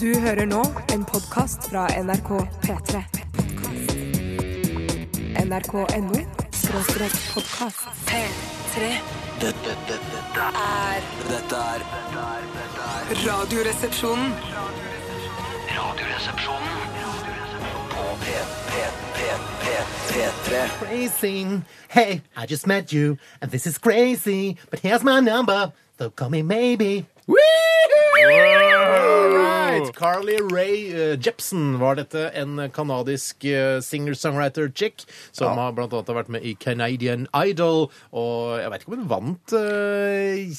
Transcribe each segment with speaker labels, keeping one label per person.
Speaker 1: Du hører nå en podkast fra NRK P3. NRK.no skråstrek podkast. P3
Speaker 2: Dette, dette, dette,
Speaker 1: er
Speaker 2: dette er dette er- dette er
Speaker 1: Radioresepsjonen.
Speaker 2: Radioresepsjonen på P, P, P, P, P3.
Speaker 3: Crazy. Hey, I just met you, and this is crazy. But here's my number, so call me maybe.
Speaker 4: Right. Carly Rae eh, Jepsen var dette, en kanadisk eh, singer-songwriter-chick som har blant annet har vært med i Canadian Idol, og jeg vet ikke om hun vant eh,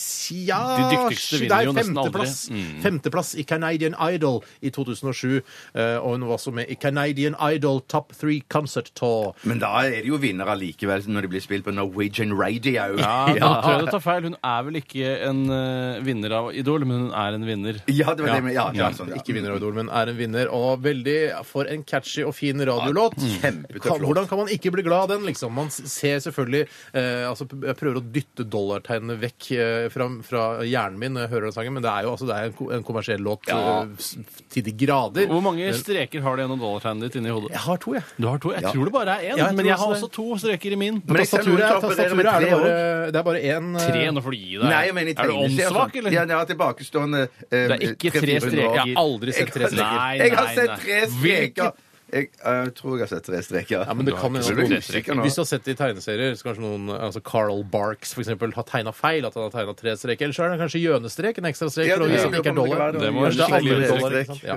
Speaker 4: ja,
Speaker 5: De dyktigste
Speaker 4: det
Speaker 5: vinner
Speaker 4: er
Speaker 5: jo nesten aldri. Mm.
Speaker 4: femteplass. Femteplass i Canadian Idol i 2007, eh, og hun var også med i Canadian Idol Top Three Concert Tour.
Speaker 6: Men da er det jo vinnere likevel når de blir spilt på Norwegian Radio.
Speaker 5: Ja, nå tror jeg du tar feil. Hun er vel ikke en eh, vinner av Idol, men hun er en vinner.
Speaker 6: Ja, det var det med ja, ja, sånn, ja.
Speaker 4: Ikke vinner av Idol, men er en vinner. Og veldig for en catchy og fin radiolåt.
Speaker 6: kjempetøff
Speaker 4: Kan-
Speaker 6: låt.
Speaker 4: Hvordan kan man ikke bli glad av den, liksom? Man s- ser selvfølgelig eh, altså, p- Jeg prøver å dytte dollartegnene vekk eh, fra, fra hjernen min når jeg hører den sangen, men det er jo altså, det er en, ko- en kommersiell låt eh, s- til de grader.
Speaker 5: Hvor mange streker har det gjennom dollartegnet ditt inni hodet?
Speaker 4: Jeg har to, jeg.
Speaker 5: Du har to? Jeg tror det bare er én.
Speaker 4: Ja, jeg
Speaker 5: men
Speaker 4: tror
Speaker 5: jeg har
Speaker 4: også
Speaker 5: også to streker i min.
Speaker 6: Men jeg ser noen
Speaker 4: Tastaturet er,
Speaker 6: som opererer med
Speaker 4: tastaturet er det
Speaker 6: tre
Speaker 4: bare Det er bare én eh,
Speaker 5: Tre, nå får du gi deg.
Speaker 6: Nei, jeg mener i
Speaker 5: er du
Speaker 6: tegneserier og
Speaker 5: åndssvak,
Speaker 6: sånn.
Speaker 5: eller?
Speaker 6: Ja, det er tilbakestående eh,
Speaker 5: Det er ikke
Speaker 6: 300-400
Speaker 5: tre streker.
Speaker 6: år.
Speaker 5: Jeg har aldri sett tre streker. Nei,
Speaker 6: Jeg har
Speaker 5: nei,
Speaker 6: sett
Speaker 5: nei.
Speaker 6: tre streker. Jeg eh, tror jeg har sett tre streker.
Speaker 4: Ja, men det kan
Speaker 6: Du
Speaker 4: jo
Speaker 6: er
Speaker 4: være
Speaker 6: veldig
Speaker 4: noen-
Speaker 6: usikker nå.
Speaker 4: Hvis du har sett det i tegneserier, så kanskje noen altså Carl Barks for eksempel, har tegna feil. At han har tegna tre streker. Eller så er det kanskje hjørnestrek, en ekstra strek.
Speaker 6: Ja,
Speaker 4: for å
Speaker 6: det-
Speaker 4: vise at det ikke er dollar.
Speaker 5: Det må være
Speaker 4: Kanskje
Speaker 5: skikkelig
Speaker 4: andre dollar,
Speaker 6: strek.
Speaker 4: ikke sant? Ja.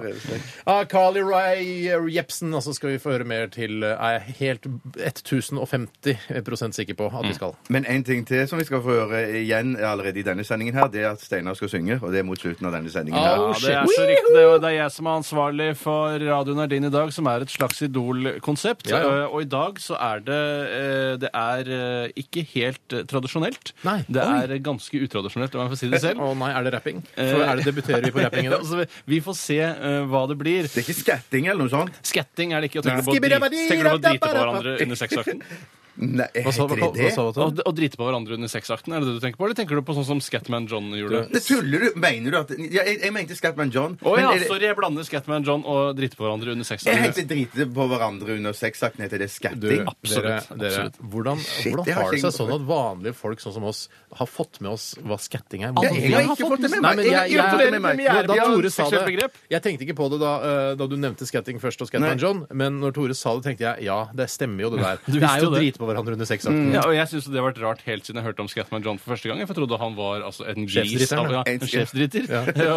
Speaker 4: Ah, Carly Rae Jepsen, altså skal vi få høre mer til. eh, Er jeg helt 1050 sikker på
Speaker 6: Mm.
Speaker 4: at vi skal.
Speaker 6: Men en ting til som vi skal få høre igjen allerede i denne sendingen her, det er at Steinar skal synge, og det er mot slutten av denne sendingen her.
Speaker 5: Ja, det er så riktig. Det er- det er jeg som er ansvarlig for radioen er din i dag, som er et slags Idol-konsept.
Speaker 4: Ja, ja.
Speaker 5: Eh, Og i dag så er det eh, Det er eh, ikke helt eh, tradisjonelt.
Speaker 4: Nei.
Speaker 5: Det
Speaker 4: Oi.
Speaker 5: er eh, ganske utradisjonelt, om jeg får si det
Speaker 4: Å
Speaker 5: selv.
Speaker 4: nei, er det rapping?
Speaker 6: Eh.
Speaker 4: For er det debuterer vi på rapping i dag?
Speaker 5: Altså, vi- vi får se eh, hva det blir.
Speaker 6: Det er ikke skatting eller noe sånt?
Speaker 5: Skatting er det ikke. og Tenker du på å
Speaker 4: Skibidi-
Speaker 5: drite tenker du på å drite på hverandre under sexakten?
Speaker 6: Nei,
Speaker 4: Hva sa hva-
Speaker 6: heter det
Speaker 4: hva
Speaker 6: det?
Speaker 4: sa du?
Speaker 5: Å d- å drite på hverandre under sexakten, er det det du tenker på? Eller tenker du på sånn som Scatman John gjorde?
Speaker 6: Det tuller du? Mener du at ja, jeg, jeg mente Scatman John.
Speaker 5: Å ja,
Speaker 6: er det-
Speaker 5: sorry, jeg blander Scatman John og drite på hverandre under
Speaker 6: Jeg
Speaker 5: sexakten.
Speaker 6: heter drite på hverandre under sexakten. Heter det
Speaker 4: Du,
Speaker 6: skatting?
Speaker 4: dere,
Speaker 5: Absolutt,
Speaker 4: dere,
Speaker 5: absolutt.
Speaker 4: hvordan, hvordan
Speaker 6: det har
Speaker 4: har det
Speaker 6: jeg
Speaker 4: seg
Speaker 6: ikke
Speaker 4: sånn
Speaker 6: tenkt
Speaker 4: at vanlige folk sånn som oss har fått med oss hva skatting er?
Speaker 6: Ja,
Speaker 4: Hvordan-
Speaker 6: jeg har ikke fått det med
Speaker 4: Nei,
Speaker 6: meg.
Speaker 4: men jeg,
Speaker 6: Jeg har ikke
Speaker 4: jeg,
Speaker 6: fått det med meg.
Speaker 4: da, da
Speaker 5: Bjørn,
Speaker 4: Tore sa
Speaker 5: seksuelt
Speaker 4: det
Speaker 5: begrep.
Speaker 4: Jeg tenkte ikke på det da, eh, da du nevnte skatting først og Scatman
Speaker 6: Nei.
Speaker 4: John, men når Tore sa det, tenkte jeg ja, det stemmer jo det der.
Speaker 5: Du
Speaker 4: Det
Speaker 5: visste
Speaker 4: er jo
Speaker 5: jo det. Mm.
Speaker 4: drit på hverandre under sexakten.
Speaker 5: Ja, og jeg synes det har vært rart helt siden jeg hørte om Scatman John for første gang. For jeg trodde han var altså, en gris
Speaker 4: Sjefsdritteren,
Speaker 5: av ja, en
Speaker 6: En
Speaker 5: sjefsdritter.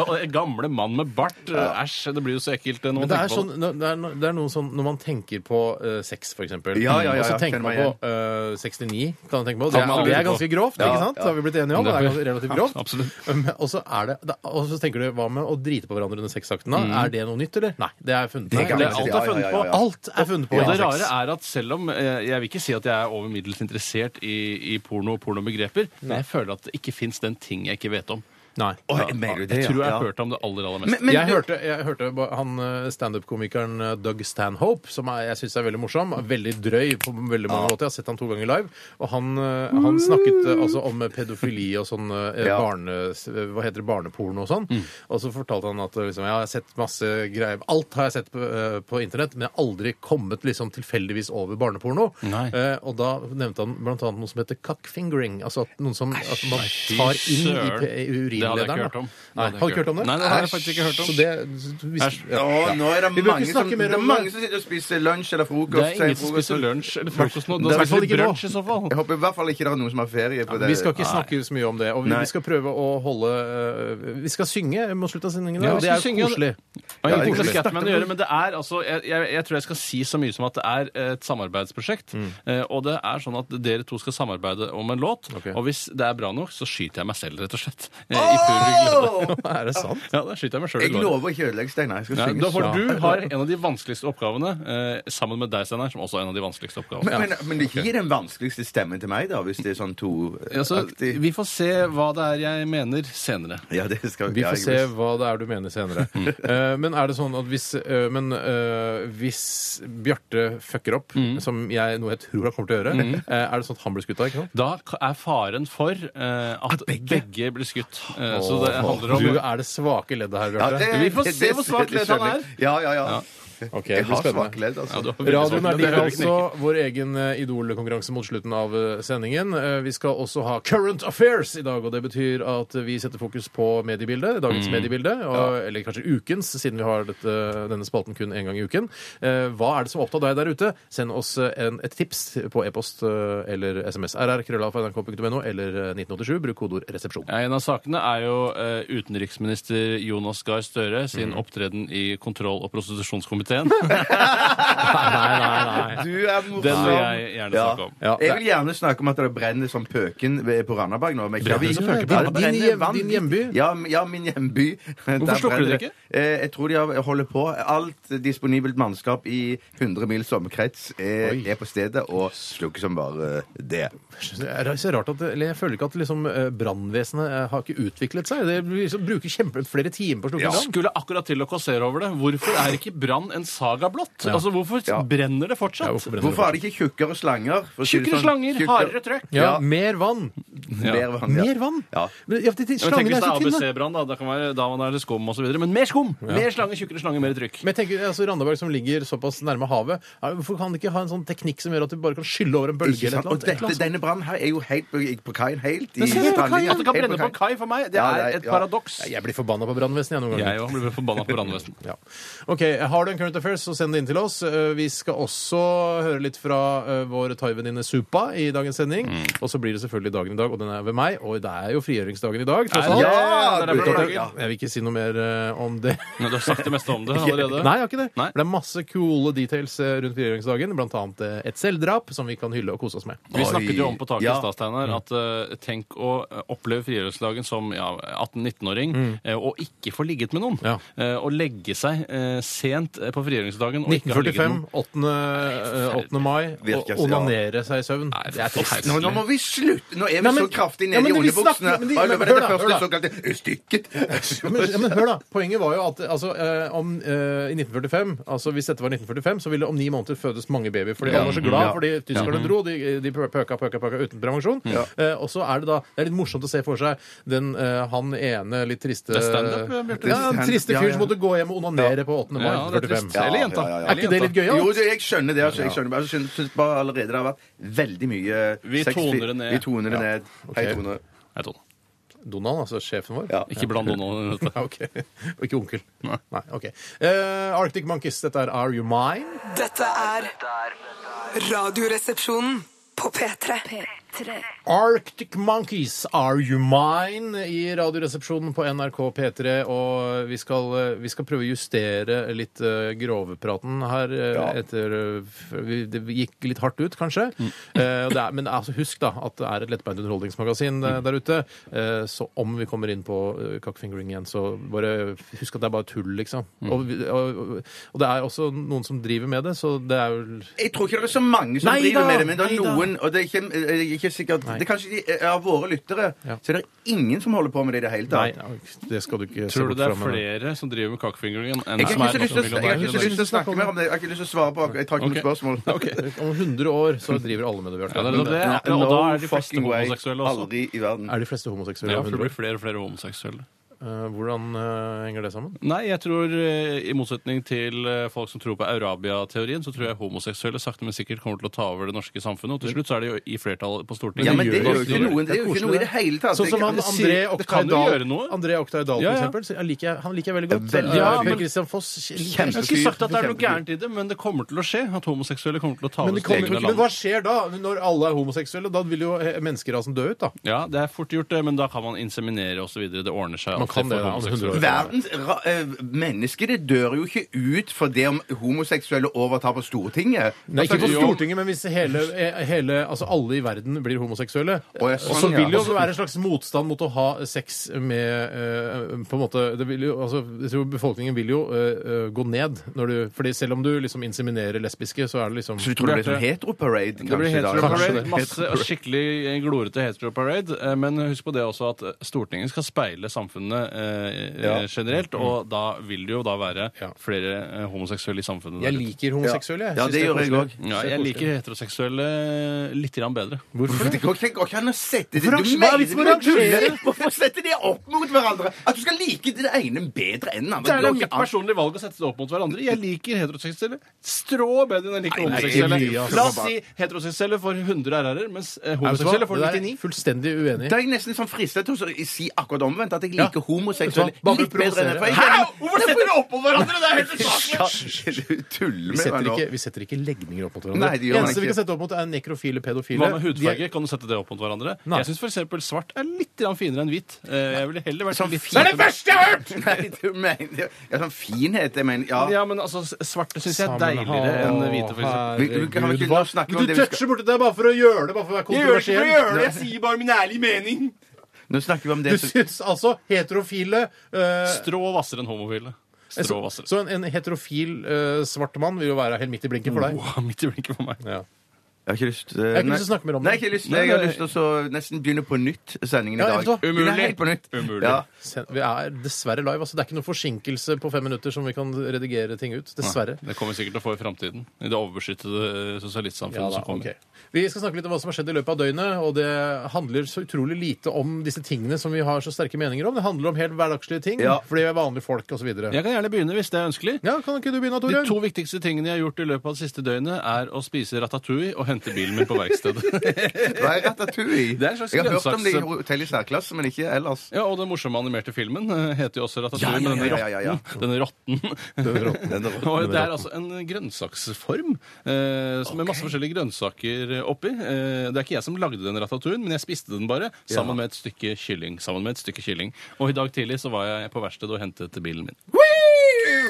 Speaker 5: Og en gamle mann med bart. Æsj, det blir jo så ekkelt eh,
Speaker 4: Men
Speaker 5: når man
Speaker 4: det er,
Speaker 5: tenker på
Speaker 4: sånn, det, er, no- det er noe sånn når man tenker på eh, sex, for eksempel.
Speaker 6: Ja, ja, ja,
Speaker 4: og så
Speaker 6: ja,
Speaker 4: tenker
Speaker 6: kjenner
Speaker 4: man
Speaker 6: meg
Speaker 4: på eh, 69, kan man tenke på. Det er, det
Speaker 5: Kan man
Speaker 4: er
Speaker 5: lure på.
Speaker 4: ganske grovt, ikke sant? Det har vi blitt enige om. Det er ganske relativt grovt.
Speaker 5: Absolutt.
Speaker 4: Men- Og så er det, da- og så tenker du, hva med å drite på hverandre under sexakten da? Er det noe nytt, eller? Nei, det er funnet på.
Speaker 6: Det kan
Speaker 4: Det
Speaker 6: man
Speaker 4: er
Speaker 6: si.
Speaker 4: alt,
Speaker 6: Ja,
Speaker 4: er funnet
Speaker 6: ja,
Speaker 4: på.
Speaker 6: ja, ja.
Speaker 4: alt er funnet på.
Speaker 5: Og det
Speaker 4: under sex.
Speaker 5: rare er at selv om eh, Jeg vil ikke si at jeg er over middels interessert i, i porno og pornobegreper, men jeg føler at det ikke fins den ting jeg ikke vet om.
Speaker 4: Nei.
Speaker 6: Å, jeg mener du det,
Speaker 5: Jeg
Speaker 6: ja.
Speaker 5: tror jeg
Speaker 6: Ja.
Speaker 5: har hørt om det aller, aller mest.
Speaker 6: Men, men
Speaker 4: jeg,
Speaker 6: du-
Speaker 4: hørte, jeg hørte ba- han eh, standup-komikeren eh, Doug Stanhope, som er, jeg syns er veldig morsom. er Veldig drøy på veldig mange måter. Jeg har sett han to ganger live. Og han, eh, han snakket eh, altså om eh, pedofili og sånn eh,
Speaker 6: Ja. Mm.
Speaker 4: barne, eh, Hva heter det, barneporno og sånn. Og så fortalte han at eh, liksom, jeg har sett masse greier Alt har jeg sett på, eh, på internett, men jeg har aldri kommet liksom tilfeldigvis over barneporno.
Speaker 5: Nei.
Speaker 4: Eh, og da nevnte han blant annet noe som heter cockfingering. Altså at noen som at man
Speaker 5: fy
Speaker 4: tar inn i,
Speaker 5: søren.
Speaker 4: pe- i
Speaker 5: Det hadde jeg ikke
Speaker 4: urinlederen.
Speaker 5: hørt
Speaker 4: da.
Speaker 5: om.
Speaker 4: Nei,
Speaker 5: Det hadde jeg
Speaker 4: hadde du ikke hørt om det?
Speaker 5: Nei, det hadde jeg faktisk ikke hørt om.
Speaker 4: Så det, du visste,
Speaker 5: Æsj.
Speaker 4: ja.
Speaker 6: Å, nå er det
Speaker 4: Vi bør
Speaker 6: mange
Speaker 4: ikke
Speaker 6: som,
Speaker 4: snakke
Speaker 6: det
Speaker 4: mer
Speaker 6: er
Speaker 4: om
Speaker 6: mange som sitter og spiser lunsj eller frokost.
Speaker 5: Det er ingen som
Speaker 6: frokost.
Speaker 5: spiser lunsj eller frokost nå.
Speaker 4: Det er
Speaker 5: Da
Speaker 4: i hvert fall
Speaker 5: spiser de
Speaker 4: ikke nå.
Speaker 5: brunsj i så fall.
Speaker 6: Jeg håper i hvert fall ikke det er noen som har ferie på det.
Speaker 4: Vi skal ikke snakke så mye om det. Og vi,
Speaker 6: Nei.
Speaker 4: vi skal prøve å holde øh, Vi skal synge mot slutten av sendingen.
Speaker 5: Ja,
Speaker 4: Ja,
Speaker 5: vi
Speaker 4: det er
Speaker 5: skal
Speaker 4: jo
Speaker 5: synge, ja.
Speaker 4: koselig.
Speaker 5: Det har ingenting
Speaker 6: det
Speaker 5: med
Speaker 6: er
Speaker 5: Scatman å gjøre, men det er altså jeg, jeg, jeg tror jeg skal si så mye som at det er et samarbeidsprosjekt. Eh, og det er sånn at dere to skal samarbeide om en låt,
Speaker 4: Ok.
Speaker 5: og hvis det er bra nok, så skyter jeg meg selv, rett og slett. Eh, I pur glede.
Speaker 4: Er det sant?
Speaker 5: Ja, da skyter jeg meg selv i
Speaker 6: Jeg
Speaker 5: låret.
Speaker 6: lover å ikke ødelegge, Steinar. Jeg skal
Speaker 5: Ja,
Speaker 6: synge
Speaker 5: da får
Speaker 6: så-
Speaker 5: du har en av de vanskeligste oppgavene, eh, sammen med deg, Steinar, som også er en av de vanskeligste oppgavene.
Speaker 6: Men, men,
Speaker 5: Ja.
Speaker 6: men du gir den vanskeligste stemmen til meg, da, hvis det er sånn
Speaker 5: Ja, så
Speaker 6: to-aktig.
Speaker 5: vi får se hva det er jeg mener senere.
Speaker 6: Ja, Mm. det skal
Speaker 4: Vi får se hva det er du mener senere. Eh, Men men er det sånn at hvis, øh, men, øh, hvis Bjarte fucker opp,
Speaker 5: Mm.
Speaker 4: som jeg, noe jeg tror han kommer til å gjøre, eh, er det sånn at han blir skutt av? ikke sant?
Speaker 5: Da ka- er faren for eh, at begge? blir skutt. Eh, så det handler om
Speaker 4: Du er det svake leddet her,
Speaker 6: Ja,
Speaker 4: Bjarte.
Speaker 6: det-
Speaker 5: Vi får
Speaker 6: det-
Speaker 5: se
Speaker 6: det-
Speaker 5: hvor svak ledd
Speaker 6: det
Speaker 5: han
Speaker 6: skjønner jeg. Ja, ja, ja.
Speaker 4: Ok, det blir
Speaker 6: Jeg har svak
Speaker 4: spennende.
Speaker 6: ledd, altså.
Speaker 5: Ja, du har veldig
Speaker 4: Radioen
Speaker 5: svak-
Speaker 4: er
Speaker 5: det
Speaker 4: live
Speaker 5: hører vi
Speaker 4: altså. Vår egen eh, Idol-konkurranse mot slutten av eh, sendingen. Eh, Vi skal også ha Current Affairs i dag, og det betyr at vi setter fokus på mediebildet, dagens mediebilde, og, eller kanskje ukens, siden vi har dette, denne spalten kun én gang i uken. Eh, Hva er det som opptar deg der ute? Send oss eh, en, et tips på e-post eh, eller SMS RR, krøllalfa.nrk.no eller eh, 1987. Bruk kodeord 'resepsjon'.
Speaker 5: Ja, en av sakene er jo eh, utenriksminister Jonas Gahr Støre sin opptreden i kontroll- og prostitusjonskomiteen. nei, nei, nei.
Speaker 6: Du er morsom.
Speaker 5: Den vil jeg gjerne snakke om.
Speaker 4: Ja,
Speaker 6: jeg vil gjerne snakke om at det brenner som pøken ved- på Randaberg nå. Men
Speaker 5: Brenner som pøken på
Speaker 6: Ja, det
Speaker 4: Randaberg? Din
Speaker 6: brenner
Speaker 4: hjem-
Speaker 6: vanvittig.
Speaker 4: din hjemby?
Speaker 6: Ja, m- ja, min hjemby. Der
Speaker 5: slukker
Speaker 6: brenner
Speaker 5: du det ikke?
Speaker 6: Eh, Jeg tror de har- holder på. Alt disponibelt mannskap i 100 mils omkrets er, er på stedet og slukker som bare eh, det.
Speaker 4: Det er så rart at, eller Jeg føler ikke at liksom, eh, brannvesenet eh, har ikke utviklet seg. Det blir liksom, bruker kjempe, flere timer på å slukke
Speaker 5: Ja.
Speaker 4: brann.
Speaker 5: Skulle akkurat til å kassere over det. Hvorfor er ikke brann en saga blått? Altså, hvorfor brenner det fortsatt?
Speaker 4: Ja, hvorfor brenner det
Speaker 6: Hvorfor er det ikke tjukkere slanger? for å si det
Speaker 5: Tjukkere
Speaker 6: sånn?
Speaker 5: slanger,
Speaker 6: Tjukkere-
Speaker 5: hardere trøkk.
Speaker 4: Ja,
Speaker 6: Ja.
Speaker 4: Mer vann!
Speaker 5: Ja.
Speaker 6: Mer vann. ja.
Speaker 4: Mer vann!
Speaker 6: Ja.
Speaker 4: Men, ja, det, det,
Speaker 5: Men tenk
Speaker 4: slangene
Speaker 5: hvis
Speaker 4: er
Speaker 5: det
Speaker 4: så
Speaker 5: er
Speaker 4: tynne.
Speaker 5: ABC-brann, da. Da, kan være, da man er det skum osv. Men mer skum! Mer slange, tjukkere slange, mer trykk.
Speaker 4: Men jeg tenker, altså, Randaberg som ligger såpass nærme havet, ja, hvorfor kan de ikke ha en sånn teknikk som gjør at du bare kan skylle over en bølge?
Speaker 6: Ikke
Speaker 4: eller et
Speaker 6: sant?
Speaker 4: eller
Speaker 6: Og
Speaker 4: annet? Et eller
Speaker 6: dette,
Speaker 4: annet sånt?
Speaker 6: denne brannen her er jo helt på, på kaien. Helt i
Speaker 5: Men se på kai,
Speaker 6: strandlinja.
Speaker 5: at det kan
Speaker 6: Helt
Speaker 5: brenne på kai for meg, det
Speaker 6: Ja, det
Speaker 5: er
Speaker 6: er-
Speaker 5: et
Speaker 6: ja.
Speaker 5: paradoks.
Speaker 4: Jeg blir forbanna på brannvesenet jeg, noen ganger.
Speaker 5: Jeg òg blir forbanna på brannvesenet.
Speaker 4: Ja. Ok, Har du en current affairs, så send det inn til oss. Eh, Vi skal også høre litt fra eh, vår thaivenninne Supa i dagens sending.
Speaker 5: Mm.
Speaker 4: Og så blir det selvfølgelig dagen i dag, og den er ved meg. Og det er jo frigjøringsdagen i dag, tross
Speaker 5: Er det
Speaker 4: alt.
Speaker 5: det?
Speaker 6: Ja,
Speaker 5: Det er derfor
Speaker 4: Uten at
Speaker 5: det er
Speaker 4: jeg,
Speaker 6: Ja.
Speaker 4: jeg vil ikke si noe mer eh, om det.
Speaker 5: Men Du har sagt det meste om det allerede.
Speaker 4: Nei, jeg har ikke det.
Speaker 5: Nei.
Speaker 4: For det er masse coole details eh, rundt frigjøringsdagen, blant annet eh, et selvdrap som vi kan hylle og kose oss med.
Speaker 5: Vi snakket jo om på taket i
Speaker 6: Ja. Mm.
Speaker 5: stad, Steinar, at eh, tenk å eh, oppleve frigjøringsdagen som ja, 18-19-åring
Speaker 6: Mm.
Speaker 5: eh, og ikke få ligget med noen.
Speaker 4: Ja.
Speaker 5: Eh, og legge seg eh, sent eh, på frigjøringsdagen og ikke ha ligget med
Speaker 4: 1945,
Speaker 5: noen.
Speaker 4: 8. eh, 8. mai, og
Speaker 6: Virkelig, ja.
Speaker 4: onanere seg i søvn.
Speaker 5: Nei,
Speaker 4: Det er trist.
Speaker 6: Nå, nå må vi slutte! Nå er vi
Speaker 4: Nei, men-
Speaker 6: så kraftig
Speaker 4: Ja,
Speaker 6: nede
Speaker 4: men det
Speaker 6: i
Speaker 4: vi
Speaker 6: oljebuksene.
Speaker 4: snakker- men de-
Speaker 6: Oi,
Speaker 4: men
Speaker 6: men
Speaker 4: hør
Speaker 6: det
Speaker 4: da, hør
Speaker 6: første
Speaker 4: da.
Speaker 6: såkalte stykket
Speaker 4: Ja, Men, ja, men hør da, Poenget var jo at altså, eh, om, eh, i 1945 altså Hvis dette var 1945, så ville det om ni måneder fødes mange babyer. Fordi alle var så glad
Speaker 6: Ja.
Speaker 4: fordi tyskerne dro. De, de pøka, pøka, pøka uten prevensjon. Eh, og så er det da Det er litt morsomt å se for seg den eh, han ene litt triste
Speaker 5: Det er stand-up, ja, Bjarte.
Speaker 4: Ja, den triste
Speaker 6: Ja,
Speaker 4: fyren
Speaker 6: ja.
Speaker 4: som måtte gå hjem og onanere på 8. mai
Speaker 5: Ja, det er
Speaker 4: 1945.
Speaker 5: trist. Eller jenta.
Speaker 6: Ja, ja, ja.
Speaker 4: Er ikke det litt gøy?
Speaker 6: Jo,
Speaker 4: da?
Speaker 6: det, jeg skjønner det. Altså, jeg skjønner bare, jeg synes- synes bare allerede det har vært veldig mye
Speaker 5: Vi
Speaker 6: sex-
Speaker 5: toner det ned.
Speaker 6: Vi toner det ned. Hei, Tone.
Speaker 5: Nei, Tone.
Speaker 4: Donald, altså sjefen vår?
Speaker 6: Ja.
Speaker 5: Ikke bland Donald i dette.
Speaker 4: Ja, ok. Og ikke onkel.
Speaker 5: Nei.
Speaker 4: Nei, ok. Eh, Arctic Monkeys, dette er Are You Mine?
Speaker 1: Dette er Radioresepsjonen på P3.
Speaker 4: Arctic Monkeys, Are You Mine? i Radioresepsjonen på NRK P3. Og vi skal, vi skal prøve å justere litt eh, grovepraten her eh, etter eh, f- vi, Det gikk litt hardt ut, kanskje.
Speaker 5: Mm.
Speaker 4: Eh, og det er, men altså, husk da at det er et lettbeint underholdningsmagasin
Speaker 5: Mm.
Speaker 4: eh, der ute. Eh, så om vi kommer inn på uh, cockfingering igjen, så bare husk at det er bare tull, liksom.
Speaker 5: Mm.
Speaker 4: Og, vi- og, og, og det er også noen som driver med det, så det er jo
Speaker 6: Jeg tror ikke det er så mange som
Speaker 4: Nei
Speaker 6: driver
Speaker 4: da,
Speaker 6: med det, men det er
Speaker 4: nei da.
Speaker 6: noen og det er ikke, jeg er ikke sikkert, det er kanskje de, eh, Av våre lyttere
Speaker 4: Ja.
Speaker 6: så er det ingen som holder på med det i det hele
Speaker 4: Nei,
Speaker 6: tatt.
Speaker 4: det skal du ikke se
Speaker 5: Tror du
Speaker 4: bort
Speaker 5: det
Speaker 4: fra.
Speaker 5: er
Speaker 4: men-
Speaker 5: flere som driver med cockfingeringen enn
Speaker 6: Jeg har
Speaker 5: som
Speaker 6: ikke
Speaker 5: er
Speaker 6: så lyst til å- jeg har ikke så lyst til å snakke mer om det. Jeg har ikke lyst til å svare på akkurat. Jeg tar ikke noe spørsmål.
Speaker 4: Om 100 år så driver alle med det,
Speaker 5: Ja, det
Speaker 4: Bjarte.
Speaker 5: er nettopp det.
Speaker 6: Ja,
Speaker 5: Og da
Speaker 6: no
Speaker 5: er de fleste
Speaker 6: fucking way.
Speaker 5: homoseksuelle også.
Speaker 6: Aldri i verden.
Speaker 4: Er de fleste homoseksuelle?
Speaker 5: Ja,
Speaker 4: om
Speaker 5: for
Speaker 4: 100
Speaker 5: det
Speaker 4: år?
Speaker 5: blir flere og flere homoseksuelle.
Speaker 4: Eh, hvordan eh, henger det sammen?
Speaker 5: Nei, jeg tror eh, i motsetning til eh, folk som tror på Eurabia-teorien, så tror jeg homoseksuelle sakte, men sikkert kommer til å ta over det norske samfunnet. Og til slutt så er de jo i flertall på Stortinget.
Speaker 6: Ja, men det
Speaker 4: gjør
Speaker 6: er jo
Speaker 4: det.
Speaker 6: ikke noe, det er jo ikke noe i det hele tatt.
Speaker 4: Sånn som han
Speaker 6: Jeg-
Speaker 4: André
Speaker 5: sier- det
Speaker 4: Oktay
Speaker 5: kan jo
Speaker 4: Dahl,
Speaker 5: gjøre noe.
Speaker 4: André Oktay Dahl
Speaker 5: Ja,
Speaker 4: for
Speaker 5: ja.
Speaker 4: eksempel. så jeg liker, jeg- han liker jeg veldig godt.
Speaker 6: Veldig,
Speaker 4: ja,
Speaker 5: ja,
Speaker 4: Per
Speaker 5: men-
Speaker 4: Christian Foss
Speaker 5: Jeg har ikke sagt at det er noe gærent i det, men det kommer til å skje. At homoseksuelle kommer til å ta
Speaker 4: men,
Speaker 5: over
Speaker 4: det kommer
Speaker 5: styringen
Speaker 4: jo
Speaker 5: av
Speaker 4: ikke- men hva
Speaker 5: landet.
Speaker 4: skjer da? Når alle er homoseksuelle? Da vil jo eh, menneskerasen dø ut, da.
Speaker 5: Ja, det er fort gjort, det, men da kan man inseminere osv. Det ordner seg.
Speaker 4: Man
Speaker 5: alltid
Speaker 4: kan det,
Speaker 5: for
Speaker 4: da, om 100
Speaker 5: homoseksuelle.
Speaker 4: år.
Speaker 6: Verdens ra eh, mennesker det dør jo ikke ut for det om homoseksuelle overtar på Stortinget.
Speaker 4: Nei, ikke på
Speaker 6: Altså,
Speaker 4: Stortinget, men hvis hele, eh, hele, altså alle i verden blir homoseksuelle.
Speaker 6: Å, ja,
Speaker 4: Og så
Speaker 6: sånn, ja.
Speaker 4: vil jo det være en slags motstand mot å ha sex med eh, på en måte, det vil jo, altså, jeg tror Befolkningen vil jo eh, eh, gå ned. Når du, fordi selv om du liksom inseminerer lesbiske, så er det liksom
Speaker 6: Så du tror det blir sånn heteroparade?
Speaker 5: Det blir
Speaker 6: kanskje, da?
Speaker 5: hetero
Speaker 4: Kanskje det.
Speaker 5: parade. Eh, Masse skikkelig glorete hetero parade. eh, Men husk på det også at Stortinget skal speile samfunnet samfunnet eh,
Speaker 6: Ja.
Speaker 5: generelt, og da vil det jo da være
Speaker 4: Ja.
Speaker 5: flere eh, homoseksuelle i samfunnet.
Speaker 4: Jeg
Speaker 5: der ute.
Speaker 4: liker homoseksuelle.
Speaker 6: Ja,
Speaker 4: synes
Speaker 6: det
Speaker 4: er
Speaker 6: gjør jeg
Speaker 4: koselig.
Speaker 6: også.
Speaker 5: ja, jeg liker heteroseksuelle eh, litt grann bedre.
Speaker 4: Hvorfor
Speaker 6: Det
Speaker 4: det?
Speaker 6: går ikke- det går ikke an å sette det
Speaker 4: Hvorfor
Speaker 6: Du
Speaker 4: rangerer- hva er vitsen med å
Speaker 6: mener du
Speaker 4: rangere?
Speaker 6: tuller? Hvorfor sette de opp mot hverandre? At du skal like det ene bedre enn det andre.
Speaker 5: Det er da
Speaker 6: går ikke
Speaker 5: mitt
Speaker 6: an.
Speaker 5: personlige valg å sette det opp mot hverandre. Jeg liker heteroseksuelle strå bedre enn jeg liker
Speaker 6: Nei, nei,
Speaker 5: homoseksuelle.
Speaker 4: mye, altså.
Speaker 5: La oss si heteroseksuelle får 100 RR-er, mens eh,
Speaker 4: Vet du hva?
Speaker 5: homoseksuelle får
Speaker 4: Det der er
Speaker 5: 99.
Speaker 4: Fullstendig uenig.
Speaker 6: Da er jeg nesten sånn fristet til å så- si akkurat omvendt. At jeg
Speaker 4: Ja.
Speaker 6: liker homoseksuelle
Speaker 4: Vet du hva? Bare
Speaker 6: litt
Speaker 4: for å
Speaker 6: bedre enn
Speaker 4: provosere.
Speaker 6: jeg
Speaker 5: Hæ? Hvorfor setter dere opp mot hverandre? Det er helt usaklig!
Speaker 6: Du tuller
Speaker 4: Vi
Speaker 6: med meg
Speaker 4: setter,
Speaker 6: nå.
Speaker 4: ikke, vi setter ikke legninger opp mot hverandre.
Speaker 6: Nei, det
Speaker 4: det
Speaker 6: gjør man
Speaker 4: eneste vi
Speaker 6: ikke.
Speaker 4: kan sette opp mot, er nekrofile pedofile.
Speaker 5: Hva med
Speaker 4: De
Speaker 5: hudfarge?
Speaker 4: er-
Speaker 5: Kan du sette det opp mot hverandre?
Speaker 4: Nei.
Speaker 5: Jeg syns f.eks. svart er litt grann finere enn hvitt. Eh, Jeg ville heller vært
Speaker 6: Sånn
Speaker 5: litt
Speaker 6: fin- Det er det
Speaker 5: verste jeg har hørt!
Speaker 6: Nei, du mener Ja, sånn finhet, jeg mener Ja.
Speaker 5: Ja, men altså, svarte syns jeg er
Speaker 4: Sammen-
Speaker 5: deiligere enn
Speaker 4: Å,
Speaker 5: hvite, f.eks.
Speaker 6: Vi- vi kan
Speaker 4: herregud,
Speaker 6: ikke
Speaker 4: hva-
Speaker 6: snakke om
Speaker 4: Men Du
Speaker 6: det vi
Speaker 4: toucher
Speaker 6: skal-
Speaker 4: borti det bare for å gjøre det, bare for å være kontroversiell.
Speaker 5: det, jeg sier bare min ærlige mening!
Speaker 6: Nå snakker vi om
Speaker 4: Du
Speaker 6: det som
Speaker 4: syns altså heterofile eh,
Speaker 5: Strå vassere enn homofile. Strå
Speaker 4: så,
Speaker 5: vassere.
Speaker 4: så en, en heterofil eh, svart mann vil jo være helt midt i blinken for deg.
Speaker 5: Wow, midt i blinken for meg.
Speaker 4: Ja.
Speaker 6: Jeg har ikke lyst Jeg
Speaker 4: har ikke lyst til å snakke mer om det.
Speaker 6: Nei, jeg har ikke lyst,
Speaker 5: Nei,
Speaker 6: jeg har
Speaker 5: nei.
Speaker 6: lyst til å så nesten begynne på nytt sendingen i
Speaker 4: Ja,
Speaker 6: dag.
Speaker 4: vet du hva?
Speaker 6: Begynne
Speaker 5: Umulig.
Speaker 6: helt på nytt.
Speaker 5: Umulig.
Speaker 6: Ja.
Speaker 4: Sen- Vi er dessverre live. altså Det er ikke noe forsinkelse på fem minutter som vi kan redigere ting ut. Dessverre.
Speaker 5: Det kommer vi sikkert til å få i framtiden. I det overbeskyttede eh,
Speaker 4: Ja,
Speaker 5: sosialistsamfunnet
Speaker 4: da,
Speaker 5: som kommer.
Speaker 4: ok. Vi skal snakke litt om hva som har skjedd i løpet av døgnet. Og det handler så utrolig lite om disse tingene som vi har så sterke meninger om. Det handler om helt hverdagslige ting.
Speaker 6: Ja.
Speaker 4: Fordi vi er vanlige folk osv. Ja.
Speaker 5: Jeg kan gjerne begynne hvis det er ønskelig.
Speaker 4: ja, kan ikke du begynne,
Speaker 5: De
Speaker 4: Tore?
Speaker 5: to viktigste tingene jeg har gjort i løpet av det siste døgnet, er å spise ratatouille og hente bilen min på verkstedet.
Speaker 6: Hva er ratatouille?
Speaker 5: Det er en slags
Speaker 6: jeg har hørt om det i
Speaker 5: grønnsaks-
Speaker 6: Hotell i særklasse, men ikke ellers.
Speaker 5: Ja, Og den morsomme animerte filmen eh, heter jo også Ratatouille,
Speaker 6: Ja, ja,
Speaker 5: men denne
Speaker 6: ja, ja, ja, ja.
Speaker 5: rotten Denne rotten. Og det er altså en grønnsaksform eh, som- med masse forskjellige grønnsaker oppi. Eh, det er ikke jeg som lagde den ratatouillen, men jeg spiste den bare sammen med et stykke kylling. Sammen med et stykke kylling. Og i dag tidlig så var jeg på verkstedet og hentet bilen min.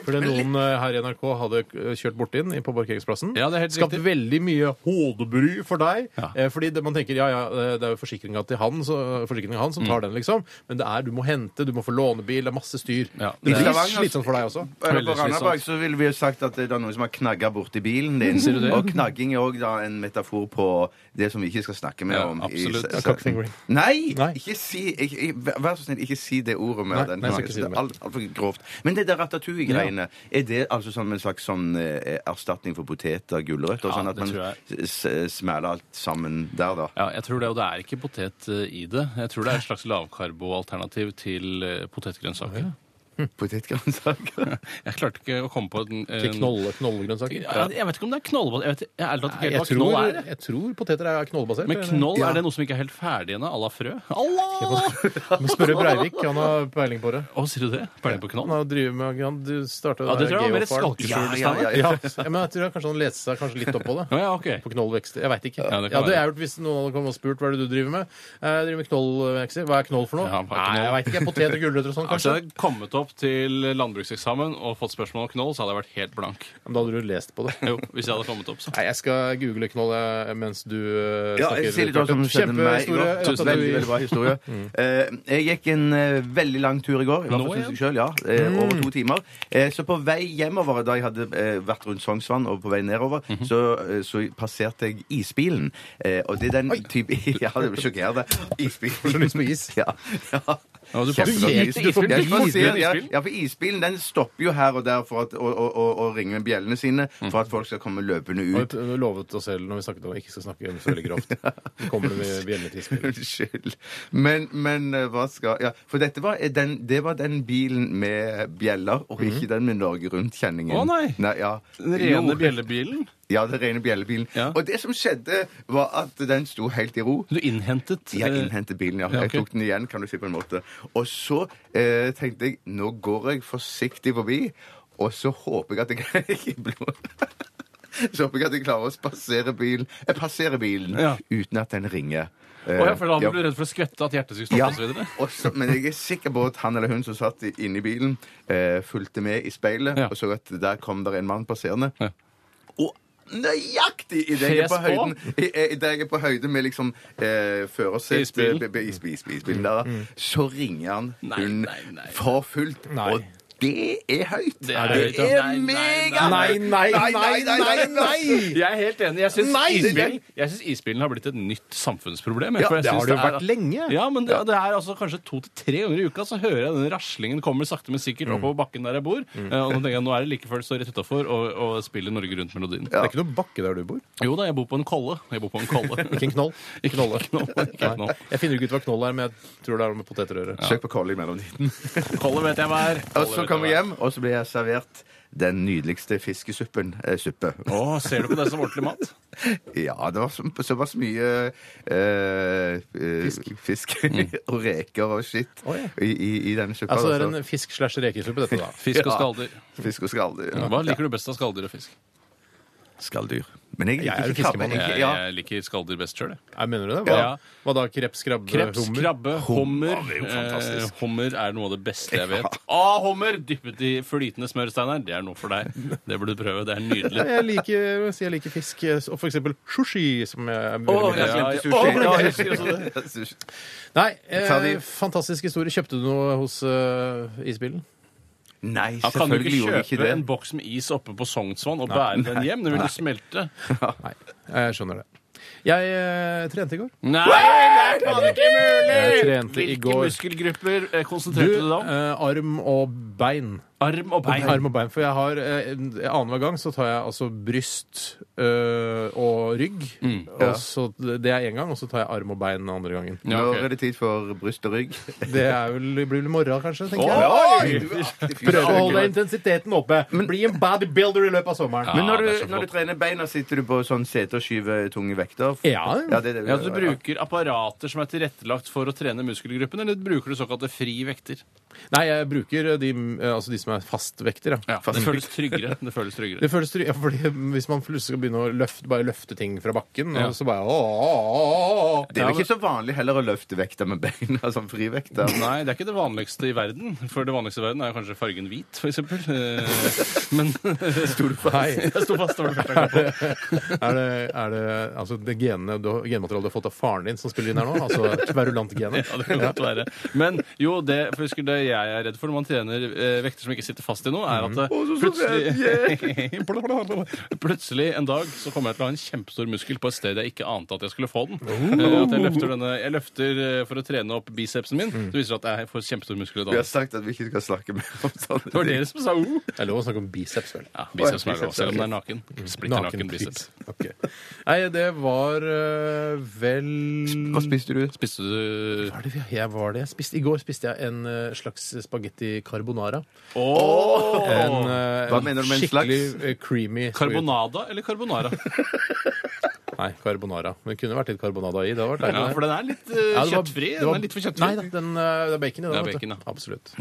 Speaker 4: Fordi noen eh, her i NRK hadde eh, kjørt bort inn i- på parkeringsplassen.
Speaker 5: Ja, det er helt
Speaker 4: Skapt
Speaker 5: riktig.
Speaker 4: veldig mye hodebry for deg.
Speaker 5: Ja.
Speaker 4: Eh, Fordi det, man tenker ja, ja, eh, det er jo forsikringa til han, så, forsikringen han som
Speaker 5: Mm.
Speaker 4: tar den, liksom. Men det er du må hente, du må få lånebil, det er masse styr.
Speaker 5: Ja.
Speaker 4: det
Speaker 6: I
Speaker 4: blir
Speaker 5: altså.
Speaker 6: Stavanger-
Speaker 4: slitsomt for deg også.
Speaker 6: Eller På
Speaker 5: Veldig slitsomt.
Speaker 6: Randaberg så ville vi jo sagt at det er noen som har knagga borti bilen din.
Speaker 5: Sier du det?
Speaker 6: Og knagging er òg en metafor på det som vi ikke skal snakke mer
Speaker 5: Ja,
Speaker 6: om. i
Speaker 5: absolutt.
Speaker 6: se-
Speaker 5: Ja,
Speaker 4: cockfingering.
Speaker 6: Nei!
Speaker 4: Nei.
Speaker 6: Ikke si, ikke, ikke- vær vær så snill, ikke si det ordet mer.
Speaker 4: Nei,
Speaker 6: den
Speaker 4: nei, jeg skal
Speaker 6: knaggen.
Speaker 4: ikke si det
Speaker 6: det er
Speaker 4: mer.
Speaker 6: alt- altfor grovt. Men det der ratatouille-greiene, er det altså som en slags sånn eh, erstatning for poteter, gulrøtter og
Speaker 5: Ja,
Speaker 6: sånn? At
Speaker 5: det tror
Speaker 6: man s- s- smeller alt sammen der, da?
Speaker 5: Ja, jeg tror det, og det er ikke potet eh, i det. Jeg tror det er et slags lavkarboalternativ til eh, potetgrønnsaker.
Speaker 6: Potetgrønnsaker?
Speaker 5: Jeg klarte ikke å komme på en,
Speaker 4: Til knolle, knollegrønnsaker.
Speaker 5: Ja, jeg vet ikke om det er knollbasert. Jeg vet jeg er ærlig talt
Speaker 4: Nei,
Speaker 5: ikke
Speaker 4: jeg,
Speaker 5: helt hva
Speaker 4: tror,
Speaker 5: knoll er.
Speaker 4: jeg tror poteter er knollbasert.
Speaker 5: Men
Speaker 4: eller?
Speaker 5: knoll,
Speaker 6: Ja.
Speaker 5: er det noe som ikke er helt ferdig ennå? À la frø? Allah!
Speaker 4: Men Spørre Breivik, han har peiling på det.
Speaker 5: Å, sier du det? Peiling på knoll?
Speaker 4: Han har drivet med, han du startet
Speaker 5: Ja, det
Speaker 4: der
Speaker 5: tror jeg var mer et
Speaker 4: Geofarm.
Speaker 5: skalkeskjul i
Speaker 6: Ja, ja,
Speaker 5: stedet.
Speaker 4: Ja, ja, men jeg tror jeg kanskje han leste seg kanskje litt opp på det.
Speaker 5: Å, ja, ok.
Speaker 4: På knollvekster. Jeg veit ikke. Ja,
Speaker 5: Ja, det
Speaker 4: det
Speaker 5: kan
Speaker 4: hadde
Speaker 5: være.
Speaker 4: jeg gjort hvis noen hadde kommet og spurt hva er det du driver med. Eh, Jeg driver med knollvekster. Hva er knoll for noe?
Speaker 5: Ja, hva er knoll?
Speaker 4: Nei, jeg veit ikke. Potet og gulrøtter og sånn,
Speaker 5: Hvis
Speaker 4: kanskje.
Speaker 5: jeg hadde kommet opp til landbrukseksamen og fått spørsmål om knoll, så hadde jeg vært helt blank.
Speaker 4: Men da hadde du lest på det.
Speaker 5: Jo, hvis jeg hadde kommet opp, så.
Speaker 4: Nei, jeg skal google knoll eh, mens du eh,
Speaker 6: Ja,
Speaker 4: snakker.
Speaker 6: jeg sier litt om hva som skjedde med meg i går.
Speaker 4: Kjempestore
Speaker 6: Tusen Veldig, veldig bra historie. Eh, jeg gikk en eh, veldig lang tur i går, i hvert
Speaker 5: Nå
Speaker 6: fall synes jeg
Speaker 5: igjen?
Speaker 6: selv, ja, eh, over to timer. Eh, så på vei hjemover, da jeg hadde eh, vært rundt Sognsvann og på vei nedover, så, eh, så passerte jeg isbilen. Eh, og det er den type Ja, det blir sjokkerende. Isbilen. Får
Speaker 4: så lyst på is.
Speaker 6: Ja. ja.
Speaker 5: Ja, du får-
Speaker 6: Kjempegodt
Speaker 5: du gikk
Speaker 6: is.
Speaker 5: til isbilen?
Speaker 6: Ja,
Speaker 5: Du gikk til
Speaker 6: ja,
Speaker 5: isbilen?
Speaker 6: ja, for isbilen den stopper jo her og der for at, og, og, og, og ringer med bjellene sine for at folk skal komme løpende ut.
Speaker 4: Og vi lovet oss selv når vi snakket om at vi ikke skal snakke om det så veldig grovt. Så kommer det med bjelletidsspill.
Speaker 6: Unnskyld. Men, men eh, hva skal Ja, for dette var eh, den, det var den bilen med bjeller, og ikke den med Norge Rundt-kjenningen.
Speaker 5: Mhm. Å, nei.
Speaker 6: ja.
Speaker 5: Den rene
Speaker 6: Jo.
Speaker 5: bjellebilen.
Speaker 6: Ja, den rene bjellebilen.
Speaker 5: Ja.
Speaker 6: Og det som skjedde, var at den sto helt i ro.
Speaker 5: Du innhentet
Speaker 6: Jeg
Speaker 5: eh,
Speaker 6: innhentet bilen, ja.
Speaker 5: ja, ok.
Speaker 6: Jeg tok den igjen, kan du si, på en måte. Og så eh, tenkte jeg nå går jeg forsiktig forbi, og så håper jeg at jeg ikke blir Så håper jeg at jeg klarer å passere bilen, eh, passere bilen
Speaker 5: Ja.
Speaker 6: uten at den ringer.
Speaker 5: Å ja, for da
Speaker 6: Ja.
Speaker 5: ble du redd for å skvette, at hjertet skulle
Speaker 6: Ja,
Speaker 5: stoppe osv.?
Speaker 6: og så- men jeg er sikker på at han eller hun som satt i- inne i bilen, eh, fulgte med i speilet
Speaker 5: Ja.
Speaker 6: og så at der kom der en mann passerende.
Speaker 5: Ja.
Speaker 6: Og nøyaktig idet jeg, er på
Speaker 5: Fes på.
Speaker 6: høyden, i- i- idet jeg er på høyde med liksom eh, førersetet
Speaker 5: Isbilen.
Speaker 4: Mm.
Speaker 6: be- be- is- is- Isbilen der, da. Så ringer han
Speaker 5: Nei,
Speaker 6: hun
Speaker 5: nei, nei.
Speaker 6: for fullt.
Speaker 4: Nei.
Speaker 6: Og Det er høyt!
Speaker 5: Det er høyt, ja. Nei, nei,
Speaker 6: mega
Speaker 4: Nei, nei, nei, nei, nei!
Speaker 5: Jeg er helt enig. Jeg syns
Speaker 4: Nei!
Speaker 5: isbilen, jeg synes isbilen har blitt et nytt samfunnsproblem. jeg,
Speaker 4: Ja,
Speaker 5: for jeg
Speaker 4: det
Speaker 5: synes
Speaker 4: har det jo
Speaker 5: er-
Speaker 4: vært lenge.
Speaker 5: Ja, men det, det er altså kanskje to til tre ganger i uka så hører jeg denne raslingen kommer sakte, men sikkert oppover bakken der jeg bor. Eh, Og nå tenker jeg, nå er det like før det står rett utafor og, og spiller Norge Rundt-melodien.
Speaker 4: Det er ikke noen bakke der du bor.
Speaker 5: Jo da, jeg bor på en kolle. Jeg bor på en kolle.
Speaker 4: Ikke en knoll.
Speaker 5: Ikke knolle. Ikke
Speaker 4: Nei.
Speaker 5: knoll.
Speaker 4: Jeg finner jo ikke ut hva knoll er, men jeg tror det er noe med potetrøre.
Speaker 6: Søk på Collie mellom 19.
Speaker 5: Kolle vet jeg hva er.
Speaker 6: Og
Speaker 5: Kolle vet
Speaker 6: så
Speaker 5: jeg
Speaker 6: kommer
Speaker 5: hva
Speaker 6: jeg
Speaker 5: er.
Speaker 6: hjem, og så blir jeg servert den nydeligste fiskesuppen. Eh, suppe.
Speaker 5: Å, ser du på det som ordentlig mat?
Speaker 6: Ja, det var så- såpass mye eh, eh, fisk, og reker og skitt i, i, i denne suppa.
Speaker 4: Altså, det er
Speaker 6: altså.
Speaker 4: en fisk slash rekesuppe, dette, da.
Speaker 5: Fisk og skalldyr.
Speaker 6: Fisk og skalldyr.
Speaker 5: Hva liker du best av skalldyr og fisk?
Speaker 6: Skalldyr. Men jeg
Speaker 4: Jeg er
Speaker 6: liker
Speaker 4: jo
Speaker 6: ikke krabbe.
Speaker 4: fiskemann,
Speaker 6: Jeg,
Speaker 5: Jeg,
Speaker 6: ja.
Speaker 5: jeg liker skalldyr best sjøl, jeg.
Speaker 4: Nei, mener du det? Hva,
Speaker 5: Ja.
Speaker 4: hva da? Kreps, krabbe,
Speaker 5: Kreps,
Speaker 4: Eh, hummer?
Speaker 5: krabbe, hummer.
Speaker 6: det er jo
Speaker 5: eh,
Speaker 6: fantastisk.
Speaker 5: hummer er noe av det beste jeg vet.
Speaker 6: Ja.
Speaker 5: Å, hummer dyppet i flytende smør, Steinar. Det er noe for deg. Det burde du prøve. Det er
Speaker 4: Ja,
Speaker 5: nydelig.
Speaker 4: Jeg liker, jeg vil si jeg liker fisk, eh, og for eksempel sushi, som jeg er veldig
Speaker 5: Å,
Speaker 4: glad i.
Speaker 5: jeg glemte sushi.
Speaker 6: Å, jeg
Speaker 5: Ja, jeg husker også det.
Speaker 6: Sushi.
Speaker 4: Nei,
Speaker 6: Ta
Speaker 4: eh,
Speaker 6: de-
Speaker 4: fantastisk historie. Kjøpte du noe hos eh, isbilen?
Speaker 6: Nei,
Speaker 5: Ja, kan du
Speaker 6: selvfølgelig
Speaker 5: ikke
Speaker 6: gjorde jeg ikke
Speaker 5: kjøpe
Speaker 6: det.
Speaker 5: en boks med is oppe på Sognsvann og bære den hjem? Den vil jo smelte.
Speaker 4: Nei, jeg skjønner det. Jeg eh, trente i går.
Speaker 5: Nei, det er ikke
Speaker 4: Jeg
Speaker 5: mulig!
Speaker 4: trente i
Speaker 5: Hvilke
Speaker 4: går.
Speaker 5: muskelgrupper eh, konsentrerte du deg
Speaker 4: Du,
Speaker 5: om?
Speaker 4: eh, arm og bein.
Speaker 5: Arm og bein.
Speaker 4: Arm og bein, For jeg har eh, annenhver gang så tar jeg altså bryst eh, og rygg.
Speaker 5: Mm,
Speaker 4: og så, det er én gang, og så tar jeg arm og bein den andre gangen.
Speaker 5: Ja, ok.
Speaker 6: Nå er det tid for bryst og rygg.
Speaker 4: Det er vel, det blir vel i morgen, kanskje. tenker jeg.
Speaker 6: Oi! Du er aktiv fyr.
Speaker 4: Prøve å holde intensiteten oppe. Bli en bodybuilder i løpet av sommeren.
Speaker 6: Men når
Speaker 5: Ja, det er så
Speaker 6: du, når du
Speaker 5: flott.
Speaker 6: trener beina, sitter du på sånn sete og skyver tunge vekter?
Speaker 4: Ja.
Speaker 6: det er det vi
Speaker 5: Ja, så Du
Speaker 6: gjør,
Speaker 5: bruker apparater som er tilrettelagt for å trene muskelgruppen, eller bruker du såkalte fri vekter?
Speaker 4: Nei, jeg bruker de, eh, altså de som er fastvekter. Ja.
Speaker 5: Ja, det føles tryggere. Det føles tryggere.
Speaker 4: Det føles trygt, ja, fordi Hvis man plutselig skal begynne å løfte, bare løfte ting fra bakken,
Speaker 5: Ja.
Speaker 4: og så bare ååå.
Speaker 6: Det er jo ikke så vanlig heller å løfte vekter med beina som frivekter.
Speaker 5: Nei, det er ikke det vanligste i verden. For det vanligste i verden er jo kanskje fargen hvit, f.eks. Men
Speaker 6: Sto du på?
Speaker 4: Nei.
Speaker 5: jeg sto fast over det første jeg kom på.
Speaker 4: Er det, er det altså det genene, du, har- genmaterialet du har fått av faren din som spiller inn her nå? Altså kverulantgenet?
Speaker 5: Ja, det kan godt være. Men jo, det, for jeg husker det jeg er redd for når man trener eh, vekter som ikke sitter fast i noe, er at det plutselig, plutselig en dag så kommer jeg til å ha en kjempestor muskel på et sted jeg ikke ante at jeg skulle få den. Eh, At jeg løfter, denne, jeg løfter eh, for å trene opp bicepsen min, så viser det at jeg får kjempestor muskel i
Speaker 6: Vi har
Speaker 5: dag.
Speaker 6: sagt at vi ikke skal snakke mer om sånne
Speaker 5: Det var dere som sa uh.
Speaker 4: Det er lov å snakke om biceps, vel.
Speaker 5: Ja, biceps
Speaker 6: Oi,
Speaker 5: er lov,
Speaker 6: biceps,
Speaker 5: selv om
Speaker 6: ok.
Speaker 5: den er naken. Splitter naken biceps.
Speaker 4: biceps. Ok. Nei, det var eh, vel
Speaker 6: Hva spiste du?
Speaker 5: Spiste du
Speaker 4: Hva er det vi- Jeg var det. Jeg spiste, I går spiste jeg en eh, slags spagetti carbonara.
Speaker 5: Åh!
Speaker 4: En, eh,
Speaker 6: Hva mener du med en slags?
Speaker 4: Skikkelig eh, creamy
Speaker 5: Carbonada eller carbonara?
Speaker 4: Nei, carbonara. Men det kunne vært litt carbonada i. Det hadde vært deilig.
Speaker 5: Ja, for den er litt eh,
Speaker 4: Ja, det var-
Speaker 5: kjøttfri.
Speaker 4: det
Speaker 5: Den
Speaker 4: var-
Speaker 5: er litt for
Speaker 4: Nei
Speaker 5: kjøttfri.
Speaker 4: da, den, eh, det er bacon i den.
Speaker 5: Det er
Speaker 4: vet du.
Speaker 5: bacon, ja.
Speaker 4: Absolutt.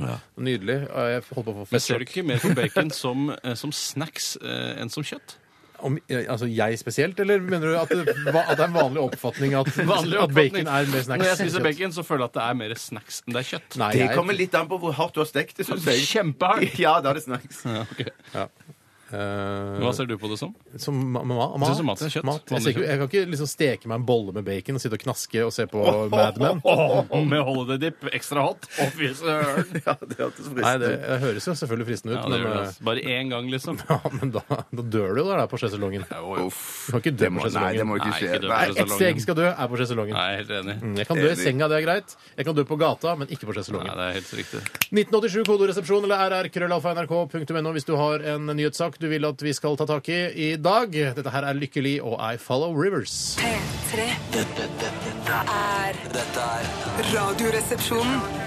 Speaker 4: Nydelig. Eh, Jeg holdt på å få
Speaker 5: Men ser du ikke mer på bacon som, eh, som snacks eh, enn som kjøtt?
Speaker 4: Om, eh, altså jeg spesielt, eller mener du at det, hva, at det er en vanlig oppfatning at,
Speaker 5: Vanlig
Speaker 4: at bacon
Speaker 5: oppfatning.
Speaker 4: er mer snacks?
Speaker 5: Når jeg spiser bacon, så føler jeg at det er mer snacks enn det er kjøtt.
Speaker 4: Nei, eh,
Speaker 6: Det
Speaker 4: jeg,
Speaker 6: kommer litt an på hvor hardt du har stekt det. Synes jeg.
Speaker 5: Kjempehardt!
Speaker 6: Ja, da er det snakks.
Speaker 5: Ja, ok.
Speaker 4: eh,
Speaker 5: Hva ser du på det som?
Speaker 4: som ma ma
Speaker 5: Det
Speaker 4: mat.
Speaker 5: er som mat, det er kjøtt.
Speaker 4: Jeg, ser ikke, jeg kan ikke liksom steke meg en bolle med bacon og sitte og knaske og se på Mad Men.
Speaker 5: med holiday dip, ekstra hot. Å, fy søren!
Speaker 6: Ja, det hørtes fristende
Speaker 4: Nei, det,
Speaker 6: ut.
Speaker 4: det høres jo selvfølgelig fristende ut,
Speaker 5: Ja, det
Speaker 4: men,
Speaker 5: gjør det.
Speaker 4: eh, Mm.
Speaker 5: altså. Bare én gang, liksom.
Speaker 4: ja, men da, da dør du jo der, der på sjeselongen. Du
Speaker 6: Uff.
Speaker 4: kan ikke dø
Speaker 6: Det
Speaker 4: på
Speaker 6: må, nei,
Speaker 4: sjeselongen.
Speaker 6: det må ikke
Speaker 5: Nei,
Speaker 6: skje.
Speaker 5: ikke dø på
Speaker 6: Nei,
Speaker 5: sjeselongen.
Speaker 4: Et steg skal dø, er på sjeselongen.
Speaker 5: Nei, jeg er helt enig. Nei,
Speaker 4: Jeg kan dø i senga, det er greit. Jeg kan dø på gata, men ikke på sjeselongen.
Speaker 5: det er helt riktig.
Speaker 4: 1987 kodoresepsjon eller rr-krøllalfa.nrk.no hvis du har en nyhetssak du vil at vi skal ta tak i i dag. Dette her er Lykkelig og I Follow Rivers.
Speaker 1: P3
Speaker 2: Dette, dette, dette,
Speaker 1: er
Speaker 2: dette er
Speaker 1: Radioresepsjonen.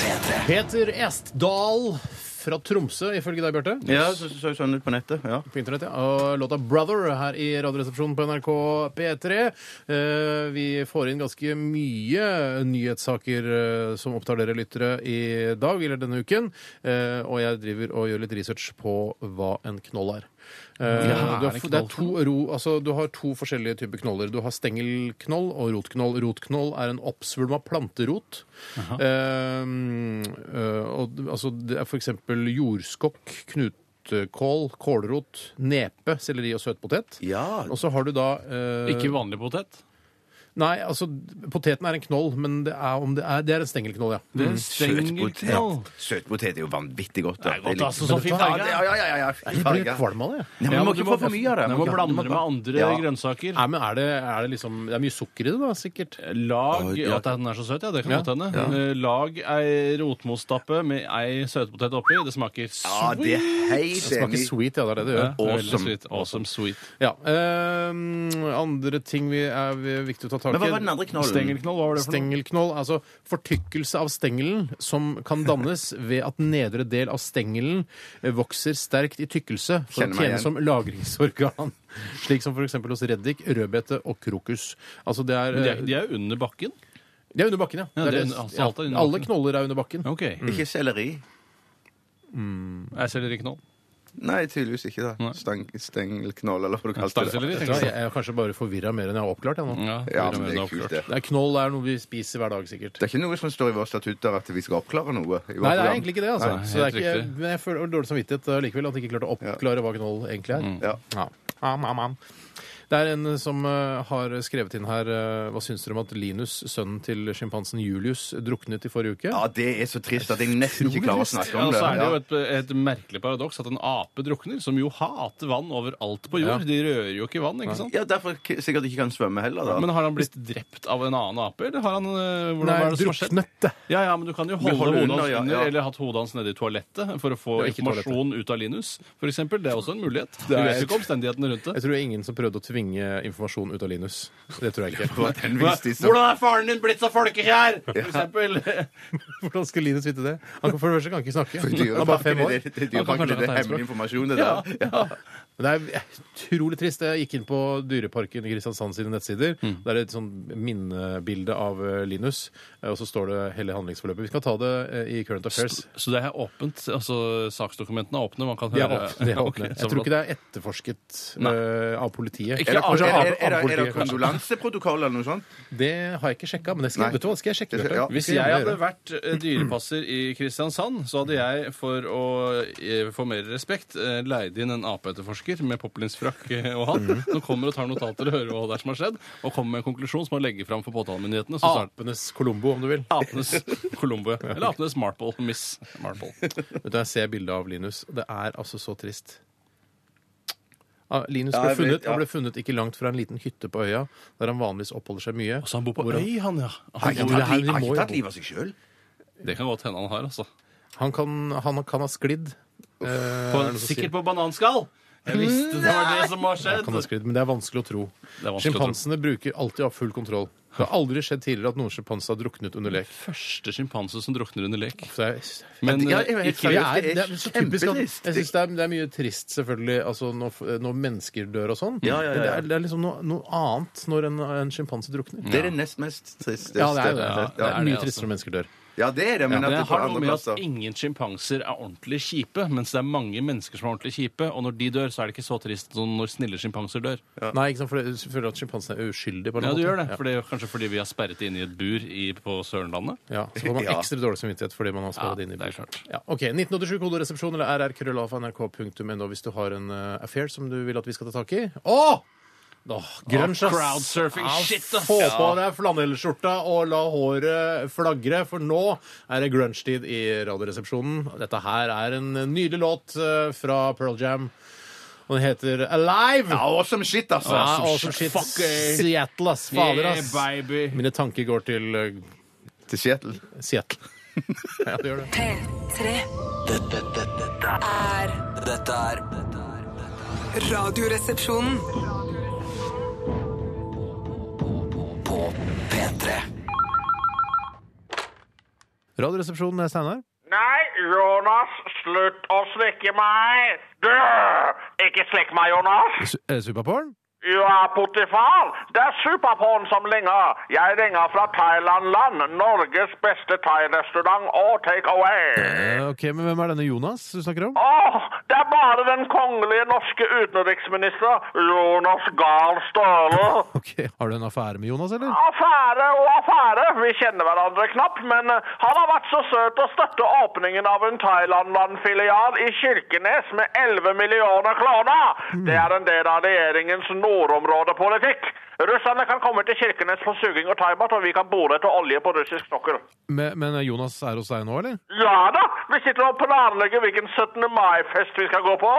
Speaker 2: P3.
Speaker 4: Peter Estdal fra Tromså, ifølge deg, Bjarte.
Speaker 6: Ja, så så jo sånn ut på nettet. Ja.
Speaker 4: På internett, ja. Og låta 'Brother' her i Radioresepsjonen på NRK P3. Eh, vi får inn ganske mye nyhetssaker eh, som opptar dere lyttere i dag, eller denne uken. Eh, og jeg driver og gjør litt research på hva en knoll er. Eh,
Speaker 5: Ja,
Speaker 4: du,
Speaker 5: er
Speaker 4: har,
Speaker 5: det
Speaker 4: det
Speaker 5: knoll
Speaker 4: er to, ro, altså, du har to forskjellige typer knoller. Du har stengelknoll og rotknoll. Rotknoll er en oppsvulma planterot. Ehm, eh, og, altså, det er for eksempel jordskokk, knutekål, kålrot, nepe, selleri og søtpotet.
Speaker 6: Ja.
Speaker 4: Og så har du da eh,
Speaker 5: Ikke vanlig potet.
Speaker 4: Nei, altså, poteten er en knoll, men det er, om det er, det er en stengelknoll, ja.
Speaker 5: Det er stengelknoll.
Speaker 6: Søtpotet. Søtpotet er jo vanvittig godt.
Speaker 5: Det
Speaker 6: da.
Speaker 5: er godt,
Speaker 6: liker-
Speaker 5: altså, så fin
Speaker 6: Ja,
Speaker 5: farge.
Speaker 6: det- ja, ja, ja, ja. Fy
Speaker 4: Jeg blir
Speaker 6: farge.
Speaker 4: kvalm av det. jeg.
Speaker 6: Nei,
Speaker 5: Ja,
Speaker 6: men du må
Speaker 5: men
Speaker 6: ikke få for mye av det.
Speaker 5: Du må blande det med andre
Speaker 6: Ja.
Speaker 5: grønnsaker.
Speaker 4: Nei, men er det, er det liksom Det er mye sukker i det, da, sikkert.
Speaker 5: Lag
Speaker 6: Oi, ja.
Speaker 5: At den er så søt, ja. Det kan
Speaker 4: Ja.
Speaker 5: godt hende. Eh, Lag ei rotmosstappe med ei søtpotet oppi. Det smaker
Speaker 6: Ja,
Speaker 5: sweet.
Speaker 6: det er helt
Speaker 4: Det smaker
Speaker 6: enig.
Speaker 4: sweet, ja. Det er det det
Speaker 5: Ja,
Speaker 4: gjør.
Speaker 5: det er veldig sweet. Awesome
Speaker 6: Awesome.
Speaker 5: sweet.
Speaker 4: Ja. eh, andre ting vi er viktig å ta tak i
Speaker 6: Men hva var den andre knollen?
Speaker 5: Stengelknoll, hva var det for noe?
Speaker 4: Stengelknoll, altså fortykkelse av stengelen som kan dannes ved at nedre del av stengelen eh, vokser sterkt i tykkelse for å
Speaker 6: Kjenner meg
Speaker 4: tjene
Speaker 6: igjen.
Speaker 4: som lagringsorgan. Slik som f.eks. hos reddik, rødbete og krokus. Altså det er,
Speaker 5: Men De
Speaker 4: eh,
Speaker 5: er, de er jo under bakken.
Speaker 4: de er under bakken, ja. Det er
Speaker 5: Ja, det er
Speaker 4: det-
Speaker 5: under- altså, alt er under
Speaker 4: alle
Speaker 5: bakken.
Speaker 4: knoller er under bakken.
Speaker 5: OK.
Speaker 6: Ikke selleri.
Speaker 5: Er selleriknoll?
Speaker 6: Nei, tydeligvis ikke. da. Stang, stengelknoll, eller hva du kalte det.
Speaker 5: Stangselleri?
Speaker 4: Vet du hva, Jeg er kanskje bare forvirra mer enn jeg har oppklart. Jeg, nå.
Speaker 5: Ja,
Speaker 6: Ja, men det er kult, det.
Speaker 4: Det er knoll er noe vi spiser hver dag, sikkert.
Speaker 6: Det er ikke noe som står i våre statutter at vi skal oppklare noe.
Speaker 4: Nei,
Speaker 6: i vårt
Speaker 4: det er
Speaker 6: program.
Speaker 4: egentlig ikke det. altså.
Speaker 5: Nei,
Speaker 4: så det er
Speaker 5: helt
Speaker 4: ikke,
Speaker 5: riktig.
Speaker 4: men jeg føler dårlig samvittighet eh, likevel at jeg ikke klarte å oppklare hva gnoll egentlig
Speaker 5: Mm.
Speaker 4: er.
Speaker 6: Ja.
Speaker 4: Ja. Am, am, am. Det er en eh, som eh, har skrevet inn her eh, Hva syns dere om at Linus, sønnen til sjimpansen Julius, druknet i forrige uke?
Speaker 6: ja, det er så trist at jeg nesten ikke klarer å snakke
Speaker 5: Ja, og
Speaker 6: om Sånn det.
Speaker 5: så er det jo
Speaker 6: Ja.
Speaker 5: et, et merkelig paradoks at en ape drukner, som jo hater vann overalt på jord.
Speaker 4: Ja.
Speaker 5: De rører jo ikke vann, ikke sant?
Speaker 6: Ja, derfor k sikkert ikke kan svømme heller, da.
Speaker 5: Men har han blitt drept av en annen ape, eller har han eh, hvordan
Speaker 4: Nei,
Speaker 5: var det som har skjedd?
Speaker 4: druknet.
Speaker 5: Ja, ja, men du kan jo holde
Speaker 6: holder
Speaker 5: hodet
Speaker 6: under,
Speaker 5: hans
Speaker 6: ja,
Speaker 5: under,
Speaker 6: ja.
Speaker 5: eller hatt hodet hans nede i toalettet for å få
Speaker 4: Ja, ikke
Speaker 5: informasjon ut av Linus, for eksempel. Det er også en mulighet. Du
Speaker 4: er-
Speaker 5: vet jo ikke omstendighetene rundt det.
Speaker 4: Jeg tror det er ingen som prøvde å tvinge informasjon ut av Linus. Det tror jeg ikke.
Speaker 6: På den vis de som-
Speaker 5: Hvordan er faren din blitt så folkekjær? For eksempel.
Speaker 4: Hvordan skulle Linus vite det? Han kan, for det første kan han ikke snakke.
Speaker 6: Det er
Speaker 4: Han er bare fem
Speaker 6: dyreparken,
Speaker 4: år.
Speaker 6: det- det
Speaker 4: Han
Speaker 6: er
Speaker 4: kan kanskje
Speaker 6: dyreparken, det er
Speaker 4: ha tegnspråk.
Speaker 6: hemmelig informasjon, det
Speaker 5: Ja,
Speaker 6: der.
Speaker 5: ja.
Speaker 4: Men Det er utrolig trist. Jeg gikk inn på Dyreparken i Kristiansand sine nettsider. Det er et sånn minnebilde av eh, Linus, eh, og så står det hele handlingsforløpet. Vi skal ta det eh, i Current Affairs.
Speaker 5: Så det er åpent? Altså, saksdokumentene er åpne? Man kan
Speaker 4: De
Speaker 5: høre
Speaker 4: er åpne. De er
Speaker 5: Ok,
Speaker 4: åpne.
Speaker 5: så
Speaker 4: Jeg tror
Speaker 5: bra.
Speaker 4: ikke det er etterforsket eh, av politiet.
Speaker 5: Ikke
Speaker 6: Er det,
Speaker 5: av-
Speaker 4: Kanskje
Speaker 6: er,
Speaker 4: av-
Speaker 6: er, er,
Speaker 4: av
Speaker 6: er, er det
Speaker 4: politiet, kanskje.
Speaker 6: kondolanseprotokoll eller noe sånt?
Speaker 4: Det har jeg ikke sjekka, men det skal,
Speaker 6: Nei.
Speaker 4: vet du hva, det skal jeg sjekke.
Speaker 6: Det skal-
Speaker 4: Bjarte.
Speaker 6: ja.
Speaker 4: Det
Speaker 5: Hvis
Speaker 4: skal
Speaker 5: jeg
Speaker 4: gjerne
Speaker 5: hadde
Speaker 4: gjøre.
Speaker 5: vært eh, dyrepasser i Kristiansand, så hadde jeg, for å eh, få mer respekt, eh, leid inn en apeetterforsker med poplinsfrakk eh, og hatt, som kommer og tar notater og hører hva det er som har skjedd, og kommer med en konklusjon som han legger fram for påtalemyndighetene.
Speaker 4: Ah.
Speaker 5: Så starter
Speaker 4: Apenes Colombo, om du vil.
Speaker 5: Apenes Colombo. Eller Apenes Marple. Miss Marple.
Speaker 4: Vet du, Jeg ser bildet av Linus. og Det er altså så trist. Ah, Linus
Speaker 6: Ja,
Speaker 4: ble
Speaker 6: jeg vet,
Speaker 4: funnet,
Speaker 6: ja.
Speaker 4: han ble funnet ikke langt fra en liten hytte på øya, der han vanligvis oppholder seg mye.
Speaker 5: Så han bor på
Speaker 4: Hvor han-
Speaker 5: øy, han, ja.
Speaker 6: Har
Speaker 5: Han
Speaker 6: ikke
Speaker 4: det
Speaker 5: bor,
Speaker 4: her
Speaker 6: tatt, li
Speaker 4: vi
Speaker 6: har
Speaker 4: må
Speaker 6: ikke
Speaker 4: jo-
Speaker 6: tatt livet av seg sjøl?
Speaker 5: det kan godt hende han har, altså.
Speaker 4: Han kan, han kan ha sklidd. Eh,
Speaker 5: På,
Speaker 4: er det noe som sier?
Speaker 5: sikkert på bananskall! Jeg visste det var det som var skjedd.
Speaker 4: Kan ha sklidd, men det er vanskelig å tro.
Speaker 5: Det er vanskelig å tro.
Speaker 4: Sjimpansene bruker alltid å ha full kontroll. Det har aldri skjedd tidligere at noen sjimpanse har druknet under lek.
Speaker 5: Første sjimpanse som drukner under lek.
Speaker 4: Så jeg,
Speaker 5: Men
Speaker 6: Ja,
Speaker 5: eh,
Speaker 6: jeg
Speaker 5: ikke
Speaker 6: vet,
Speaker 4: det
Speaker 6: seriøst,
Speaker 4: er, det er
Speaker 6: det
Speaker 4: så
Speaker 6: er
Speaker 4: typisk at,
Speaker 6: kjempetrist.
Speaker 4: Jeg synes det, er- det er mye trist, selvfølgelig, altså når, f- når mennesker dør og sånn.
Speaker 6: Ja, ja, ja,
Speaker 4: Men det
Speaker 6: ja.
Speaker 4: er, det er liksom noe, noe annet når en, en sjimpanse drukner.
Speaker 6: Det er det nest mest tristeste.
Speaker 4: Ja, det er, det,
Speaker 5: Ja,
Speaker 4: det
Speaker 5: det er
Speaker 4: er mye
Speaker 5: det, altså.
Speaker 4: tristere når mennesker dør.
Speaker 6: Ja, det er det, men
Speaker 5: Men
Speaker 6: at det
Speaker 5: jeg
Speaker 6: er på
Speaker 5: har noe
Speaker 6: andre
Speaker 5: med at
Speaker 6: plasser.
Speaker 5: ingen sjimpanser er ordentlig kjipe, mens det er mange mennesker som er ordentlig kjipe, og når de dør, så er det ikke så trist som når snille sjimpanser dør.
Speaker 4: Nei, ikke sant, for jeg føler at sjimpansen er uskyldig. på en
Speaker 5: Ja,
Speaker 4: måte.
Speaker 5: du gjør det. For det er kanskje fordi vi har sperret det inne i et bur i, på Sørenlandet.
Speaker 4: Ja, så får man
Speaker 6: Ja.
Speaker 4: ekstra dårlig samvittighet fordi man har sparet
Speaker 5: Ja,
Speaker 4: inn i
Speaker 5: det er klart.
Speaker 4: Ja, ok, 1987 koderesepsjon eller rrkrøllalfa.nrk.no hvis du har en eh, affair som du vil at vi skal ta tak i. Å! Åh, grunge, ass.
Speaker 5: crowdsurfing,
Speaker 4: Ja,
Speaker 5: shit, ass.
Speaker 4: Få på deg flanellskjorta og la håret flagre, for nå er det grunge-tid i Radioresepsjonen. Dette her er en nydelig låt eh, fra Pearl Jam, og den heter Alive!
Speaker 6: Ja, awesome shit, altså.
Speaker 4: Ja,
Speaker 5: awesome
Speaker 4: awesome
Speaker 5: shit.
Speaker 4: shit.
Speaker 5: Fuck, eh.
Speaker 4: Seattle, ass. Fader, ass.
Speaker 5: Yeah, baby.
Speaker 4: Mine tanker går til eh,
Speaker 6: Til Seattle.
Speaker 4: Seattle. ja, det gjør det.
Speaker 1: P3
Speaker 2: Dette, dette, dette, er-
Speaker 1: er
Speaker 2: dette er dette er-
Speaker 1: Radioresepsjonen.
Speaker 2: På P3
Speaker 4: Radioresepsjonen er Steinar.
Speaker 7: Nei, Jonas, slutt å slikke meg! Du! Ikke slikk meg, Jonas!
Speaker 4: Su- eh, Superporn?
Speaker 7: Ja, Potifar, det er Superporn som ringer. Jeg ringer fra Thailand-land, Norges beste thai-restaurant og take away.
Speaker 4: Eh, ok, men hvem er denne Jonas du snakker om?
Speaker 7: Åh, Det er bare den kongelige norske utenriksminister Jonas Gahr Støre.
Speaker 4: Ok, Har du en affære med Jonas, eller?
Speaker 7: Affære og affære. Vi kjenner hverandre knapt, men eh, han har vært så søt å støtte åpningen av en Thailand-filial i Kirkenes med 11 millioner kroner. Det er en del av regjeringens nordområdepolitikk. Russerne kan komme til Kirkenes på suging og thaimat, og vi kan bore etter olje på russisk sokkel.
Speaker 4: Men, men eh, Jonas er hos deg nå, eller?
Speaker 7: Ja da! Vi sitter og planlegger hvilken 17. mai-fest vi skal gå på.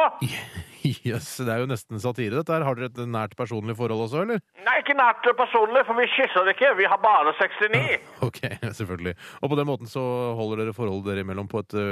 Speaker 4: Jøss, det er jo nesten satire, dette her. Har dere et nært personlig forhold også, eller?
Speaker 7: Nei, ikke nært personlig, for vi kysser ikke. Vi har bare 69.
Speaker 4: Ok, selvfølgelig. Og på den måten så holder dere forholdet dere imellom på et ø,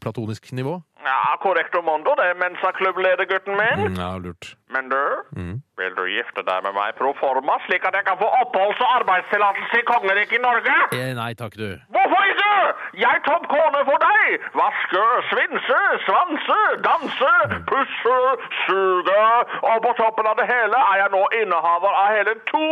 Speaker 4: platonisk nivå?
Speaker 7: Ja, korrekt omondo, det, Mensa-klubbledergutten min.
Speaker 4: Mm, Ja, lurt.
Speaker 7: Men du, vil du gifte deg med meg pro forma, slik at jeg kan få oppholds- og arbeidstillatelse i kongeriket Norge?
Speaker 4: Eh, nei takk, du.
Speaker 7: Hvorfor ikke? Jeg tok kone for deg! Vaske, svinse, svanse, danse, pusse, suge. Og på toppen av det hele er jeg nå innehaver av hele to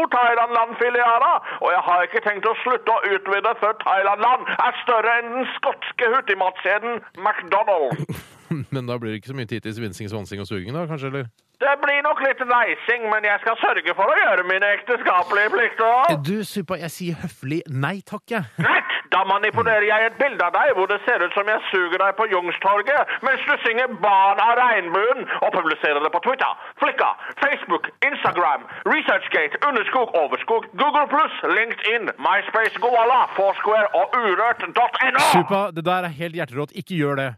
Speaker 7: Thailand-land-filialer. Og jeg har ikke tenkt å slutte å utvide før Thailand-land er større enn den skotske hurtigmatkjeden McDonald's.
Speaker 4: Men da blir det ikke så mye tid til svinsing, svansing og suging, da, kanskje? eller?
Speaker 7: Det blir nok litt reising, men jeg skal sørge for å gjøre mine ekteskapelige plikter.
Speaker 4: Du, Suppa, jeg sier høflig nei takk, jeg.
Speaker 7: Greit! Da manipulerer jeg et bilde av deg hvor det ser ut som jeg suger deg på Jungstorget mens du synger 'Barn av regnbuen' og publiserer det på Twitter, Flikka, Facebook, Instagram, Researchgate, Underskog, Overskog, Google LinkedIn, MySpace, Goala, Foursquare og urørt.no.
Speaker 4: Suppa, det der er helt hjerterått. Ikke gjør det.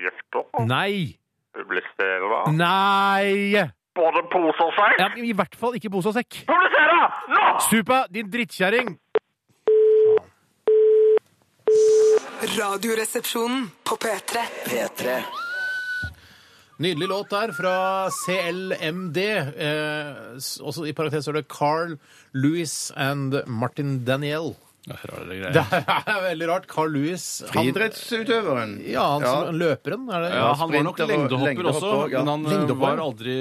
Speaker 7: Gifter,
Speaker 4: Nei!
Speaker 7: publiserer,
Speaker 4: Nei!
Speaker 7: både pose og sekk.
Speaker 4: Ja, men I hvert fall ikke pose og sekk.
Speaker 7: Publisere! Nå!
Speaker 4: Suppa, din drittkjerring!
Speaker 8: Radioresepsjonen på P3.
Speaker 2: P3
Speaker 4: Nydelig låt der fra CLMD. Eh, s- også I parentes står det Carl Louis and Martin Daniel.
Speaker 5: Ja, her har dere
Speaker 4: Det
Speaker 5: greier.
Speaker 4: er veldig rart. Carl Louis han,
Speaker 6: Friidrettsutøveren.
Speaker 4: Ja, han som løperen, er det?
Speaker 5: Ja, han var nok
Speaker 6: sprinter og
Speaker 5: lengdehopper også,
Speaker 6: lengdehopper, ja.
Speaker 5: men han eh,
Speaker 4: Lengdehopper,
Speaker 5: var
Speaker 4: ja.
Speaker 5: aldri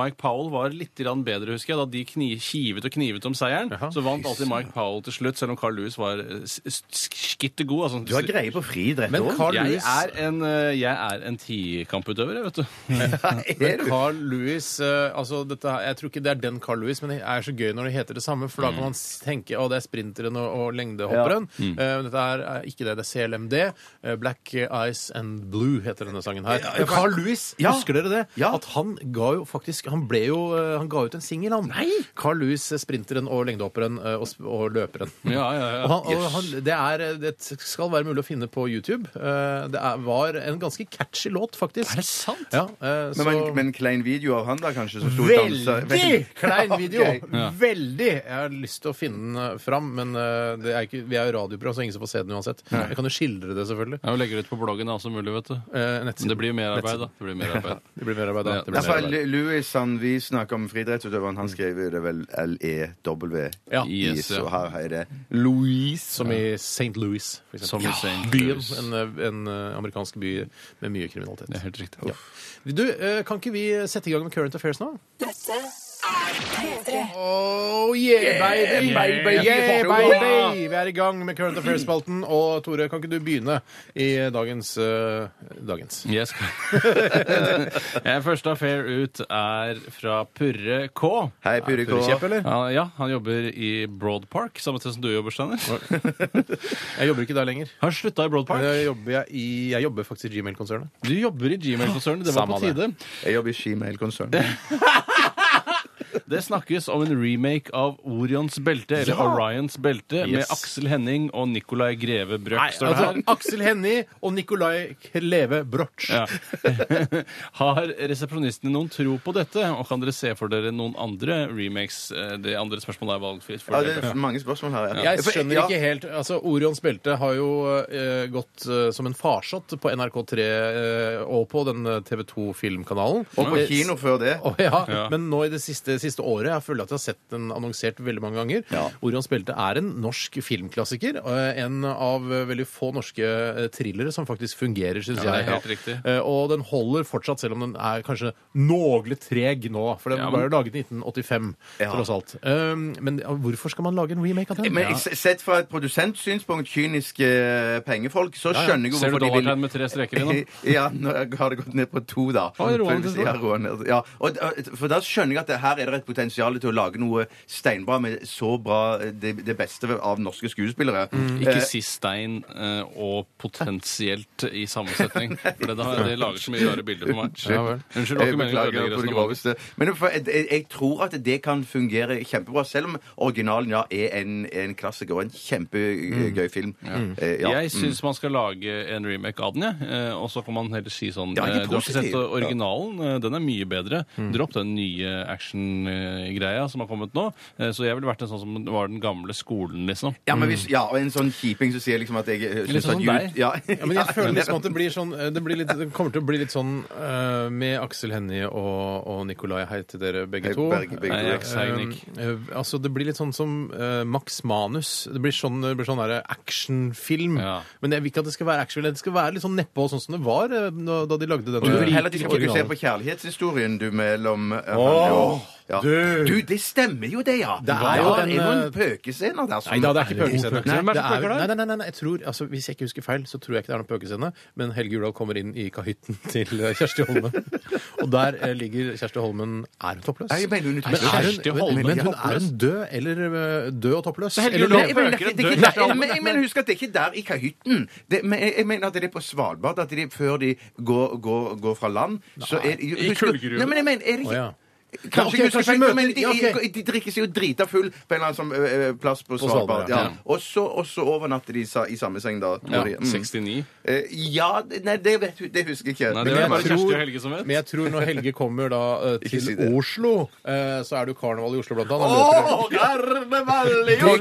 Speaker 5: Mike Powell var litt grann bedre, husker jeg. Da de kni, kivet og knivet om seieren,
Speaker 4: Jaha.
Speaker 5: så vant alltid Mike Powell til slutt, selv om Carl Lewis var eh, s- s- skittet god. Altså,
Speaker 6: Du har greie på friidrett
Speaker 4: Men
Speaker 6: også.
Speaker 4: Carl
Speaker 5: jeg
Speaker 4: Lewis
Speaker 5: er en, eh, jeg er en tikamputøver, jeg, vet du.
Speaker 6: Er du?
Speaker 4: Carl Lewis, eh, altså dette, her- Jeg tror ikke det er den Carl Lewis, men det er så gøy når det heter det samme. For da
Speaker 5: Mm.
Speaker 4: kan man s- tenke å det er sprinteren og, og lengdehopperen. Eh, dette er, er ikke det. Det er CLMD. eh, Black Eyes and Blue heter denne sangen her. Men Carl Lewis, husker dere det?
Speaker 6: Ja.
Speaker 4: At han ga jo faktisk Han ble jo eh, Han ga ut en singel, han. Carl Lewis, eh, sprinteren og lengdehopperen eh, og, sp- og løperen.
Speaker 5: Ja, ja, ja.
Speaker 4: Og han, og han, det, er, eh, det skal være mulig å finne på YouTube. Eh, Det er, var en ganske catchy låt, faktisk.
Speaker 5: Er det sant?
Speaker 4: Ja, eh, så...
Speaker 6: Men, men, men klein video av han, da, kanskje? Som sto og dansa?
Speaker 4: Veldig klein video!
Speaker 6: Ok.
Speaker 4: Veldig! Jeg har lyst til å finne den fram, men eh, det er ikke, vi er jo radioprogram, så ingen som får se den uansett. Jeg kan jo skildre det, selvfølgelig.
Speaker 5: Jeg legger det ut på bloggen da, som mulig, vet du.
Speaker 4: Eh, nettsiden.
Speaker 5: Men det blir mer arbeid, da. Det blir mer arbeid.
Speaker 4: Det blir mer arbeid, da.
Speaker 5: Ja.
Speaker 4: Det blir mer
Speaker 6: Altså,
Speaker 4: arbeid.
Speaker 6: Louis han, vi snakker om friidrettsutøveren. Han skrev jo det vel L-E-W-I,
Speaker 4: Ja,
Speaker 5: Yes, ja.
Speaker 6: så her er det Louise.
Speaker 4: som i St. Louis, for eksempel.
Speaker 5: Som i St.
Speaker 4: Byen,
Speaker 5: Louis.
Speaker 4: en, eh, en eh, amerikansk by med mye kriminalitet.
Speaker 5: Det er helt riktig.
Speaker 4: Du, eh, kan ikke vi sette i gang med Current Affairs nå? Oh yeah, baby!
Speaker 6: Yeah, baby.
Speaker 4: Yeah,
Speaker 6: Yeah.
Speaker 4: baby! Vi er i gang med Current Affairs-spalten. Og Tore, kan ikke du begynne i dagens eh, Dagens.
Speaker 5: Jeg skal Jeg Første affair ut er fra Purre K.
Speaker 6: Hei, Pyrre K.
Speaker 4: Kjepp, eller?
Speaker 5: Ja, ja, han jobber i Broad Park, samme sted som du jobber, Steiner.
Speaker 4: Jeg jobber ikke der lenger.
Speaker 5: Har slutta i Broad Park.
Speaker 4: Jeg jobber, jeg i, jeg jobber faktisk i Gmail-konsernet.
Speaker 5: Du jobber i Gmail-konsernet. Det var
Speaker 4: Samme
Speaker 5: på tide.
Speaker 6: Jeg jobber i Shemail-konsern.
Speaker 5: Det snakkes om en remake av Orions belte, eller Orions belte, med
Speaker 4: Yes.
Speaker 5: Aksel Henning og Nicolai Greve Brøk, står det
Speaker 4: altså,
Speaker 5: her.
Speaker 4: Aksel Hennie og Nicolai Kleve Broch.
Speaker 5: Ja. Har resepsjonistene noen tro på dette, og kan dere se for dere noen andre remakes? Eh, Det andre spørsmålet er valgfritt. for
Speaker 6: Ja,
Speaker 5: dere.
Speaker 6: det er mange spørsmål her. Ja.
Speaker 4: Jeg
Speaker 6: For-
Speaker 4: skjønner
Speaker 6: ja,
Speaker 4: ikke helt altså Orions belte har jo eh, gått eh, som en farsott på NRK3 eh, og på den TV2-filmkanalen.
Speaker 6: Og på kino før det.
Speaker 4: ja, Men nå i det siste, siste siste året. Jeg føler at jeg har sett den annonsert veldig mange ganger. Hvor han spilte er en norsk filmklassiker. eh, En av eh, veldig få norske eh, thrillere som faktisk fungerer, syns
Speaker 5: Ja, det er
Speaker 4: jeg.
Speaker 5: helt riktig.
Speaker 4: Eh, Og den holder fortsatt, selv om den er kanskje noe treg nå. For den
Speaker 5: Ja,
Speaker 4: var
Speaker 5: men-
Speaker 4: jo laget i 1985,
Speaker 6: Ja.
Speaker 4: tross alt. Um, Men ja, hvorfor skal man lage en remake av den?
Speaker 6: Men jeg- sett fra et produsentsynspunkt, kyniske eh, pengefolk, så skjønner jeg jo
Speaker 5: Ser du
Speaker 6: hvorfor de vil Eh,
Speaker 5: dollartegn med tre streker i nå?
Speaker 6: ja, nå har det gått ned på to, da.
Speaker 5: Oi, roa ned til to.
Speaker 6: ja, roa ned. Ja. Og, og- for da skjønner jeg at det her er det et potensial til å lage noe steinbra med så bra eh, det, det beste av norske skuespillere.
Speaker 5: Mm. Ikke si stein eh, og potensielt eh, i samme setning. For det, da- det lager så mye rare bilder for meg. Ja, vel. Unnskyld, det var
Speaker 6: Jeg
Speaker 5: ikke meningen å
Speaker 6: eh, beklager
Speaker 5: ødelegge
Speaker 6: på det
Speaker 5: resonnementet.
Speaker 6: groveste. Men for, jeg, jeg- jeg tror at det kan fungere kjempebra, selv om originalen ja, er en, en klassiker og en kjempegøy film. Eh, ja.
Speaker 5: Mm. Jeg syns man skal lage en remake av den, jeg. Eh, Og så kan man heller si sånn
Speaker 6: Ja, Mm.
Speaker 5: eh,
Speaker 6: ikke
Speaker 5: Du har ikke
Speaker 6: positiv.
Speaker 5: sett originalen. eh, Den er mye bedre. Dropp den nye action-greia som har kommet nå. Eh, Så jeg ville vært en sånn som var den gamle skolen, liksom.
Speaker 6: Ja, men
Speaker 4: Mm.
Speaker 6: hvis, ja, og en sånn kjiping som sier liksom at jeg eh,
Speaker 5: Litt
Speaker 6: synes
Speaker 5: sånn
Speaker 6: at
Speaker 5: som
Speaker 6: jul...
Speaker 5: deg.
Speaker 6: Ja,
Speaker 4: Ja, men jeg føler
Speaker 6: men-
Speaker 4: liksom at det blir sånn eh, Det, blir litt, det kommer til å bli litt sånn eh, med Aksel Hennie og, og Nikolai. Hei til dere begge
Speaker 6: Hei,
Speaker 4: to.
Speaker 6: begge- begge
Speaker 5: Nei, jeg
Speaker 6: to, ja.
Speaker 5: er ikke seig, Nick.
Speaker 4: Eh, eh, altså, det blir litt sånn som eh, Max Manus. Det blir sånn, det blir sånn der actionfilm.
Speaker 5: Ja.
Speaker 4: Men jeg vil ikke at det skal være actionfilm. Det skal være litt sånn nedpå, sånn som det var eh, da, da de lagde
Speaker 6: Du
Speaker 4: denne.
Speaker 6: vil heller at de skal fokusere på kjærlighetshistorien du mellom eh, han og- ja.
Speaker 4: du.
Speaker 6: du, det stemmer jo det, ja! Det
Speaker 4: er jo den,
Speaker 6: det er noen
Speaker 4: eh,
Speaker 6: pøkescener der som
Speaker 4: Nei da, det er ikke pøkescene.
Speaker 6: pøkescener.
Speaker 4: Nei,
Speaker 5: Hvem er det
Speaker 4: det
Speaker 5: som pøker
Speaker 4: er-
Speaker 5: der?
Speaker 4: nei, nei, nei, nei, jeg tror, altså, Hvis jeg ikke husker feil, så tror jeg ikke det er noen pøkescene. Men Helge Jurdal kommer inn i kahytten til eh, Kjersti Holmen. Og der eh, ligger Kjersti Holmen Er hun toppløs?
Speaker 6: Nei, jeg mener hun er
Speaker 4: men, er hun,
Speaker 5: Kjersti Holmen
Speaker 4: men hun
Speaker 5: toppløs?
Speaker 4: er hun død eller eh, død og toppløs?
Speaker 5: Helge
Speaker 4: Eller
Speaker 5: Jurdal
Speaker 4: levende?
Speaker 6: Jeg mener,
Speaker 5: Pøker,
Speaker 6: det er
Speaker 5: dør
Speaker 6: ikke
Speaker 5: Kjersti
Speaker 6: der,
Speaker 5: Holmen.
Speaker 6: jeg mener, jeg mener, husk at det er ikke der i kahytten. Det, men jeg, jeg mener at det er på Svalbard, at de, før de går, går, går fra land så er,
Speaker 5: I
Speaker 6: husker-
Speaker 5: kullgruve.
Speaker 6: Nei, men jeg mener, er det
Speaker 4: Å,
Speaker 6: ikke
Speaker 4: ja.
Speaker 6: Kanskje
Speaker 4: ok,
Speaker 6: jeg husker
Speaker 4: kanskje
Speaker 6: feil,
Speaker 4: møter-
Speaker 6: men de,
Speaker 4: ja, ok.
Speaker 6: de drikker seg jo drita full på en eller annen sånn, ø, ø, plass på
Speaker 4: Svalbard,
Speaker 6: Svalbard.
Speaker 4: ja.
Speaker 6: Ja. Og, så, og så overnatter de sa, i samme seng, da. tror
Speaker 5: Ja,
Speaker 6: de. Mm.
Speaker 5: 69.
Speaker 6: Eh, ja det- Nei, det, vet, du- det husker jeg ikke.
Speaker 5: Nei,
Speaker 6: Men
Speaker 5: det er
Speaker 6: jeg
Speaker 5: bare
Speaker 6: tror-
Speaker 5: Kjersti og Helge som vet.
Speaker 4: Men jeg tror når Helge kommer da eh,
Speaker 6: Ikke
Speaker 4: til
Speaker 6: si det.
Speaker 4: Oslo, eh, så er det jo karneval i Oslo, blant annet.
Speaker 6: Å, karneval i Oslo!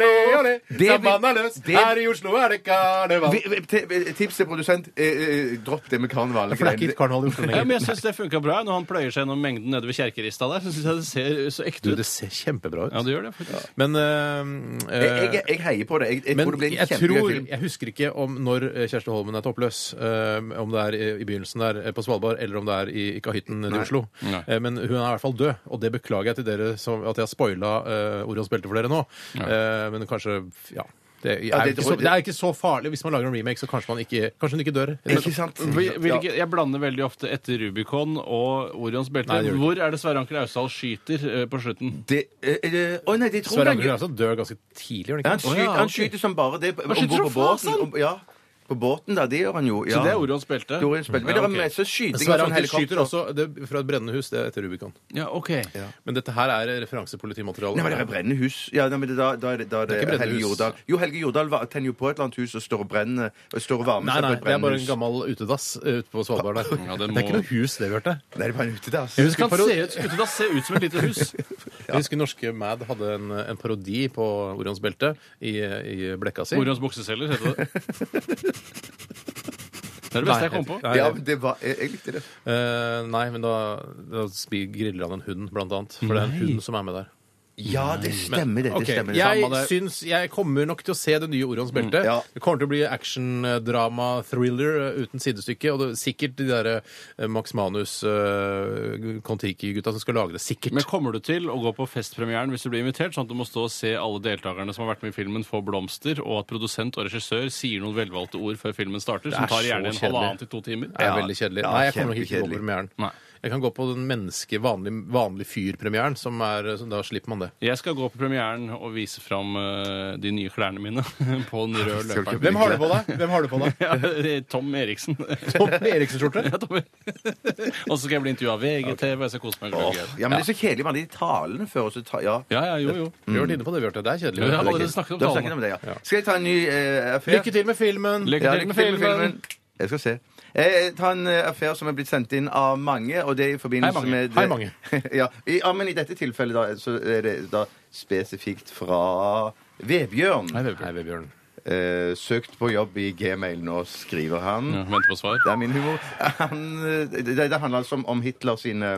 Speaker 6: Det vil- det-
Speaker 4: i Oslo er det karneval.
Speaker 6: Vi- vi- ti- vi- Tips til produsent eh, eh, dropp det med karneval.
Speaker 4: For det er ikke karneval i Oslo
Speaker 5: Ja,
Speaker 4: lenger.
Speaker 5: men jeg syns det funka bra når han pløyer seg gjennom mengden nede ved kjerkerista der. Så synes jeg det ser så
Speaker 4: Du,
Speaker 5: ekte ut.
Speaker 4: det ser kjempebra ut.
Speaker 5: Ja, det gjør det. faktisk.
Speaker 4: Men eh,
Speaker 6: Jeg, jeg, jeg heier på det. Jeg, jeg
Speaker 4: Men
Speaker 6: tror det blir en
Speaker 4: jeg
Speaker 6: kjempegøy
Speaker 4: tror,
Speaker 6: film.
Speaker 4: jeg husker ikke om når eh, Kjersti Holmen er toppløs, eh, om det er i- i begynnelsen der eh, på Svalbard, eller om det er i i kahytten nede i Oslo.
Speaker 5: Nei.
Speaker 4: Eh, Men hun er i hvert fall død, og det beklager jeg til dere som, at jeg har spoila uh, Orions belte for dere nå. Eh, men kanskje ja. Det er, jo
Speaker 6: det-
Speaker 4: ikke så, det er ikke så farlig. Hvis man lager en remake, så kanskje, man ikke, kanskje hun ikke dør.
Speaker 6: Ikke sant?
Speaker 5: Hvil-
Speaker 6: Ja.
Speaker 5: Hvilke, jeg blander veldig ofte etter Rubicon og Orions belte.
Speaker 4: Nei, det gjør du
Speaker 5: Hvor er det Sverre Anker Austdal skyter eh, på slutten?
Speaker 6: Det- eh, eh, Å nei, de tror
Speaker 4: Sverre
Speaker 6: det
Speaker 4: Anker
Speaker 6: er-
Speaker 4: altså, dør ganske tidlig, gjør
Speaker 6: Ja,
Speaker 4: han
Speaker 6: han,
Speaker 4: ikke?
Speaker 6: skyter, han skyter som bare det. Om
Speaker 5: skyter
Speaker 6: bord på
Speaker 5: som fasen!
Speaker 6: båten.
Speaker 4: sånn.
Speaker 6: Om, ja, på båten, da. Det gjør han jo. Ja.
Speaker 5: Så det er Orions belte?
Speaker 6: Orion spilte. Men
Speaker 5: Ja,
Speaker 6: det er
Speaker 5: ok.
Speaker 6: masse skyting av
Speaker 4: Sverre
Speaker 6: sånn
Speaker 4: Anker skyter
Speaker 6: helikopter.
Speaker 4: også det, er fra et brennende hus. Det er etter Rubicon.
Speaker 5: Ja, ok.
Speaker 4: Men dette her er referansepolitimateriale.
Speaker 6: Nei, men det er brennende hus. Ja, nei, men det, da, da er det, da er det,
Speaker 4: Det er ikke brennende
Speaker 6: Helge
Speaker 4: hus.
Speaker 6: Jordal. Jo, Helge Jordal var- tenner jo på et eller annet hus og står og brenner og står og varmer
Speaker 4: Nei,
Speaker 6: seg
Speaker 4: nei,
Speaker 6: på et
Speaker 4: det er
Speaker 6: brennende
Speaker 4: bare en
Speaker 6: hus.
Speaker 4: gammel utedass eh, ute på Svalbard der.
Speaker 5: Ja,
Speaker 4: det,
Speaker 5: det
Speaker 4: er ikke
Speaker 5: må-
Speaker 4: noe hus, det, Bjarte.
Speaker 6: Nei, det altså. er bare en utedass.
Speaker 4: Jeg husker,
Speaker 5: Kan
Speaker 4: paro-
Speaker 5: se ut, utedass se ut som et lite hus.
Speaker 4: jeg husker norske Mad hadde en, en parodi på Orions belte i, i blekka si.
Speaker 5: Orions bukseselger, heter det. Det er
Speaker 4: Nei,
Speaker 5: det beste jeg kom på.
Speaker 4: Nei,
Speaker 6: Ja, men det var, jeg, jeg likte det.
Speaker 4: eh, nei, men da, da spi- griller han en hund, blant annet. For det er en hund som er med der.
Speaker 6: Ja, det stemmer, det. det
Speaker 4: Ok,
Speaker 6: stemmer.
Speaker 4: jeg,
Speaker 6: Samme det.
Speaker 4: syns, jeg kommer nok til å se det nye Orions belte.
Speaker 6: ja.
Speaker 4: Det kommer til å bli action, eh, drama, thriller eh, uten sidestykke. Og det, sikkert de derre eh, Max Manus, eh, Kon-Tiki-gutta som skal lage det. Sikkert.
Speaker 5: Men kommer du til å gå på festpremieren hvis du blir invitert, sånn at du må stå og se alle deltakerne som har vært med i filmen, få blomster, og at produsent og regissør sier noen velvalgte ord før filmen starter, som
Speaker 4: er
Speaker 5: tar
Speaker 4: så
Speaker 5: gjerne en
Speaker 4: kjedelig.
Speaker 5: halvannen til to timer?
Speaker 4: Det er veldig kjedelig.
Speaker 6: ja,
Speaker 4: Nei, jeg kommer nok ikke til å gå på
Speaker 6: kjempekjedelig.
Speaker 4: premieren.
Speaker 5: Nei.
Speaker 4: Jeg kan gå på den menneske, vanlig, vanlig fyr-premieren, som er så Da slipper man det.
Speaker 5: Jeg skal gå på premieren og vise fram eh, de nye klærne mine på den røde
Speaker 6: Skal du ikke
Speaker 5: løperen.
Speaker 6: Hvem har du
Speaker 4: på deg? Hvem har du på deg?
Speaker 5: Ja, Tom Eriksen.
Speaker 4: Tom Eriksen-skjorte?
Speaker 5: Ja, Tom. Og så skal jeg bli intervjua av VGTV. Jeg skal kose meg.
Speaker 6: Åh,
Speaker 5: gløgg.
Speaker 6: ja, men det er så kjedelig, man. De talene før, og så ta, ja.
Speaker 5: Ja, ja, jo, jo.
Speaker 4: Vi har vært inne på det, Bjarte. Det er
Speaker 5: Ja, vi har
Speaker 4: kjedelig.
Speaker 5: allerede snakket om
Speaker 6: Da
Speaker 5: talene.
Speaker 6: vi om det, ja. Skal jeg ta en ny eh, affære?
Speaker 4: Lykke til med filmen!
Speaker 5: Lykke
Speaker 6: Ja,
Speaker 5: til med filmen.
Speaker 6: Jeg skal se. Eh, ta en eh, affære som er blitt sendt inn av mange, og det er i forbindelse
Speaker 5: Hei, mange.
Speaker 6: med
Speaker 4: Hei, mange.
Speaker 6: ja, i, ja, men i dette tilfellet da, så er det da spesifikt fra Vebjørn.
Speaker 4: Hei, Vebjørn. Hei, Vebjørn.
Speaker 6: Eh, søkt på jobb i gmailen, og skriver han.
Speaker 5: Ja, Venter på svar.
Speaker 6: Det er min humor. Han, eh, det, det handler altså om, om Hitler sine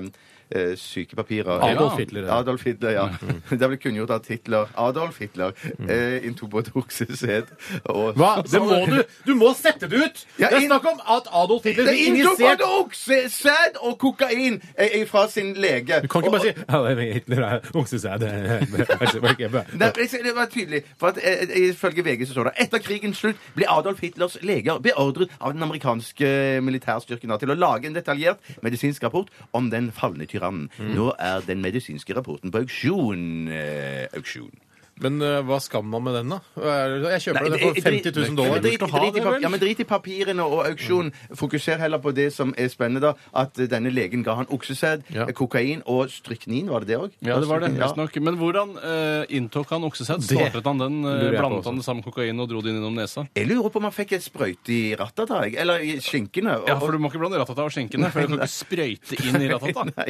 Speaker 6: eh, sykepapirer.
Speaker 4: Adolf Hitler,
Speaker 6: Ja.
Speaker 4: ja. Mm.
Speaker 6: Adolf Hitler, ja. Det ble kunngjort at Hitler, Adolf Hitler, eh, inntok både okseset og
Speaker 4: Hva? Det må du! Du må sette det ut!
Speaker 6: Ja,
Speaker 4: det er
Speaker 6: inn-
Speaker 4: snakk om at Adolf Hitler
Speaker 6: Det
Speaker 4: ble
Speaker 6: inntok
Speaker 4: injisert
Speaker 6: både oksesæd og kokain eh, eh, fra sin lege.
Speaker 4: Du kan ikke
Speaker 6: Og-
Speaker 4: bare si ja, det er Hitler er oksesæd.
Speaker 6: Nei, men jeg sier- det var tydelig. For at, eh, ifølge VG så står det etter krigens slutt ble Adolf Hitlers leger beordret av den amerikanske militærstyrken da til å lage en detaljert medisinsk rapport om den falne tyrannen.
Speaker 4: Mm.
Speaker 6: Nå er den medisinske rapporten på auksjon. Eh, auksjon.
Speaker 4: Men eh, hva skal man med den, da? Er det- Jeg kjøper
Speaker 6: Nei,
Speaker 4: den for
Speaker 6: det-
Speaker 4: 50 000 dollar.
Speaker 6: Drit, drit, drit, i pap- ja, men drit i papirene og auksjon. Fokuser heller på det som er spennende, da. At eh, denne legen ga han oksesæd,
Speaker 4: Ja.
Speaker 6: eh, kokain og stryknin, var det det òg?
Speaker 5: Ja, det var det. visst nok. Men hvordan eh, inntok han oksesæd? Startet han den? eh,
Speaker 4: lurer jeg på
Speaker 5: blandet
Speaker 4: også.
Speaker 5: han det sammen med kokain og dro det inn gjennom nesa?
Speaker 6: Jeg lurer på om han fikk et sprøyte i rattet, da. jeg. Eller i skinkene. og-
Speaker 5: Ja, for du må ikke blande ratata og skinkene, for du kan ikke sprøyte inn i ratata.
Speaker 6: Nei.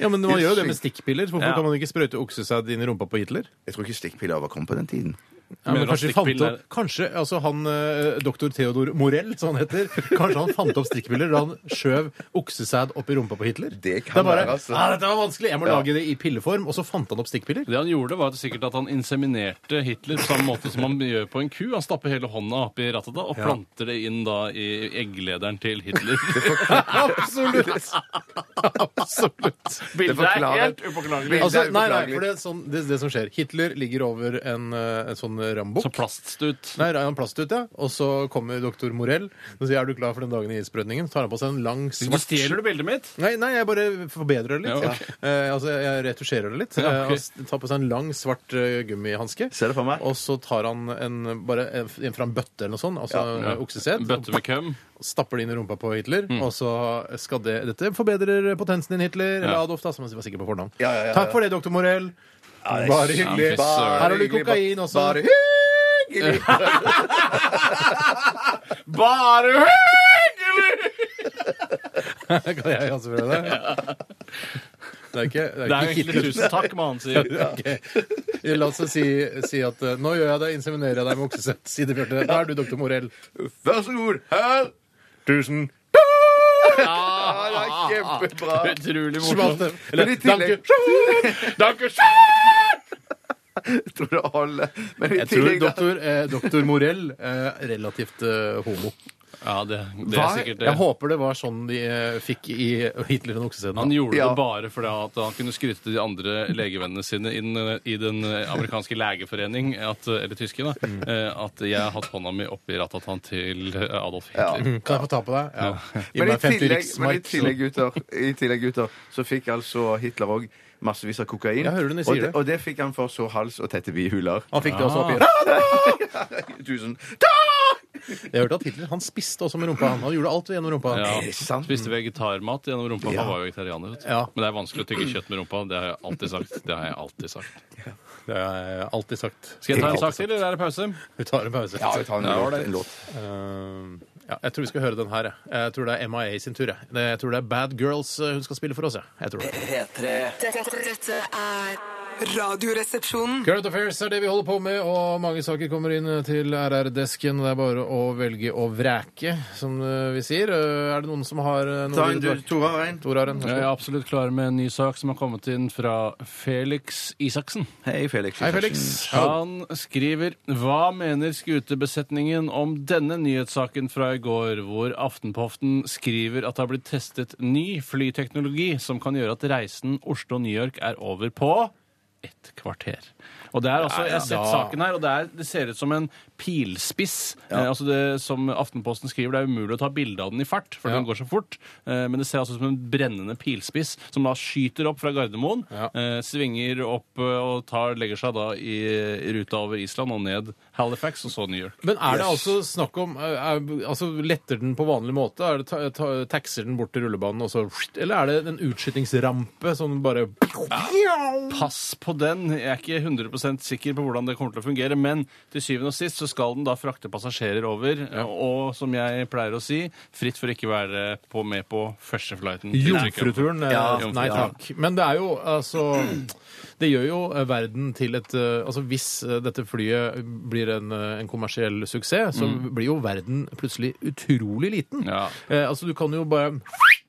Speaker 4: Ja, men Man gjør jo det med stikkpiller. Hvorfor
Speaker 5: Ja.
Speaker 4: kan man ikke sprøyte oksesæd inn i rumpa på Hitler?
Speaker 6: Jeg tror ikke stikkpiller var kommet på den tiden.
Speaker 4: Ja, men
Speaker 5: Mener du at
Speaker 4: kanskje de fant
Speaker 5: stikkpiller
Speaker 4: opp, kanskje altså han, eh, Doktor Theodor Morell, som han heter, kanskje han fant opp stikkpiller da han skjøv oksesæd opp i rumpa på Hitler?
Speaker 6: Det kan
Speaker 4: er bare,
Speaker 6: være, altså.
Speaker 4: «Ah, Dette var vanskelig, jeg må
Speaker 6: Ja.
Speaker 4: lage det i pilleform. Og så fant han opp stikkpiller.
Speaker 5: Det han gjorde, var at sikkert at han inseminerte Hitler på samme måte som han gjør på en ku. Han stapper hele hånda oppi ratata og planter det inn da i egglederen til Hitler.
Speaker 4: Absolutt! Absolutt.
Speaker 5: Bildet er
Speaker 6: forklarer-
Speaker 5: helt upåklagelig.
Speaker 6: Bildet
Speaker 4: Altså,
Speaker 6: er
Speaker 4: nei, nei,
Speaker 6: upåklagelig.
Speaker 4: for det er sånn, det, det som skjer. Hitler ligger over en, eh, en sånn rambukk.
Speaker 5: Så plaststut.
Speaker 4: Nei, han plastut, ja. Og så kommer doktor Morell og sier er du klar for den dagen i isbrødningen. Så tar han på seg en lang
Speaker 5: Så
Speaker 4: svart
Speaker 5: stjeler du bildet mitt?
Speaker 4: Nei, nei, jeg bare forbedrer det litt.
Speaker 5: Ja, ok.
Speaker 4: Eh, altså, Jeg retusjerer det litt.
Speaker 5: Ja, ok.
Speaker 4: Eh, og s- tar på seg en lang, svart eh, gummihanske.
Speaker 6: Ser det for meg.
Speaker 4: Og så tar han en, bare en, en fra en bøtte eller noe sånt, altså
Speaker 5: Ja.
Speaker 4: oksesæd.
Speaker 5: Bøtte med Mm. køm.
Speaker 4: Stapper det inn i rumpa på Hitler, og så skal det Dette forbedrer potensen din, Hitler. Eller
Speaker 5: Ja.
Speaker 4: Adolf, da, som han var sikker på fornavn.
Speaker 6: Ja, ja, ja, ja.
Speaker 4: Takk for det, doktor Morell. Bare hyggelig.
Speaker 5: Ja, fy søren.
Speaker 4: Her har du kokain også.
Speaker 6: Bare hyggelig.
Speaker 5: Bare
Speaker 4: Kan jeg ansvare det? Det er ikke, det er
Speaker 5: Det er jo
Speaker 4: ikke
Speaker 5: egentlig
Speaker 4: Hitler.
Speaker 5: tusen takk, man sier.
Speaker 4: Ok. La oss si, si at eh, nå gjør jeg det, inseminerer jeg deg med oksesett. Si det, Bjarte. Da er du doktor Morell.
Speaker 6: Vær så god. Her.
Speaker 4: Tusen
Speaker 6: Ja, det er kjempebra.
Speaker 5: Utrolig morsomt.
Speaker 4: Svarte.
Speaker 6: Men
Speaker 4: Eller
Speaker 6: i tillegg-
Speaker 4: danke.
Speaker 5: Danke
Speaker 6: Jeg tror det holder. Men i
Speaker 4: Jeg tror
Speaker 6: tillegg da-
Speaker 4: doktor, eh, doktor Morell eh, relativt eh, homo.
Speaker 5: Ja, det, det er sikkert det.
Speaker 4: Jeg håper det var sånn de eh, fikk i Hitler og oksesetten.
Speaker 5: Han gjorde
Speaker 6: Ja.
Speaker 5: det bare fordi at han kunne skryte til de andre legevennene sine i den, i den eh, amerikanske legeforening, at, eller tyske, da,
Speaker 6: Mm.
Speaker 5: eh, at jeg har hatt hånda mi oppi ratatan til eh, Adolf Hitler.
Speaker 4: Mm, Kan jeg få ta på deg? Ja. Gi
Speaker 6: Men i
Speaker 4: meg 50
Speaker 6: tillegg, men i
Speaker 4: riksmark. så-
Speaker 6: tillegg, gutter, i tillegg, gutter, så fikk altså Hitler òg massevis av kokain.
Speaker 4: Jeg hører det når jeg
Speaker 6: og,
Speaker 4: sier
Speaker 6: det,
Speaker 4: det.
Speaker 6: og det fikk han for sår hals og tette bihuler.
Speaker 4: Han fikk det også oppi.
Speaker 6: Tusen.
Speaker 4: Jeg hørte at Hitler han spiste også med rumpa. Han, han gjorde alt gjennom rumpa.
Speaker 5: Ja.
Speaker 6: Er det sant?
Speaker 5: Spiste vegetarmat gjennom rumpa. Han var jo vegetarianer. vet du.
Speaker 4: Ja.
Speaker 5: Men det er vanskelig å tygge kjøtt med rumpa. Det har jeg alltid sagt. Det har jeg alltid sagt.
Speaker 4: Det har jeg alltid sagt.
Speaker 5: Skal jeg ta en sak til, eller er det pause?
Speaker 4: Vi tar en pause.
Speaker 6: Ja, vi tar en låt. En låt.
Speaker 4: Ehm, ja, jeg tror vi skal høre den her. Jeg, jeg tror det er MIA sin tur. Jeg, Det- jeg tror det er Bad Girls eh, hun skal spille for oss. Jeg, jeg tror det.
Speaker 2: P3
Speaker 8: Dette, dette er Radioresepsjonen.
Speaker 4: Current Affairs er det vi holder på med, og mange saker kommer inn til RR-desken. Det er bare å velge og vreke, som eh, vi sier. Eh, Er det noen som har eh, noe
Speaker 6: Ta en,
Speaker 4: de vil
Speaker 6: du,
Speaker 4: tilbake-
Speaker 6: Tora. har En.
Speaker 4: Tor Arend, vær så
Speaker 5: Jeg
Speaker 4: god.
Speaker 5: er absolutt klar med en ny sak som har kommet inn fra Felix Isaksen.
Speaker 6: Hei, Felix.
Speaker 4: Hei, Felix. Hallo.
Speaker 5: Han skriver Hva mener skutebesetningen om denne nyhetssaken fra i går, hvor Aftenpoften skriver at det har blitt testet ny flyteknologi som kan gjøre at reisen Oslo-New York er over på et kvarter. Og det er altså, Jeg har sett saken her, og det, er, det ser ut som en pilspiss. Eh, altså det Som Aftenposten skriver, det er umulig å ta bilde av den i fart, for den går så fort. Eh, men det ser altså ut som en brennende pilspiss som da skyter opp fra Gardermoen,
Speaker 4: Ja.
Speaker 5: eh, svinger opp eh, og tar, legger seg da i, i ruta over Island og ned Halifax og så New York.
Speaker 4: Men er det altså snakk om eh, er, altså Letter den på vanlig måte? Er det ta, ta, taxer den bort til rullebanen, og så Eller er det en utskytingsrampe som bare
Speaker 5: Pass på den! Jeg er ikke 100 sikker på hvordan det kommer til å fungere, men til syvende og sist så skal den da frakte passasjerer over, og som jeg pleier å si, fritt for ikke være på, med på første flighten. til Tyrkia.
Speaker 4: Jomfruturen? eh,
Speaker 5: Ja.
Speaker 4: nei takk. Men det er jo altså Det gjør jo eh, verden til et eh, Altså hvis eh, dette flyet blir en, eh, en kommersiell suksess, så blir jo verden plutselig utrolig liten.
Speaker 5: Mm. Ja.
Speaker 4: Eh, altså du kan jo bare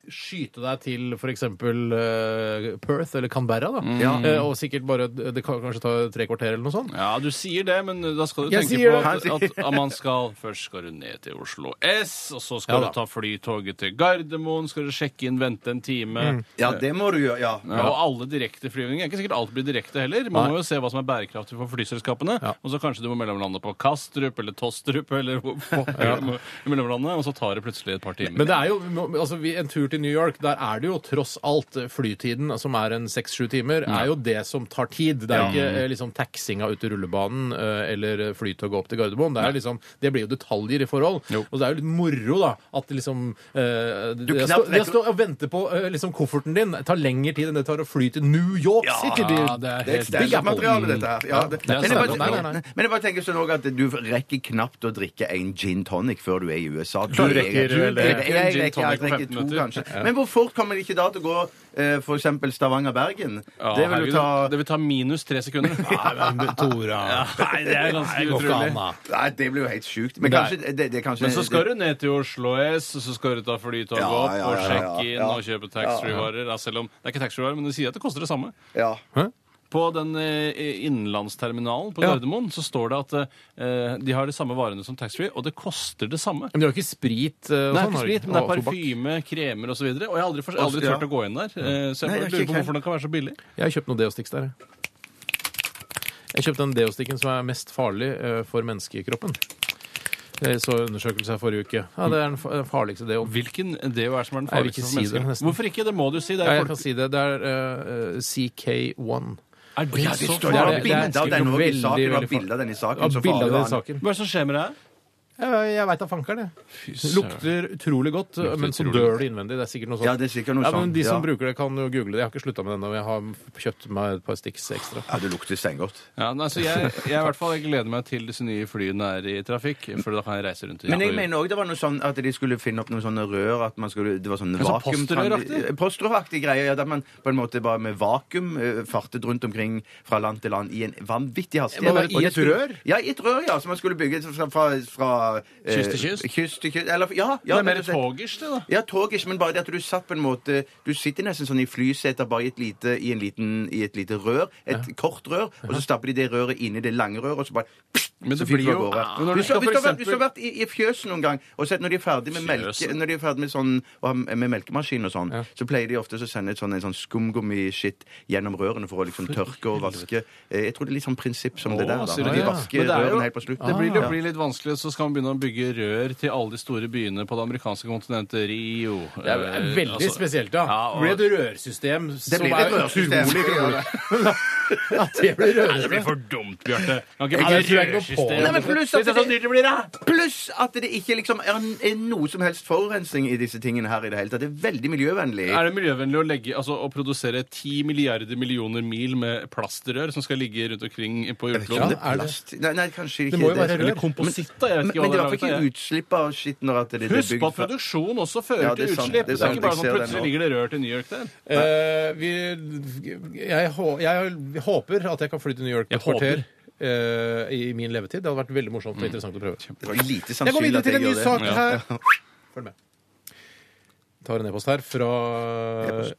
Speaker 4: skyte deg til f.eks. Uh, Perth eller Canberra, da.
Speaker 5: Mm.
Speaker 4: Eh, og sikkert bare Det kan kanskje ta tre kvarter eller noe sånt.
Speaker 5: Ja, du sier det, men eh, da skal du
Speaker 4: Jeg
Speaker 5: tenke
Speaker 4: sier
Speaker 5: på at,
Speaker 4: det.
Speaker 5: at, at man skal først skal du ned til Oslo S, og så
Speaker 4: Ja
Speaker 5: skal du
Speaker 4: da.
Speaker 5: ta flytoget til Gardermoen, skal du sjekke inn, vente en time.
Speaker 6: Ja, det må du gjøre. Ja.
Speaker 5: Ja, og alle direkteflyvninger. Ikke sikkert alt blir direkte heller. Man må jo se hva som er bærekraftig for flyselskapene.
Speaker 4: Ja.
Speaker 5: Og så kanskje du må mellomlande på Kastrup eller Tostrup eller hvor pokker du må mellomlande, og så tar det plutselig et par timer.
Speaker 4: Men det er jo, vi må- altså, vi- en tur til New York, der er det jo tross alt eh, flytiden, altså, som er en seks-sju timer, er jo det som tar tid. Det er jo ikke eh, liksom taxinga ut til rullebanen eh, eller flytoget opp til Gardermoen. Det, er liksom, det blir jo detaljer i forhold.
Speaker 5: Jo.
Speaker 4: Og det er jo litt moro, da, at liksom eh, Det å
Speaker 6: knapt
Speaker 4: stå- det å stå og vente på eh, liksom, kofferten din tar lengre tid enn det tar å fly til New York City.
Speaker 5: det er
Speaker 6: Det er
Speaker 5: helt
Speaker 4: Big Apple.
Speaker 6: standardmateriale, dette her. Ja, det,
Speaker 5: Ja,
Speaker 6: men, jeg bare,
Speaker 5: standard.
Speaker 4: Nei, nei, nei.
Speaker 6: men jeg bare tenker sånn også at du rekker knapt å drikke en gin tonic før du er i USA. Du,
Speaker 4: Klarer rekker
Speaker 6: du
Speaker 4: vel det.
Speaker 6: jeg, jeg,
Speaker 5: En gin
Speaker 6: rekker, jeg
Speaker 5: tonic på
Speaker 6: rekker
Speaker 5: 15
Speaker 6: to,
Speaker 5: minutter.
Speaker 6: kanskje. Men hvor fort kommer de ikke da til å gå eh, for eksempel Stavanger-Bergen?
Speaker 5: Ja,
Speaker 6: det vil
Speaker 5: herregud,
Speaker 6: jo ta
Speaker 5: det vil ta minus tre sekunder.
Speaker 4: Nei, men Tora
Speaker 5: Nei, det er ganske
Speaker 4: går ikke an,
Speaker 5: utrolig.
Speaker 4: da.
Speaker 6: Nei, det blir jo helt sjukt. Men kanskje det, det er kanskje
Speaker 5: Men så skal du ned til Oslo S, og så skal du ta flytoget
Speaker 6: Ja,
Speaker 5: opp
Speaker 6: ja,
Speaker 5: og
Speaker 6: ja, ja,
Speaker 5: sjekke inn
Speaker 6: ja.
Speaker 5: og kjøpe taxfree-varer. da, Selv om det er ikke taxfree-varer, men de sier at det koster det samme.
Speaker 6: Ja.
Speaker 5: På den eh, innenlandsterminalen på
Speaker 4: Ja.
Speaker 5: Gardermoen så står det at eh, de har de samme varene som taxfree, og det koster det samme.
Speaker 4: Men de har ikke sprit eh, og
Speaker 5: Det er
Speaker 4: sånn,
Speaker 5: ikke
Speaker 4: har de
Speaker 5: sprit, men det er
Speaker 4: Og tobakk.
Speaker 5: parfyme, kremer osv. Og, så videre, og jeg har aldri, for- jeg har aldri
Speaker 6: Også- ja.
Speaker 5: turt å gå inn der. eh, Så jeg
Speaker 6: Nei,
Speaker 5: bare
Speaker 6: jeg
Speaker 5: lurer på
Speaker 6: kikker.
Speaker 5: hvorfor den kan være så billig.
Speaker 4: Jeg har kjøpt noen Deo-sticks der. jeg. Jeg kjøpte den Deo-stikken som er mest farlig eh, for menneskekroppen. Jeg så undersøkelse her forrige uke. Ja, Det er den fa- den farligste deoen.
Speaker 5: Hvilken deo er som er den
Speaker 4: Jeg vil ikke
Speaker 5: farligste
Speaker 4: si
Speaker 5: for
Speaker 4: det,
Speaker 5: mennesker?
Speaker 4: nesten.
Speaker 5: Hvorfor ikke? Det må du si. Det
Speaker 4: Ja,
Speaker 5: er,
Speaker 4: jeg
Speaker 5: folk...
Speaker 4: kan si det. Det er eh, eh, CK1.
Speaker 5: er det,
Speaker 6: Ja, det
Speaker 5: så
Speaker 6: står det var
Speaker 4: det er-
Speaker 5: farlig?
Speaker 4: det er
Speaker 6: bilder av den også i
Speaker 4: veldig,
Speaker 6: saken. Det var
Speaker 4: veldig
Speaker 6: bilder av den i
Speaker 4: Ja,
Speaker 6: saken. så
Speaker 4: bilde
Speaker 6: farlig
Speaker 4: av
Speaker 6: var
Speaker 4: det i
Speaker 6: den.
Speaker 4: saken.
Speaker 5: Hva er det som skjer med deg?
Speaker 4: Jeg, jeg veit da fanker det. Lukter utrolig godt, men så
Speaker 5: utrolig
Speaker 4: dør det innvendig. Det er sikkert noe sånt.
Speaker 6: Ja, det er sikkert noe
Speaker 4: Ja, men
Speaker 6: sånt,
Speaker 4: De som
Speaker 6: ja.
Speaker 4: bruker det, kan jo google det. Jeg har ikke slutta med det ennå. Jeg har kjøpt meg et par sticks ekstra.
Speaker 6: Ja, det lukter steingodt.
Speaker 5: Ja, nei, altså jeg, jeg, i hvert fall, jeg gleder meg til disse nye flyene er i trafikk, for da kan jeg reise rundt. i-
Speaker 6: Men jeg mener også det var noe sånn at de skulle finne opp noen sånne rør at man skulle, Det var
Speaker 5: sånn
Speaker 6: sånn vakuum...
Speaker 5: postrøraktig?
Speaker 6: Postrøraktig greie. Ja, der man på en måte bare med vakuum eh, fartet rundt omkring fra land til land i en vanvittig hastighet.
Speaker 4: Hva da, i et rør?
Speaker 6: Ja, i et rør, ja. Som man skulle bygge fra, fra, fra eh,
Speaker 5: Kyst til kyst?
Speaker 6: Kyst til kyst. Eller ja. ja
Speaker 5: det er mer
Speaker 6: rett og slett.
Speaker 5: togers, det, da.
Speaker 6: Ja, tog ikke, men bare det at du satt på en måte Du sitter nesten sånn i flyseter bare i et lite, i en liten, i et lite rør, et kort rør, og så stapper de det røret inni det lange røret, og så bare
Speaker 5: Men
Speaker 6: så
Speaker 5: det
Speaker 6: fyker
Speaker 5: blir
Speaker 6: av
Speaker 5: jo-
Speaker 6: gårde.
Speaker 5: Men når
Speaker 6: Du
Speaker 5: du skal
Speaker 6: skal-
Speaker 5: for
Speaker 6: Hvis du har vært- hvis du
Speaker 5: eksempel-
Speaker 6: har vært i, i fjøset noen gang, og sett når de er ferdig med melke,
Speaker 5: Fjøset?
Speaker 6: når de er ferdig med sånn, og har med- med melkemaskin og sånn, så pleier de ofte å sende et sånn, en sånn skumgummiskitt gjennom rørene for å liksom tørke og vaske. Eh, Jeg tror det er litt sånn prinsipp som det der.
Speaker 5: Å,
Speaker 6: Da.
Speaker 5: sier
Speaker 6: Når
Speaker 5: du
Speaker 6: de
Speaker 5: det? Ah,
Speaker 6: vasker
Speaker 5: Men det er jo-
Speaker 6: rørene helt på slutten.
Speaker 5: Det blir, det
Speaker 6: Ja.
Speaker 5: blir litt vanskelig, så skal man begynne å bygge rør til alle de store byene på det amerikanske kontinentet. Rio
Speaker 4: Det er er veldig spesielt, da.
Speaker 5: Eh, altså, Ja, og-
Speaker 4: Det blir et rørsystem som
Speaker 6: blir et
Speaker 4: er
Speaker 6: rørsystem.
Speaker 4: utrolig kronglete. ja, det blir
Speaker 5: Det blir
Speaker 4: rørsystem.
Speaker 5: for dumt, Bjarte. Kan
Speaker 4: Nei, det tror jeg ikke noe på.
Speaker 5: rørsystem.
Speaker 6: Nei, men pluss at
Speaker 5: Det er sånn dyrt
Speaker 6: det-
Speaker 5: det blir, da!
Speaker 6: Pluss at det ikke liksom er, er noe som helst forurensning i disse tingene her i det hele tatt. Det er veldig miljøvennlig.
Speaker 5: Er det miljøvennlig å, legge, altså, å produsere 10 milliarder millioner mil med plastrør som skal ligge rundt omkring på jordkloden?
Speaker 4: Ja, er det-
Speaker 6: plast? Nei, nei, kanskje ikke
Speaker 4: Det må jo være
Speaker 5: Eller
Speaker 4: rør.
Speaker 5: kompositt, da. Jeg
Speaker 6: Men,
Speaker 5: vet ikke
Speaker 6: men
Speaker 5: hva
Speaker 6: det er i hvert
Speaker 5: det
Speaker 6: fall
Speaker 5: er laget
Speaker 6: ikke
Speaker 5: av.
Speaker 6: utslipp av skitt når at det, det er
Speaker 5: Husk
Speaker 6: bygd
Speaker 5: på at
Speaker 6: fra-
Speaker 5: produksjon også fører
Speaker 6: Ja, det er
Speaker 5: til
Speaker 6: sant,
Speaker 5: utslipp.
Speaker 6: det er
Speaker 5: Det er
Speaker 6: sant,
Speaker 5: ikke bare
Speaker 6: jeg
Speaker 5: sånn
Speaker 6: ser det
Speaker 5: plutselig
Speaker 6: nå.
Speaker 5: ligger det rør til New York der.
Speaker 4: Eh, vi, jeg, hå- jeg håper at jeg kan flytte til New York på
Speaker 5: Jeg
Speaker 4: et kvarter eh, i min levetid. Det hadde vært veldig
Speaker 5: Mm.
Speaker 4: morsomt og interessant å prøve.
Speaker 6: Det var lite
Speaker 4: Jeg går
Speaker 6: sannsynlig
Speaker 4: videre
Speaker 6: at
Speaker 4: til en
Speaker 6: jeg
Speaker 4: ny
Speaker 6: gjør
Speaker 4: sak
Speaker 6: det.
Speaker 4: her. Følg med. Tar en e-post her fra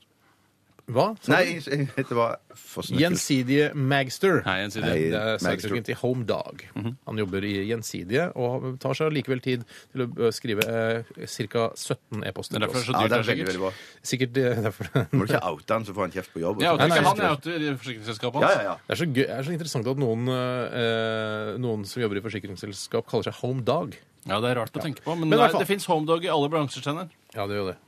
Speaker 4: Hva? sa
Speaker 6: Nei,
Speaker 4: du?
Speaker 6: det var for snakk.
Speaker 4: Gjensidige Magster.
Speaker 5: Nei, en side.
Speaker 6: Nei.
Speaker 4: Det er
Speaker 6: Magster.
Speaker 4: saksøkeren til Home Dog.
Speaker 5: Mhm.
Speaker 4: Han jobber i Gjensidige og tar seg likevel tid til å ø, skrive eh, ca. 17
Speaker 5: Det
Speaker 4: e-poster
Speaker 5: er
Speaker 4: til
Speaker 5: derfor
Speaker 4: oss.
Speaker 5: det er så
Speaker 6: Ja,
Speaker 5: dyrt.
Speaker 6: det
Speaker 5: det er
Speaker 6: er veldig, veldig
Speaker 5: sikkert.
Speaker 6: bra.
Speaker 4: Sikkert eh, derfor
Speaker 6: Må du ikke oute han, så får han kjeft på jobb.
Speaker 5: Jeg
Speaker 4: Nei,
Speaker 5: outer ikke
Speaker 4: nei,
Speaker 5: han, jeg outer forsikringsselskapet
Speaker 6: Ja,
Speaker 5: hans.
Speaker 6: ja, ja.
Speaker 4: Det er så, gøy, det er så interessant at noen, eh, noen som jobber i forsikringsselskap, kaller seg home dog.
Speaker 5: Ja, det er rart å tenke på, men,
Speaker 4: Men i
Speaker 5: nei,
Speaker 4: hvert fall-
Speaker 5: det fins homedog i alle bransjer, Steinar.
Speaker 4: Ja, det gjør det.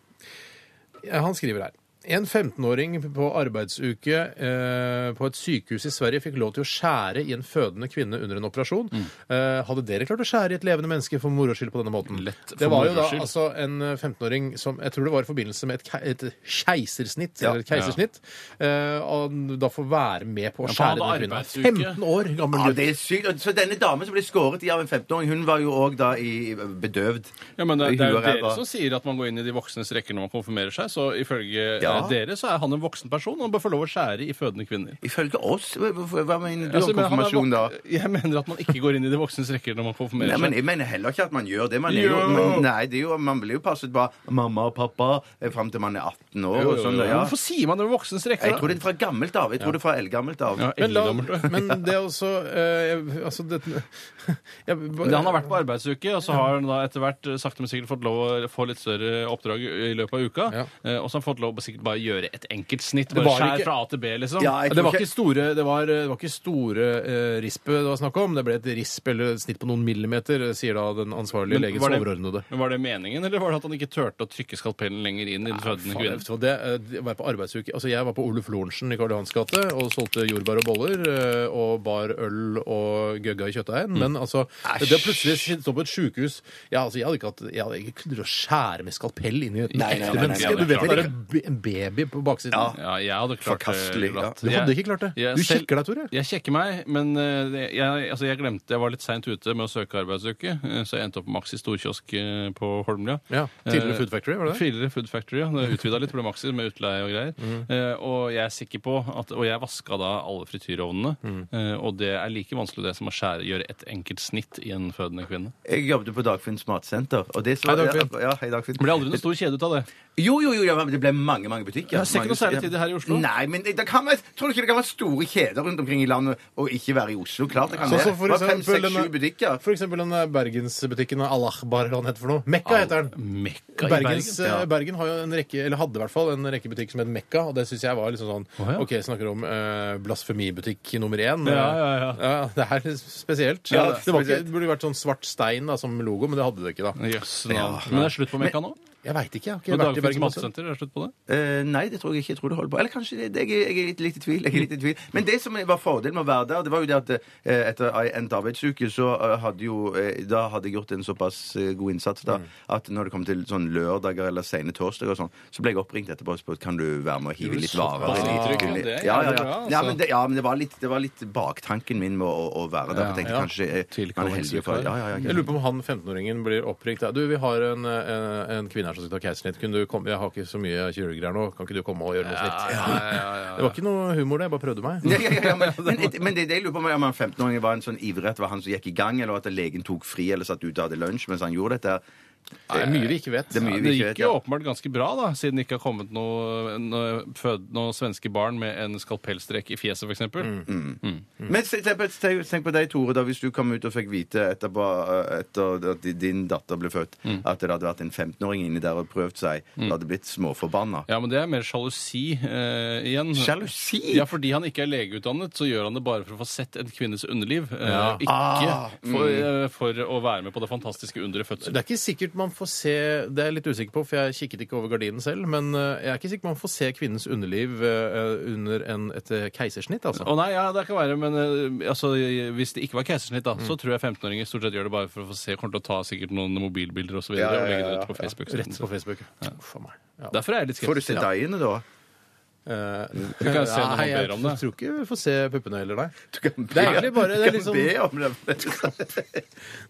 Speaker 4: Ja, Han skriver her. En 15-åring på arbeidsuke eh, på et sykehus i Sverige fikk lov til å skjære i en fødende kvinne under en operasjon.
Speaker 5: Mm.
Speaker 4: Eh, hadde dere klart å skjære i et levende menneske for moro skyld på denne måten?
Speaker 5: Lett for
Speaker 4: det var jo da
Speaker 5: moro skyld.
Speaker 4: altså en eh, 15-åring som Jeg tror det var i forbindelse med et, ke- et keisersnitt.
Speaker 6: Ja.
Speaker 4: Eller et keisersnitt. Eh, og da få være med på å
Speaker 5: Ja, for han
Speaker 4: skjære
Speaker 5: hadde
Speaker 4: denne
Speaker 5: arbeidsuke.
Speaker 4: kvinnen. 15 år gammel
Speaker 6: Ja,
Speaker 4: gutt.
Speaker 6: det er sykt. Og Så denne damen som ble skåret i av en 15-åring, hun var jo òg da i bedøvd.
Speaker 5: Ja, men det,
Speaker 6: I
Speaker 5: det er jo
Speaker 6: huet og
Speaker 5: dere
Speaker 6: ræva.
Speaker 5: som sier at man går inn i de voksnes rekker når man konfirmerer seg, så ifølge
Speaker 6: Ja,
Speaker 5: Eh, Dere så er han en voksen person og bør få lov å skjære i fødende kvinner.
Speaker 6: Ifølge oss Hva hva mener du
Speaker 5: Altså,
Speaker 6: om
Speaker 5: men han er
Speaker 6: konfirmasjon, da?
Speaker 5: vok- Jeg mener at man ikke går inn i de voksnes rekker når man konfirmerer
Speaker 6: Nei,
Speaker 5: seg.
Speaker 6: men Jeg mener heller ikke at man gjør det. Man, er jo,
Speaker 5: Jo.
Speaker 6: man, nei, det er jo, man blir jo passet på av mamma og pappa eh, fram til man er 18 år.
Speaker 5: Jo,
Speaker 6: og
Speaker 5: jo, jo.
Speaker 6: sånn, da, ja.
Speaker 5: Hvorfor sier man det med voksnes rekker?
Speaker 6: Jeg tror det er fra gammelt av. Jeg tror det er fra eldgammelt av.
Speaker 5: Ja,
Speaker 4: Men, la,
Speaker 5: eldgammelt, ja.
Speaker 4: men det er også eh, jeg- Altså, det jeg,
Speaker 5: Men Han har vært på arbeidsuke, og så har han da etter hvert eh, sakte, men sikkert fått lov å få litt større oppdrag i i løpet av uka.
Speaker 4: Ja.
Speaker 5: Eh, Og så har han fått lov å sikkert bare gjøre et enkelt snitt.
Speaker 4: Det
Speaker 5: Bare
Speaker 4: var
Speaker 5: skjær
Speaker 4: ikke-
Speaker 5: fra A til B, liksom.
Speaker 6: Ja, jeg
Speaker 4: det
Speaker 6: tror
Speaker 4: var
Speaker 6: ikke-
Speaker 4: ikke store, det var, det var ikke store eh, rispet det var snakk om. Det ble et risp eller et snitt på noen millimeter, eh, sier da den ansvarlige
Speaker 5: Men
Speaker 4: legens
Speaker 5: var det-
Speaker 4: overordnede.
Speaker 5: Men Var det meningen, eller var det at han ikke turte å trykke skalpellen lenger inn i den fødende
Speaker 4: Faen,
Speaker 5: kvinnen?
Speaker 4: jeg- Det, eh, det var på arbeidsuke. Altså, jeg var på Oluf Lorentzen i Karl Johans gate og solgte jordbær og boller eh, og bar øl og gøgga i kjøttdeigen. Men altså, det å plutselig stå på et sjukehus ja, altså, Jeg hadde ikke hatt Jeg hadde ikke kunnet å skjære med skalpell inn i et
Speaker 6: Nei, nei,
Speaker 4: ekte
Speaker 6: nei, nei,
Speaker 5: nei,
Speaker 4: menneske.
Speaker 5: nei,
Speaker 4: Du vet
Speaker 5: klart.
Speaker 4: det er en b- en baby på baksiden.
Speaker 6: Ja.
Speaker 5: Ja, jeg hadde klart det.
Speaker 6: Forkastelig, ja.
Speaker 5: glatt.
Speaker 4: Du
Speaker 5: Jeg-
Speaker 4: hadde ikke klart det.
Speaker 5: jeg
Speaker 4: Du
Speaker 5: selv-
Speaker 4: kikker deg, Tore.
Speaker 5: Jeg sjekker meg, men eh, jeg, altså jeg glemte Jeg var litt seint ute med å søke arbeidsuke, eh, så jeg endte opp på Maxi storkiosk eh, på Holmlia.
Speaker 4: Ja, tidligere
Speaker 5: Eh,
Speaker 4: Food Factory, var det det?
Speaker 5: Tidligere Food Factory, ja. Det utvida litt, ble Maxi med utleie og greier.
Speaker 4: Mm.
Speaker 5: Eh, og jeg er sikker på at Og jeg vaska da alle frityrovnene,
Speaker 4: Mm.
Speaker 5: eh, og det er like vanskelig det som å skjære gjøre et enkelt snitt i en fødende kvinne.
Speaker 6: Jeg jobbet på Dagfinns matsenter. Og det som-
Speaker 4: Hei, Dagfinn.
Speaker 6: Ja, ja, hei, Dagfinn.
Speaker 5: Det ble aldri noe stor kjede ut av det.
Speaker 6: Jo, jo, jo, ja, men det ble mange mange butikker.
Speaker 5: Jeg ser ikke
Speaker 6: Mange-
Speaker 5: noe særlig til det her i Oslo.
Speaker 6: Nei, men det kan være, tror du ikke det kan være store kjeder rundt omkring i landet og ikke være i Oslo? Klart det kan
Speaker 4: Sånn
Speaker 6: det.
Speaker 4: som for
Speaker 6: Bare fem,
Speaker 4: eksempel
Speaker 6: seks, sju
Speaker 4: denne-
Speaker 6: butikker.
Speaker 4: For eksempel den der bergensbutikken Al-Ahbar, hva den heter for noe. Mekka heter den.
Speaker 5: Mekka i
Speaker 4: Bergens,
Speaker 5: Bergen.
Speaker 4: eh, Bergen har jo en rekke, eller hadde i hvert fall en rekke butikk som het Mekka, og det syns jeg var liksom sånn
Speaker 5: Å, ja.
Speaker 4: OK, snakker om eh, blasfemibutikk nummer én.
Speaker 5: Ja, ja, ja.
Speaker 4: det er litt spesielt.
Speaker 6: Ja,
Speaker 4: det, var ikke,
Speaker 6: spesielt.
Speaker 4: det burde vært sånn svart stein da, som logo, men det hadde det ikke da.
Speaker 5: Jøss. navn. Men det er slutt på Mekka nå?
Speaker 4: Jeg veit ikke, jeg har ikke
Speaker 5: Og
Speaker 4: vært i
Speaker 5: Dagfinns
Speaker 4: Bergen. altså. også.
Speaker 5: matsenter, er det slutt på det?
Speaker 6: Eh, nei, det tror jeg ikke. Jeg tror det holder på. Eller kanskje det. det- Jeg er, jeg er litt, litt, i tvil, jeg er litt i tvil. Men det som var fordelen med å være der, det var jo det at eh, etter ei endt arbeidsuke, så eh, hadde jo eh, Da hadde jeg gjort en såpass eh, god innsats
Speaker 5: Mm.
Speaker 6: da, at når det kom til sånn lørdager eller sene torsdager og sånn, så ble jeg oppringt etterpå og spurt kan du være med og hive litt varer.
Speaker 5: såpass
Speaker 6: inn i-
Speaker 5: inntrykk av det, ja,
Speaker 6: Ja, ja,
Speaker 5: det er
Speaker 6: ja.
Speaker 5: bra,
Speaker 6: ja,
Speaker 5: altså.
Speaker 6: men det, ja, men det var litt, det var litt baktanken min med å, å være der. for Jeg tenkte
Speaker 4: ja.
Speaker 6: kanskje eh, man er heldig for Ja, ja, ja.
Speaker 4: Jeg lurer på om han 15-åringen blir oppringt. Du, vi har en, en, en kvinne her som skal ta keisersnitt. Kunne du komme? Jeg har ikke så mye kirurggreier nå. Kan ikke du komme og gjøre noe snitt? Det var ikke noe humor, det. Jeg bare prøvde meg.
Speaker 6: Ja, ja, ja, men, men, et- men det, det jeg lurer på om han 15-åringen var en sånn ivrig etter hva han som gikk i gang, eller at legen tok fri eller satt ute og hadde lunsj mens han gjorde dette.
Speaker 4: Det er mye vi ikke vet.
Speaker 6: Det er mye
Speaker 5: Ja,
Speaker 6: vi
Speaker 5: det
Speaker 6: ikke
Speaker 5: gikk
Speaker 6: vet.
Speaker 5: jo
Speaker 6: Ja.
Speaker 5: åpenbart ganske bra, da, siden det ikke har kommet noe, noe, fød, noe svenske barn med en skalpellstrek i fjeset, f.eks. Mm.
Speaker 6: Men se- tenk på, tenk- tenk på deg, Tore, da, hvis du kom ut og fikk vite etterpå, eh, etter at di- din datter ble født,
Speaker 4: Mm.
Speaker 6: at det hadde vært en 15-åring inni der og prøvd seg. Du hadde blitt småforbanna.
Speaker 5: Ja, men det er mer sjalusi eh, igjen.
Speaker 6: Sjalusi?
Speaker 5: Ja, fordi han ikke er legeutdannet, så gjør han det bare for å få sett en kvinnes underliv. Eh, Ikke
Speaker 6: Ah,
Speaker 5: for, eh, for å være med på det fantastiske underet fødsel.
Speaker 4: Det er ikke sikkert man får se Det er jeg litt usikker på, for jeg kikket ikke over gardinen selv. Men eh, jeg er ikke sikker man får se kvinnens underliv eh, under en, et eh, keisersnitt, altså.
Speaker 5: Å nei, ja, det kan være, men eh, altså, hvis det ikke var keisersnitt,
Speaker 6: Mm.
Speaker 5: da, så tror jeg 15-åringer stort sett gjør det bare for å få se. Kommer til å ta sikkert noen mobilbilder osv. videre
Speaker 6: Ja, ja, ja,
Speaker 5: og legge det
Speaker 6: ja,
Speaker 5: ut på Facebook.
Speaker 4: Rett på Facebook. Uff a meg. Ja.
Speaker 5: Derfor er jeg litt
Speaker 6: Får du
Speaker 5: skeptisk.
Speaker 6: se deiene da?
Speaker 4: Eh,
Speaker 5: Du kan se
Speaker 4: nei,
Speaker 5: når man
Speaker 4: jeg
Speaker 5: ber om det.
Speaker 4: tror ikke vi får se puppene heller, nei.
Speaker 6: Du kan be,
Speaker 4: Det er egentlig bare- det er liksom-
Speaker 6: du kan be om det.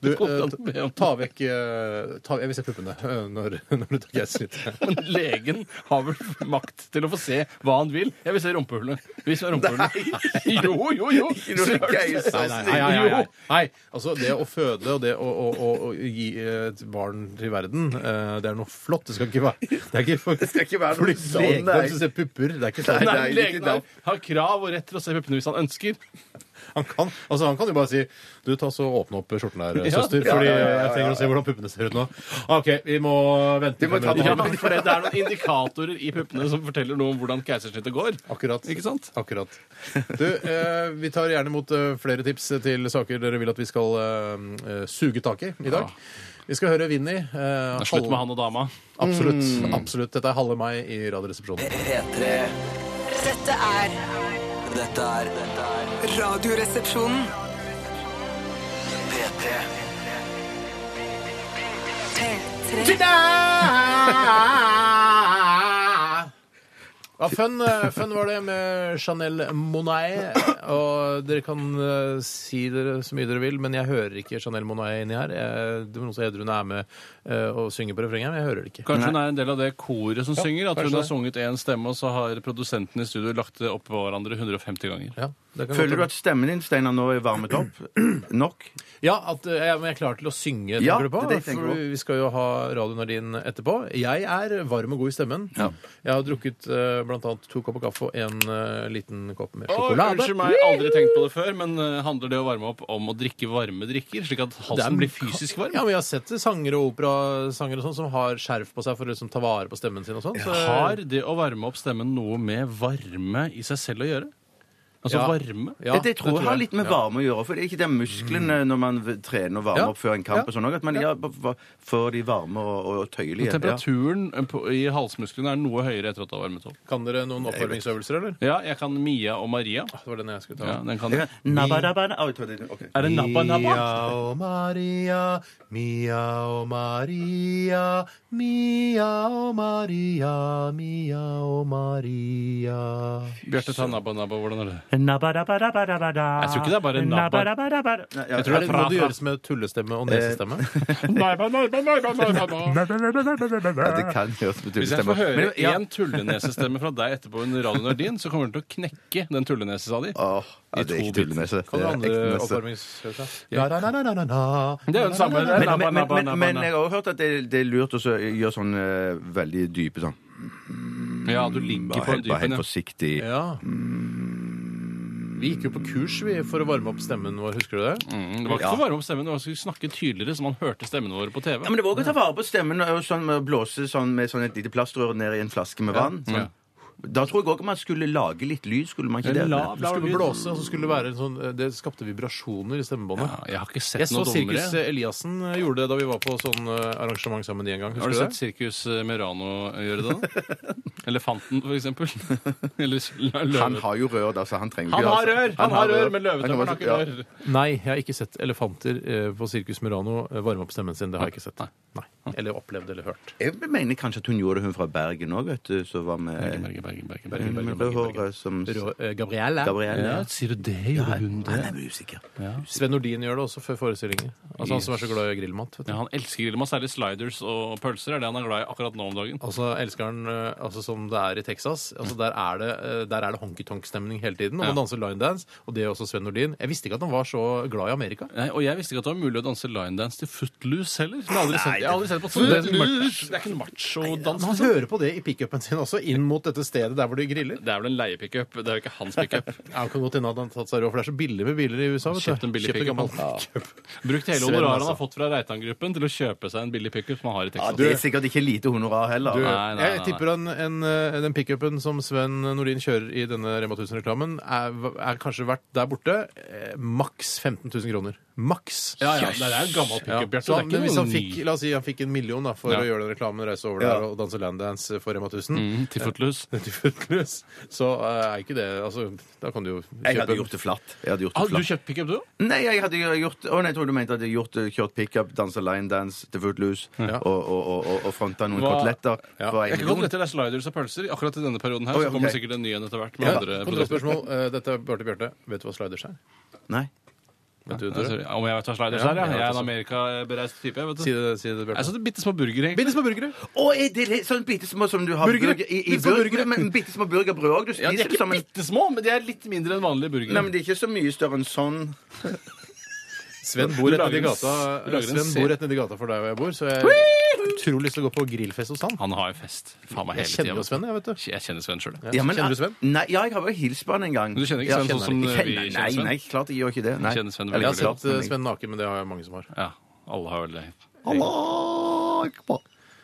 Speaker 4: Du,
Speaker 5: kommer til å
Speaker 4: eh,
Speaker 5: be om det.
Speaker 4: ta vekk eh, ta, Jeg vil se puppene eh, når, når du tar keisersnitt.
Speaker 5: Men legen har vel makt til å få se hva han vil. Jeg vil se rumpehullet. Vis meg rumpehullet. Jo, jo, jo!
Speaker 6: Ikke noe
Speaker 4: Nei,
Speaker 6: geist, ass.
Speaker 4: nei, nei, nei, nei, nei. nei. Altså, det å føde og det å, å, å, å gi et barn til verden, eh, det er noe flott. Det skal ikke være Det, er ikke for, det
Speaker 6: skal ikke være noe
Speaker 4: fordi
Speaker 6: sånn,
Speaker 4: leger
Speaker 6: nei.
Speaker 4: som ser pupper. Det er ikke sånn.
Speaker 6: Nei,
Speaker 5: Nei,
Speaker 6: ikke
Speaker 5: legen
Speaker 6: da.
Speaker 5: har, har krav og rett til å se puppene hvis han ønsker.
Speaker 4: Han kan, altså, han kan jo bare si Du, ta så åpne opp skjorten der, søster,
Speaker 6: Ja,
Speaker 4: fordi
Speaker 6: ja, ja, ja,
Speaker 4: jeg trenger å se hvordan puppene ser ut nå. OK, vi må vente
Speaker 6: Vi må
Speaker 4: fem
Speaker 6: ta
Speaker 5: Ja,
Speaker 4: minutter.
Speaker 5: for det, det er noen indikatorer i puppene som forteller noe om hvordan keisersnittet går.
Speaker 4: Akkurat.
Speaker 5: Ikke sant?
Speaker 4: Akkurat. Du, eh, vi tar gjerne imot eh, flere tips til saker dere vil at vi skal eh, eh, suge tak i i dag. Vi skal høre Vinni. Eh,
Speaker 5: Det er slutt
Speaker 4: halv-
Speaker 5: med han Mm. og dama.
Speaker 4: Absolutt. absolutt. Dette er halve meg i Radioresepsjonen.
Speaker 2: P3
Speaker 8: Dette er
Speaker 2: Dette er dette er
Speaker 8: Radioresepsjonen.
Speaker 2: P3
Speaker 8: P3.
Speaker 4: Ja, fun, eh, fun var det med Chanel Monae. Og dere kan eh, si dere så mye dere vil, men jeg hører ikke Chanel Monae inni her. Jeg, det var noen som heter hun er med eh, og synger på refrenget, men jeg hører det ikke.
Speaker 5: Kanskje hun er en del av det koret som synger? At hun
Speaker 4: kanskje
Speaker 5: har
Speaker 4: det.
Speaker 5: sunget én stemme, og så har produsenten i studio lagt det oppå hverandre 150 ganger?
Speaker 4: Ja, det kan
Speaker 6: Føler
Speaker 4: godt
Speaker 6: du at stemmen din, Steinar, nå er varmet opp nok?
Speaker 4: Ja, at eh, jeg men jeg er klar til å synge,
Speaker 6: Ja,
Speaker 4: tenker du på?
Speaker 6: det tenker jeg
Speaker 4: For
Speaker 6: på.
Speaker 4: vi skal jo ha radionardin etterpå. Jeg er varm og god i stemmen. Jeg har drukket eh, blant annet to kopper kaffe og en eh, liten kopp med
Speaker 5: Oi,
Speaker 4: sjokolade.
Speaker 5: Unnskyld meg, aldri tenkt på det før, men eh, handler det å varme opp om å drikke varme drikker? Slik at
Speaker 4: Det er-
Speaker 5: halsen blir fysisk varm?
Speaker 4: Ja, men Jeg har sett sanger og operasanger og sånn som har skjerf på seg for å liksom ta vare på stemmen sin. og sånn. Så,
Speaker 5: Har det å varme opp stemmen noe med varme i seg selv å gjøre? Altså
Speaker 4: Ja.
Speaker 5: varme?
Speaker 4: Ja,
Speaker 6: det tror jeg har litt med varme å gjøre. For det er ikke det musklene når man v- trener og varmer
Speaker 4: Ja.
Speaker 6: opp før en
Speaker 4: Ja.
Speaker 6: kamp og sånn også, at man ja, b- b- får de varme og, og tøyelige. ja.
Speaker 5: Temperaturen eh, på, i halsmusklene er noe høyere etter at det har varmet opp.
Speaker 4: Kan dere noen oppvarmingsøvelser, eller?
Speaker 5: Ja, jeg kan Mia og Maria.
Speaker 4: Det var den jeg skulle ta.
Speaker 5: Ja, den kan...
Speaker 6: Jeg kan- Nabba-dabba- Oi, det var det- ok.
Speaker 5: Er det Nabba Nabba?
Speaker 4: Mia og Maria, Mia og Maria, Mia og Maria, Mia og Maria.
Speaker 5: Bjarte, ta Nabba Nabba. Hvordan er det?
Speaker 9: Nabba-dabba-dabba-dabba.
Speaker 5: Jeg tror ikke det er bare nabba.
Speaker 9: Nabba-dabba-dabba.
Speaker 6: Nei, ja,
Speaker 5: Jeg tror
Speaker 4: Er Eh, det
Speaker 5: det er
Speaker 4: noe
Speaker 5: fra,
Speaker 4: det
Speaker 5: fra.
Speaker 4: gjøres med tullestemme og nesestemme?
Speaker 5: Nabba, nabba, nabba, nabba, nabba.
Speaker 6: ja, det kan gjøres med
Speaker 5: Hvis jeg får
Speaker 6: tullestemmer.
Speaker 5: høre
Speaker 6: Men- ja.
Speaker 5: én tullenesestemme fra deg etterpå under Radio Nardin, så kommer den til å knekke den tullenesa di.
Speaker 6: Åh, ja,
Speaker 5: I
Speaker 6: det er
Speaker 5: to bit.
Speaker 6: ikke tullenese. Det
Speaker 4: Kan du
Speaker 6: er
Speaker 4: andre
Speaker 6: ekte nese.
Speaker 4: oppvarmingsøvelser? Ja. Na, na, na, na, na, na.
Speaker 5: Det er jo den samme. det er
Speaker 6: Men,
Speaker 5: nabba,
Speaker 6: men, men,
Speaker 5: nabba,
Speaker 6: men,
Speaker 5: nabba,
Speaker 6: men jeg har også hørt at det, det er lurt å så gjøre sånn eh, veldig dype sånn.
Speaker 5: nabba. Ja, du ligger
Speaker 6: Bare
Speaker 5: på
Speaker 6: helt, bare
Speaker 5: dypen.
Speaker 6: helt
Speaker 5: ja.
Speaker 6: forsiktig.
Speaker 4: Ja. Vi gikk jo på kurs vi, for å varme opp stemmen vår, husker du det?
Speaker 5: Mm, Det var ikke for å varme opp stemmen, det var for å snakke tydeligere, så man hørte stemmene våre på TV.
Speaker 6: Ja, men det var også å ta vare på stemmen og sånn, med å blåse sånn, med sånn et lite plastrør ned i en flaske med vann.
Speaker 5: Ja.
Speaker 6: Sånn. Da tror jeg òg man skulle lage litt lyd, skulle man ikke
Speaker 5: Eller
Speaker 6: det?
Speaker 5: la-
Speaker 4: Du skulle blåse, og så skulle det være en sånn Det skapte vibrasjoner i stemmebåndet.
Speaker 5: Ja, jeg har ikke sett
Speaker 4: Jeg så eh,
Speaker 5: noe dummere.
Speaker 4: Sirkus Eliassen gjorde det da vi var på sånn eh, arrangement sammen de en gang.
Speaker 5: Har du
Speaker 4: Husker
Speaker 5: sett
Speaker 4: du det?
Speaker 5: Sirkus Merano gjøre det? da? Elefanten, for eksempel. Eller s- løven.
Speaker 6: Han har jo rør, da, så han trenger
Speaker 5: Han
Speaker 6: ikke-
Speaker 5: har rør! Han har rør, men
Speaker 6: Han
Speaker 5: løvetømmeren
Speaker 6: kan
Speaker 5: har ikke
Speaker 6: bare-
Speaker 5: rør.
Speaker 4: Nei, jeg har ikke sett elefanter eh, på Sirkus Murano eh, varme opp stemmen sin. Det har jeg ikke sett.
Speaker 5: Nei.
Speaker 4: Nei. Eller opplevd eller hørt.
Speaker 6: ja. Jeg mener kanskje at hun gjorde det, hun fra Bergen òg, vet du, som var med
Speaker 5: Bergen, Bergen, Bergen, Bergen, Bergen,
Speaker 6: med
Speaker 5: Bergen, Bergen, Bergen.
Speaker 6: rødhåret som
Speaker 4: Rå- eh, Gabrielle.
Speaker 6: Gabrielle.
Speaker 5: Ja, sier du det? Gjorde hun det?
Speaker 6: Han er musiker.
Speaker 4: Sven Nordin gjør det også før forestillinger. Altså Han som er så glad i grillmat. vet du.
Speaker 5: Ja, han elsker grillmat, særlig sliders og pølser. er det han er glad i akkurat nå om dagen.
Speaker 4: Altså, elsker han eh, altså, som det er i Texas. Altså, der er det, eh, der er det honky-tonk-stemning hele tiden. Og man danser line dance, og det er også Sven Nordin. Jeg visste ikke at han var så glad i Amerika.
Speaker 5: Nei, og jeg visste ikke at det var mulig å danse linedance til footloose heller. Jeg har aldri sett, jeg har aldri sett på footloose. Det er ikke en macho-dans. liksom.
Speaker 4: Men han hører på det i pickupen sin også, inn mot dette stedet der hvor de griller.
Speaker 5: Det er vel en leiepickup. Det er jo ikke hans pickup.
Speaker 4: Ja, det kan godt hende at han har tatt seg råd, for det er så billig med biler i USA. vet du.
Speaker 5: Kjøpt en billig
Speaker 4: Kjøpt en gammel
Speaker 5: pickup. Brukt hele
Speaker 4: Sven,
Speaker 5: honoraret
Speaker 4: altså.
Speaker 5: han har fått fra Reitan-gruppen til å kjøpe seg en billig pickup som han har i
Speaker 6: Ja,
Speaker 5: Texas.
Speaker 6: det er sikkert ikke lite honorar heller.
Speaker 4: Du,
Speaker 5: Nei, nei, nei,
Speaker 4: jeg
Speaker 5: nei.
Speaker 4: tipper en, en, eh, den pickupen som Sven Nordin kjører i denne Rema 1000-reklamen, er, er kanskje verdt der borte eh, maks 15 000 kroner. Maks.
Speaker 5: Ja, ja, det er en gammel
Speaker 4: Ja.
Speaker 5: pickup, Bjarte.
Speaker 4: Så
Speaker 5: Det er
Speaker 4: han,
Speaker 5: ikke
Speaker 4: men hvis
Speaker 5: noe
Speaker 4: han fikk,
Speaker 5: ny
Speaker 4: la oss si han fikk en million da, for
Speaker 5: Ja.
Speaker 4: å gjøre den reklamen, reise over der og danse landdance for Rema 1000
Speaker 5: Mm, til footloose.
Speaker 4: til footloose, så eh, er ikke det altså, Da kan du jo
Speaker 6: Jeg hadde
Speaker 4: kjøpe
Speaker 6: gjort det flatt. Jeg hadde gjort det
Speaker 5: Har du
Speaker 6: flatt.
Speaker 5: kjøpt pickup, du?
Speaker 6: Nei, jeg hadde jo gjort Å nei, jeg trodde du mente at jeg hadde gjort, eh, kjørt pickup, dansa linedance til footloose og, og, og, og, og fronta noen
Speaker 5: Hva-
Speaker 6: koteletter.
Speaker 4: Ja.
Speaker 6: for en
Speaker 5: Jeg kan
Speaker 6: million.
Speaker 5: godt lette deg sliders og pølser. Akkurat i denne perioden her
Speaker 6: Å, ja,
Speaker 5: så kommer
Speaker 6: ok.
Speaker 5: sikkert en ny en etter hvert. med
Speaker 4: ja,
Speaker 5: andre produkter.
Speaker 4: Kontrollspørsmål. Eh, Dette er Bjarte Bjarte. Vet du hva sliders er?
Speaker 6: Nei.
Speaker 4: Vet du,
Speaker 5: Ja, Altså,
Speaker 4: Tore?
Speaker 5: sorry. Om jeg vet hva sliders
Speaker 4: Ja,
Speaker 5: er,
Speaker 4: jeg
Speaker 5: ja. altså. Jeg er
Speaker 4: vet
Speaker 5: en
Speaker 4: også.
Speaker 5: amerikabereist type. jeg, Vet
Speaker 4: Si
Speaker 5: du.
Speaker 4: det, si det
Speaker 5: Jeg
Speaker 4: Bjarte.
Speaker 5: så bitte små burgere. egentlig.
Speaker 4: Bitte små burgere.
Speaker 6: Å, er det litt sånn bitte små som du har
Speaker 4: Burgere.
Speaker 6: burger- i, i
Speaker 4: Bittesmå
Speaker 6: burger,
Speaker 4: burgere.
Speaker 6: Men bitte små burgerbrød òg. Du
Speaker 5: sånn Ja, de er
Speaker 6: spiser det
Speaker 5: ikke
Speaker 6: som en
Speaker 5: bitte små, men de er litt mindre enn vanlige burgere.
Speaker 6: Nei, men det er ikke så mye større enn sånn.
Speaker 4: Sven bor
Speaker 5: Du
Speaker 4: rett
Speaker 5: lager
Speaker 4: nedi
Speaker 5: en
Speaker 4: gata
Speaker 5: s- du lager en
Speaker 4: Sven
Speaker 5: serie.
Speaker 4: bor rett nedi gata for der hvor jeg bor, så jeg har utrolig lyst til å gå på grillfest hos han.
Speaker 5: Han har jo fest faen meg
Speaker 4: Jeg
Speaker 5: hele
Speaker 4: kjenner jo
Speaker 5: tida.
Speaker 4: Sven, jeg, vet du.
Speaker 5: Jeg kjenner Sven sjøl.
Speaker 6: Ja, men-
Speaker 4: Kjenner du Sven?
Speaker 6: Nei, ja, jeg har jo hilst på han en gang.
Speaker 5: Men du kjenner ikke
Speaker 6: Ja,
Speaker 5: Sven sånn som vi
Speaker 6: jeg kjenner
Speaker 5: kjenner Sven?
Speaker 6: Nei, nei, klart jeg gjør ikke det. Nei.
Speaker 5: Kjenner Sven
Speaker 6: Eller,
Speaker 5: veldig
Speaker 4: Jeg har
Speaker 5: godt.
Speaker 4: sett eh, Sven naken, men det har jeg mange som har.
Speaker 5: Ja, alle har vel det.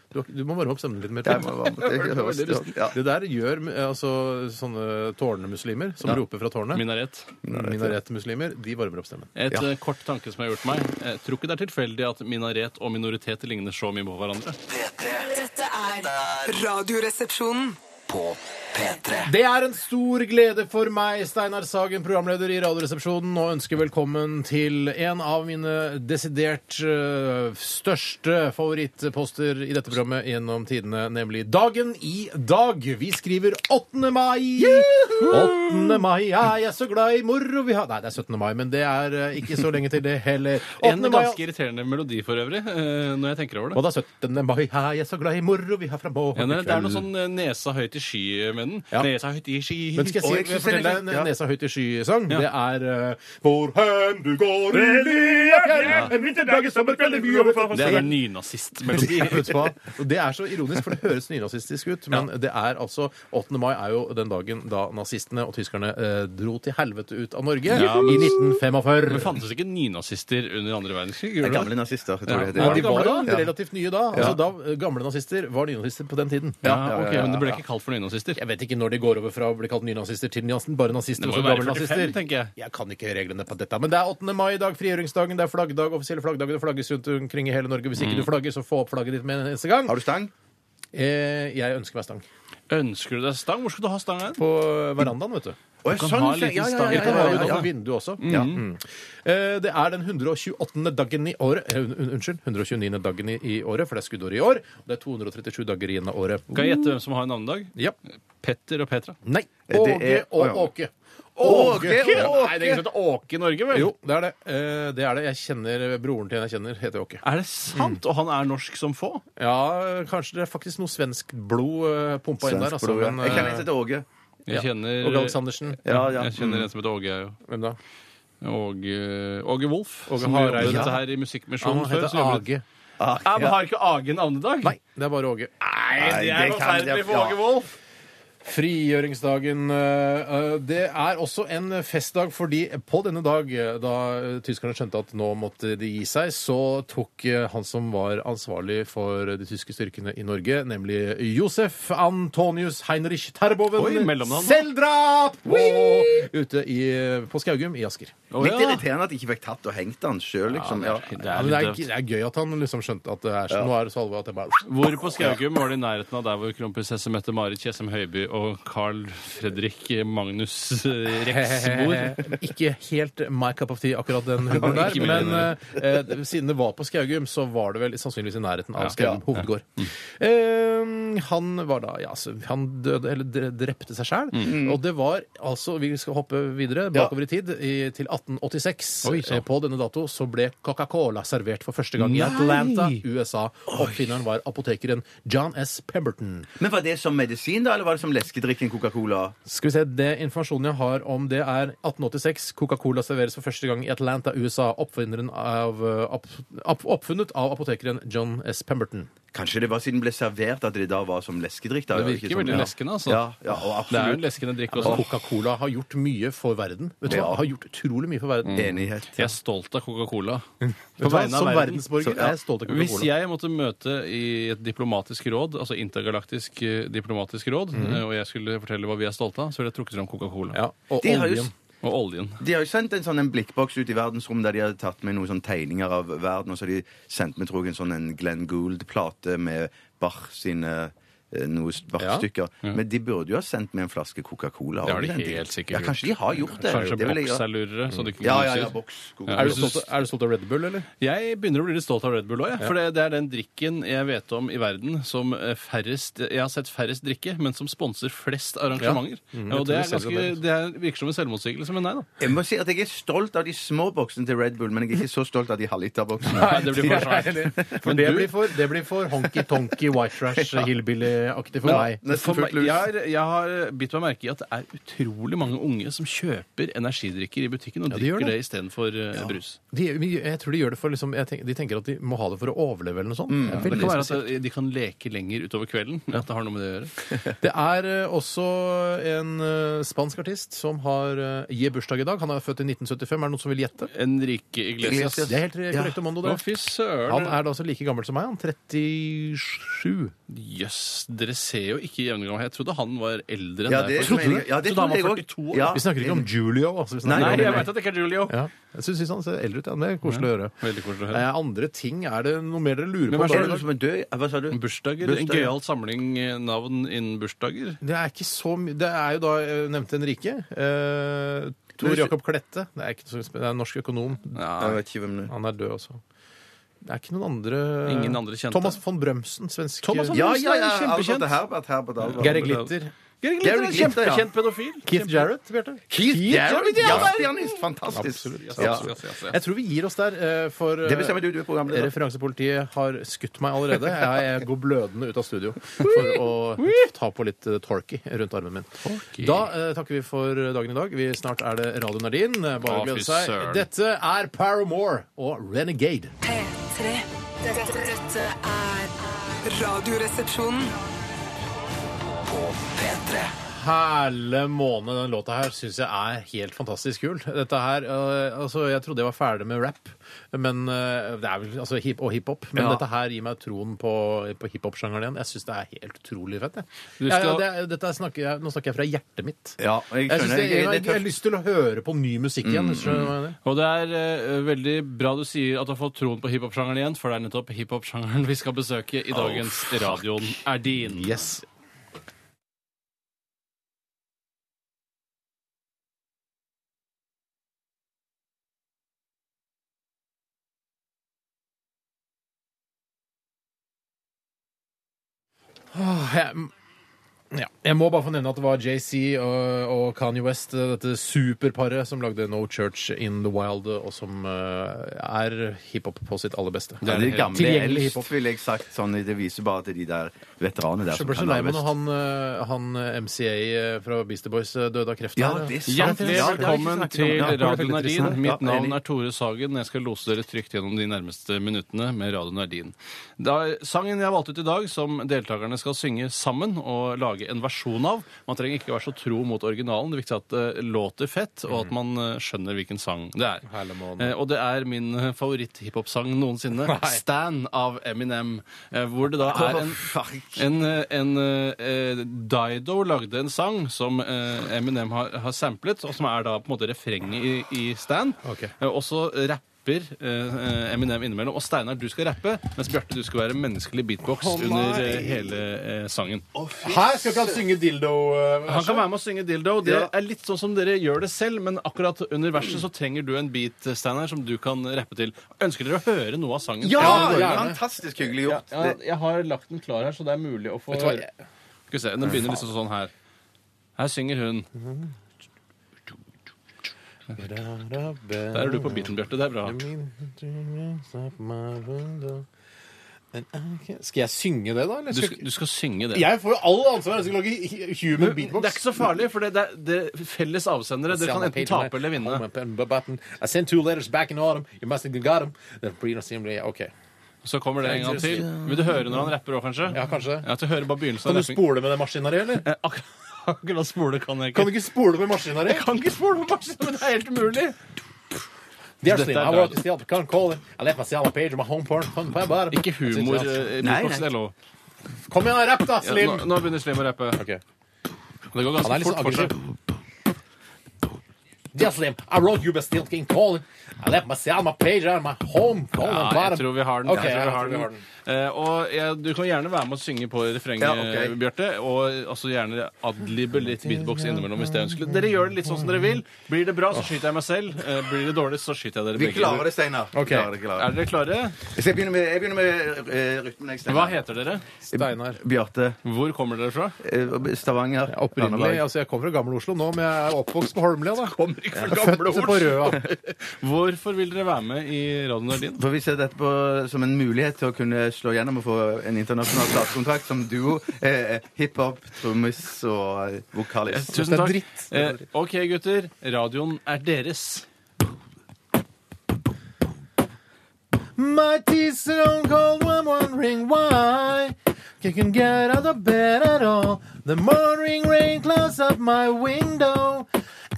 Speaker 4: Du, du må varme opp stemmen litt mer.
Speaker 6: Jeg må være med på det. Jeg hører
Speaker 4: Det,
Speaker 6: det. Ja.
Speaker 4: der gjør eh, altså sånne tårnemuslimer som roper fra tårnet.
Speaker 5: Minaret.
Speaker 4: Minaretmuslimer. De varmer opp stemmen.
Speaker 5: Et eh, kort tanke som har gjort meg. Jeg tror ikke det er tilfeldig at minaret og minoritet ligner så mye på hverandre.
Speaker 2: P3
Speaker 8: Dette er Radioresepsjonen.
Speaker 2: på P3
Speaker 4: Det er en stor glede for meg, Steinar Sagen, programleder i Radioresepsjonen, og ønsker velkommen til en av mine desidert øh, største favorittposter i dette programmet gjennom tidene, nemlig Dagen i dag. Vi skriver 8. mai! 8. mai er jeg så glad i moro vi har Nei, det er 17. mai, men det er øh, ikke så lenge til det heller. 8.
Speaker 5: En
Speaker 4: mai-
Speaker 5: ganske irriterende melodi for øvrig, eh, når jeg tenker over
Speaker 4: og
Speaker 5: det.
Speaker 4: da 17. mai er jeg så glad i moro vi har fra morgen
Speaker 5: Ja,
Speaker 4: til
Speaker 5: det er noe
Speaker 4: kveld.
Speaker 5: sånn eh, nesa høyt i sky med den.
Speaker 4: Ja.
Speaker 5: Nesa høyt i sky
Speaker 4: Men skal
Speaker 5: Og
Speaker 4: jeg, si,
Speaker 6: jeg synes
Speaker 4: fortelle
Speaker 6: det
Speaker 4: deg
Speaker 6: er
Speaker 4: en
Speaker 6: litt- ja.
Speaker 4: Nesa høyt i sky-sang?
Speaker 5: Ja.
Speaker 4: Det er uh, Hvor hen du går i lia fjell, en vinterdag i sommerkveld i by over
Speaker 5: Det er en nynazistmelodi.
Speaker 4: Vet du hva? Og Det er så ironisk, for det høres nynazistisk ut, men det er altså 8. mai er jo den dagen da nazistene og tyskerne eh, dro til helvete ut av Norge
Speaker 5: Ja, men-
Speaker 4: i 1945.
Speaker 5: Det fantes ikke nynazister under andre verdenskrig? gjorde
Speaker 6: Det er
Speaker 5: det?
Speaker 6: gamle nazister. Jeg tror
Speaker 5: Ja.
Speaker 6: det,
Speaker 4: Ja,
Speaker 5: Var
Speaker 4: de
Speaker 5: de
Speaker 4: var
Speaker 5: gamle
Speaker 4: jo relativt nye da. Altså, da eh, gamle nazister var nynazister på den tiden.
Speaker 5: Ja, ok, Men det ble ikke kalt for nynazister?
Speaker 4: Jeg vet ikke når de går over fra å bli kalt nynazister til nynazister, bare nazister
Speaker 5: Det
Speaker 4: og
Speaker 5: må
Speaker 4: så
Speaker 5: jo være
Speaker 4: gamle
Speaker 5: 45,
Speaker 4: nazister.
Speaker 5: tenker jeg.
Speaker 4: Jeg kan ikke reglene på dette, men det er 8. mai i dag, frigjøringsdagen, det er flaggdag, offisielle flaggdager, det flagges rundt omkring i hele Norge. Hvis ikke du flagger, så få opp flagget ditt med en eneste gang.
Speaker 6: Mm. Har du stang?
Speaker 4: Eh, jeg ønsker meg stang.
Speaker 5: Ønsker du deg stang? Hvor skal du ha stang? her?
Speaker 4: På verandaen, vet du.
Speaker 6: Å,
Speaker 5: Du kan ha sånn en
Speaker 6: se-
Speaker 5: liten
Speaker 6: sånn ja, ja,
Speaker 5: stang.
Speaker 6: ja,
Speaker 4: Litt
Speaker 6: ja, ja,
Speaker 4: av
Speaker 6: ja, ja.
Speaker 4: vinduet også. Ja. Mm. Eh, Det er den 128. dagen i året eh, un- un- Unnskyld, 129. dagen i, i året, for det er skuddåret i år. Og det er 237 dager igjen av året.
Speaker 5: Kan jeg gjette hvem som har navnedag?
Speaker 4: Ja.
Speaker 5: Petter og Petra.
Speaker 4: Nei.
Speaker 6: Eh, Det
Speaker 4: Åge
Speaker 6: er-
Speaker 4: og
Speaker 6: å,
Speaker 4: Åke.
Speaker 6: Åge og
Speaker 4: Ja.
Speaker 5: Nei, det er ikke sånn at Åke i Norge, vel?
Speaker 4: Jo, det er det. Eh, Det er det. Jeg kjenner broren til en jeg kjenner, heter Åke.
Speaker 5: Er det sant? Og han er norsk som få?
Speaker 4: Ja, kanskje det er faktisk noe svensk blod eh, pumpa inn der.
Speaker 6: Svensk
Speaker 4: Altså,
Speaker 6: blod, ja.
Speaker 4: men,
Speaker 6: Jeg kjenner
Speaker 4: eh,
Speaker 6: en som heter Åge.
Speaker 5: Jeg kjenner
Speaker 4: Åge Aleksandersen.
Speaker 6: Ja, ja. Mm.
Speaker 5: Jeg kjenner en som heter Åge, jeg jo.
Speaker 4: Hvem da?
Speaker 5: Åge, Åge Wolff.
Speaker 4: Åge
Speaker 5: som jobbet
Speaker 4: Hareide.
Speaker 5: dette her i Musikkmisjonen
Speaker 4: Han
Speaker 5: før.
Speaker 4: heter
Speaker 5: så jobbet-
Speaker 4: Age.
Speaker 5: Ja, men har ikke Age navnedag?
Speaker 4: Nei, det er bare Åge.
Speaker 5: Nei, det er
Speaker 6: det kan-
Speaker 5: forferdelig for
Speaker 6: ja.
Speaker 5: Åge Wolff.
Speaker 4: Frigjøringsdagen. eh, eh, Det er også en festdag fordi på denne dag, eh, da eh, tyskerne skjønte at nå måtte de gi seg, så tok eh, han som var ansvarlig for de tyske styrkene i Norge, nemlig Josef Antonius Heinrich Terboven,
Speaker 5: Oi, mellomnavn.
Speaker 4: selvdrap! Og ute i, eh, på Skaugum i Asker.
Speaker 5: Å,
Speaker 6: Litt
Speaker 5: ja.
Speaker 6: irriterende at de ikke fikk tatt og hengt han sjøl, liksom. Ja,
Speaker 5: Det
Speaker 4: Ja,
Speaker 5: er
Speaker 4: men det, er,
Speaker 5: litt døvt.
Speaker 4: det er gøy at han liksom skjønte at det er sånn. Nå er det så alvorlig at det bare
Speaker 5: Hvor på Skaugum var det i nærheten av der hvor kronprinsesse Mette-Marit Tjessem Høiby og Carl Fredrik Magnus eh, Rex bor?
Speaker 4: Ikke helt my cup of tea, akkurat den humoren der.
Speaker 5: Ikke min
Speaker 4: Men
Speaker 5: heller.
Speaker 4: eh, eh, siden det var på Skaugum, så var det vel sannsynligvis i nærheten av
Speaker 5: Ja.
Speaker 4: Skaugum
Speaker 5: Mm.
Speaker 4: hovedgård. Eh, han var da Ja, altså, han døde, eller dre- drepte seg sjæl.
Speaker 5: Mm.
Speaker 4: Og det var altså Vi skal hoppe videre bakover i tid, i, til 1886.
Speaker 5: Oi, sant.
Speaker 4: Eh, på denne dato så ble Coca-Cola servert for første gang i Atlanta, USA. Oppfinneren var apotekeren John S. Pemberton.
Speaker 6: Men var det som medisin, da, eller var det som leskedrikken Coca-Cola?
Speaker 4: Skal vi se, det Informasjonen jeg har om det, er 1886. Coca-Cola serveres for første gang i Atlanta, USA. Oppfinneren av, eh, opp, opp, oppfunnet av apotekeren John S. Pemberton.
Speaker 6: Kanskje det var siden det ble servert at det da var som leskedrikk? Da,
Speaker 5: Det
Speaker 6: eller
Speaker 5: virker
Speaker 6: ikke som-
Speaker 5: veldig
Speaker 6: ja.
Speaker 5: leskende, altså.
Speaker 6: Ja, ja, og
Speaker 5: Det er jo en
Speaker 6: absolutt.
Speaker 5: leskende drikk
Speaker 4: Altså,
Speaker 5: også.
Speaker 4: Coca-Cola har gjort mye for verden. Vet du hva?
Speaker 6: Ja.
Speaker 4: Har gjort utrolig mye for verden.
Speaker 5: Mm.
Speaker 6: Enighet.
Speaker 5: Jeg er stolt av Coca-Cola.
Speaker 4: Vet du hva? Som
Speaker 5: Så,
Speaker 4: verdensborger
Speaker 5: ja.
Speaker 4: er jeg stolt av
Speaker 5: Hvis
Speaker 4: Coca-Cola.
Speaker 5: jeg måtte møte i et diplomatisk råd, altså intergalaktisk eh, diplomatisk råd, eh, og jeg skulle fortelle hva vi er stolte av, så ville jeg trukket fram Coca-Cola.
Speaker 4: Ja, og
Speaker 6: De har jo
Speaker 4: oljen.
Speaker 5: Og oljen.
Speaker 6: De har jo sendt en sånn en blikkboks ut i verdensrommet der de hadde tatt med noen sånne tegninger av verden, og så har de sendt med tror jeg en sånn en Glenn Gould-plate med Bach sine eh, noen Bach-stykker. Men de burde jo ha sendt med en flaske Coca-Cola.
Speaker 5: Mm. Det har de
Speaker 6: også, den tiden.
Speaker 5: helt sikkert
Speaker 6: Ja, kanskje de har gjort det.
Speaker 5: Kanskje
Speaker 6: det vil jeg
Speaker 5: boks er
Speaker 6: gjøre.
Speaker 5: lurere. Så det ikke
Speaker 6: ja, ja, ja,
Speaker 5: knuses.
Speaker 6: boks.
Speaker 5: Ja.
Speaker 4: Er du, stolt, er du stolt av Red Bull, eller?
Speaker 5: Jeg begynner å bli litt stolt av Red Bull òg, jeg. For det, det er den drikken jeg vet om i verden som eh, færrest Jeg har sett færrest drikke, men som sponser flest arrangementer. og
Speaker 4: jeg
Speaker 5: det, er
Speaker 4: tror det
Speaker 5: ganske, det er, virker som en selvmotsigelse, men nei da.
Speaker 6: Jeg må si at jeg er stolt av de små boksene til Red Bull, men jeg er ikke så stolt av de halvliterboksene.
Speaker 5: Nei, det blir for sånn. svært.
Speaker 4: For det blir for, det blir for honky-tonky, white trash, hillbilly-aktig for meg.
Speaker 6: Nesten
Speaker 5: For meg,
Speaker 6: fullt lus.
Speaker 5: jeg, har, jeg har bitt meg merke i at det er utrolig mange unge som kjøper energidrikker i butikken og
Speaker 4: de gjør
Speaker 5: drikker
Speaker 4: det.
Speaker 5: det, istedenfor eh, brus.
Speaker 4: De, jeg tror de gjør det for liksom, jeg tenker, De tenker at de må ha det for å overleve, eller noe sånt. Ja,
Speaker 5: Men det
Speaker 4: veldig
Speaker 5: kan være at de kan leke lenger utover kvelden. At det har noe med det å gjøre.
Speaker 4: Det er eh, også en eh, spansk artist som har eh, gir bursdag i dag. Han er født i 1975. Er det noen som vil gjette?
Speaker 5: Enrique Iglesias.
Speaker 4: Det er helt korrekt, Amando.
Speaker 5: Å,
Speaker 4: Det.
Speaker 5: fy søren.
Speaker 4: Han er da altså like gammel som meg. Han 37.
Speaker 5: Jøss, dere ser jo ikke i jevngammelhet. Jeg trodde han var eldre enn
Speaker 6: Ja,
Speaker 5: deg.
Speaker 6: det
Speaker 5: faktisk.
Speaker 6: mener jeg- ja, det
Speaker 5: trodde han var
Speaker 6: trodde jeg også.
Speaker 5: 42 år.
Speaker 6: Ja.
Speaker 4: Vi snakker ikke om Julio. Altså, vi snakker
Speaker 5: Nei,
Speaker 4: om-
Speaker 5: jeg vet at det ikke er Julio.
Speaker 4: Ja. Jeg syns han ser eldre ut. Ja. Det er koselig å høre.
Speaker 5: Veldig koselig å høre.
Speaker 4: Eh, andre ting, er det noe mer dere lurer
Speaker 5: Men
Speaker 4: på?
Speaker 5: hva er det
Speaker 6: Er det noen som er død? Hva sa du?
Speaker 5: Bursdager. En
Speaker 6: Bursdager.
Speaker 5: gøyal samling eh, navn innen bursdager.
Speaker 4: Det er ikke så mye Det er jo da jeg nevnte Henrike. Eh, Tor Jakob Klette. Det er, ikke så, spen- det er en norsk økonom.
Speaker 6: Jeg
Speaker 5: Ja.
Speaker 6: vet ikke hvem det er.
Speaker 4: Han er død også. Det er ikke noen andre
Speaker 5: Ingen andre kjente.
Speaker 4: Thomas von Brømsen, svensk
Speaker 5: Thomas von
Speaker 6: Ja,
Speaker 5: Brømsen
Speaker 6: ja,
Speaker 5: er
Speaker 6: ja.
Speaker 5: jo kjempekjent.
Speaker 6: Albert og Herbert, Herbert og Albert.
Speaker 4: Gary Glitter.
Speaker 5: Gary
Speaker 6: Gary
Speaker 5: Glitter er en
Speaker 6: Glitter, ja.
Speaker 5: kjempekjent pedofil.
Speaker 4: Keith Jarrett, Bjarte.
Speaker 6: Keith Jarrett,
Speaker 4: ja,
Speaker 6: ja,
Speaker 4: det er-
Speaker 6: pianist, fantastisk.
Speaker 4: Absolutt.
Speaker 5: Yes,
Speaker 6: Ja.
Speaker 5: yes, yes, yes, yes.
Speaker 4: Jeg tror vi gir oss der, eh, for eh,
Speaker 6: Det bestemmer du, du er programleder.
Speaker 4: Referansepolitiet har skutt meg allerede. Jeg, jeg går blødende ut av studio for å ta på litt eh, torky rundt armen min. Da eh, takker vi for dagen i dag. Vi, snart er det Radio Nardin. Eh, Bare å
Speaker 5: Å,
Speaker 4: glede
Speaker 5: fy
Speaker 4: seg.
Speaker 5: søren.
Speaker 4: Dette er Paramore og Renegade.
Speaker 8: P3. Dette, dette er Radioresepsjonen.
Speaker 4: Herle måne, den låta her syns jeg er helt fantastisk kul. Dette her, øh, altså Jeg trodde jeg var ferdig med rap men, øh, det er vel, altså, hip, og hiphop, men
Speaker 5: Ja.
Speaker 4: dette her gir meg troen på, på hiphop-sjangeren igjen. Jeg syns det er helt utrolig fett. Jeg.
Speaker 5: Du
Speaker 4: Ja,
Speaker 5: skal-
Speaker 4: ja, det, er- dette er snakker jeg, nå snakker jeg fra hjertet mitt.
Speaker 6: Ja, jeg
Speaker 4: Jeg, synes
Speaker 6: skjønner.
Speaker 4: det, jeg,
Speaker 6: Jeg,
Speaker 4: jeg, har lyst til å høre på ny musikk igjen. skjønner du hva jeg mener?
Speaker 5: Og det er eh, veldig bra du sier at du har fått troen på hiphop-sjangeren igjen, for det er nettopp hiphop-sjangeren vi skal besøke i dagens Radioen er din.
Speaker 4: Yes. Åh, Jeg, ja. jeg må bare få nevne at det var JC og, og Kanye West, dette superparet, som lagde No Church in the Wild, og som eh, er hiphop på sitt aller beste.
Speaker 6: det er litt gamle
Speaker 4: Tilgjengelig hiphop.
Speaker 6: elst, ville jeg sagt. Sånn, det viser bare til de der veteranene der.
Speaker 4: Jeg
Speaker 6: som
Speaker 4: ble så
Speaker 6: kan
Speaker 4: lei
Speaker 6: ha
Speaker 4: meg
Speaker 6: vest.
Speaker 4: når han, eh, han eh, MCA eh, fra Beastie Boys eh, døde av kreft.
Speaker 6: Ja,
Speaker 4: her.
Speaker 6: det er sant.
Speaker 5: Hjertelig
Speaker 6: Ja, det har vi ikke
Speaker 5: velkommen
Speaker 6: snakket om.
Speaker 5: til
Speaker 6: Ja, det er
Speaker 5: Radio
Speaker 6: veldig
Speaker 5: Nardin.
Speaker 6: interessant.
Speaker 5: Mitt
Speaker 6: Ja,
Speaker 5: navn
Speaker 6: enig.
Speaker 5: er Tore Sagen. Jeg skal lose dere trygt gjennom de nærmeste minuttene med Radio Nardin. Det er sangen jeg valgte ut i dag, som deltakerne skal synge sammen og lage en versjon av. Man trenger ikke være så tro mot originalen. Det er viktig at det låter fett, og at man eh, skjønner hvilken sang det er.
Speaker 4: Herlig måned.
Speaker 5: Eh, Og det er min eh, favoritt-hiphop-sang noensinne, Stan av Eminem, eh, hvor det da er en en, eh, en eh, eh, Dido lagde en sang som eh, Eminem har, har samplet, og som er da på en måte refrenget i, i Stan.
Speaker 4: Ok.
Speaker 5: Eh, Og så rapper eh, eh, Eminem innimellom. Og Steinar, du skal rappe, mens Bjarte, du skal være menneskelig beatbox under eh, hele eh, sangen.
Speaker 4: Her skal ikke han synge dildo. eh,
Speaker 5: Han kan være med å synge dildo. Det er litt sånn som dere gjør det selv, men akkurat under verset så trenger du en beat, eh, Steinar, som du kan rappe til. Ønsker dere å høre noe av sangen?
Speaker 4: Ja,
Speaker 6: Ja,
Speaker 4: gjerne.
Speaker 6: Fantastisk hyggelig gjort.
Speaker 5: Ja, jeg har lagt den klar her, så det er mulig å få
Speaker 4: Vet du hva,
Speaker 5: høre. Skal vi se, Den begynner liksom sånn her. Her synger hun. Der er du på beaten, Bjarte. Det er bra.
Speaker 4: Skal jeg synge det, da? Eller
Speaker 5: Du
Speaker 4: skal...
Speaker 5: skal, du skal synge det.
Speaker 4: Jeg får jo all ansvar. Jeg skal lage hu- human beatbox.
Speaker 5: Det er ikke så farlig, for det, det, er- det er felles avsendere. Dere kan enten tape eller vinne.
Speaker 4: I sent two letters back in autumn. You must have got them. The breeder seemed to- OK.
Speaker 5: Så kommer det en gang til. Vil du høre når han rapper òg, kanskje?
Speaker 4: Ja, kanskje.
Speaker 5: Ja, til å høre bare begynnelsen
Speaker 4: Kan
Speaker 5: av
Speaker 4: du
Speaker 5: rapping.
Speaker 4: spole med den maskinen her, eller?
Speaker 5: Eh, akkurat- Akkurat spole kan jeg
Speaker 4: Kan du
Speaker 5: ikke.
Speaker 4: ikke spole med maskinen her?
Speaker 5: Kan ikke spole på maskinen, men det er helt umulig!
Speaker 4: Dear
Speaker 5: Dette er
Speaker 4: Slim, I
Speaker 5: bra.
Speaker 4: work still but can't call it. I left my cell on page of my home porn. Fun by bottom.
Speaker 5: Ikke humor. eh,
Speaker 6: Nei,
Speaker 5: beatbox,
Speaker 6: nei.
Speaker 5: det er lov.
Speaker 4: Kom igjen, rapp da,
Speaker 5: Ja,
Speaker 4: Slim!
Speaker 5: nå, nå begynner Slim å rappe.
Speaker 4: Ok.
Speaker 5: Det går
Speaker 4: Han er
Speaker 5: ganske
Speaker 4: litt
Speaker 5: fort
Speaker 4: sånn
Speaker 5: for seg.
Speaker 4: aggressiv. Dear Slim, I wrote you but still can't call it. I left my cell on my page on my home porn.
Speaker 5: Ja,
Speaker 4: bottom.
Speaker 5: jeg tror vi har den.
Speaker 4: Ok,
Speaker 5: jeg tror vi har
Speaker 4: vi har
Speaker 5: den. Eh, og jeg, du kan gjerne være med å synge på refrenget,
Speaker 6: Ja, ok.
Speaker 5: Bjarte. Og altså, gjerne adlibe litt beatbox innimellom hvis det er ønskelig. Dere gjør det litt sånn som dere vil. Blir det bra, så skyter jeg meg selv. Eh, blir det dårlig, så skyter jeg dere
Speaker 6: Vi
Speaker 5: begge.
Speaker 6: klarer det, Steinar. Vi klarer det, klarer det.
Speaker 5: Er dere klare?
Speaker 6: Så Jeg begynner med, jeg begynner med eh, rytmen. Jeg,
Speaker 5: Hva heter dere?
Speaker 4: Steinar.
Speaker 6: Bjarte.
Speaker 5: Hvor kommer dere fra?
Speaker 6: eh, Stavanger.
Speaker 4: Opprinnelig,
Speaker 6: Randaberg.
Speaker 4: altså Jeg kommer fra Gamle-Oslo nå, men jeg er oppvokst på Holmlia. da
Speaker 5: Kommer ikke fra
Speaker 4: Født på Røa.
Speaker 5: Hvorfor vil dere være med i Radio Nardin?
Speaker 6: For vi ser dette på, som en mulighet til å kunne slå gjennom og få en internasjonal platekontrakt som duo. Eh, Hiphop, trommis og eh, vokalist.
Speaker 5: Tusen
Speaker 4: er
Speaker 5: takk.
Speaker 4: dritt.
Speaker 5: Eh, OK, gutter. Radioen er deres.
Speaker 4: My teeth sit on cold, I'm wondering why. I can get out of bed at all. The morning rain clouds up my window,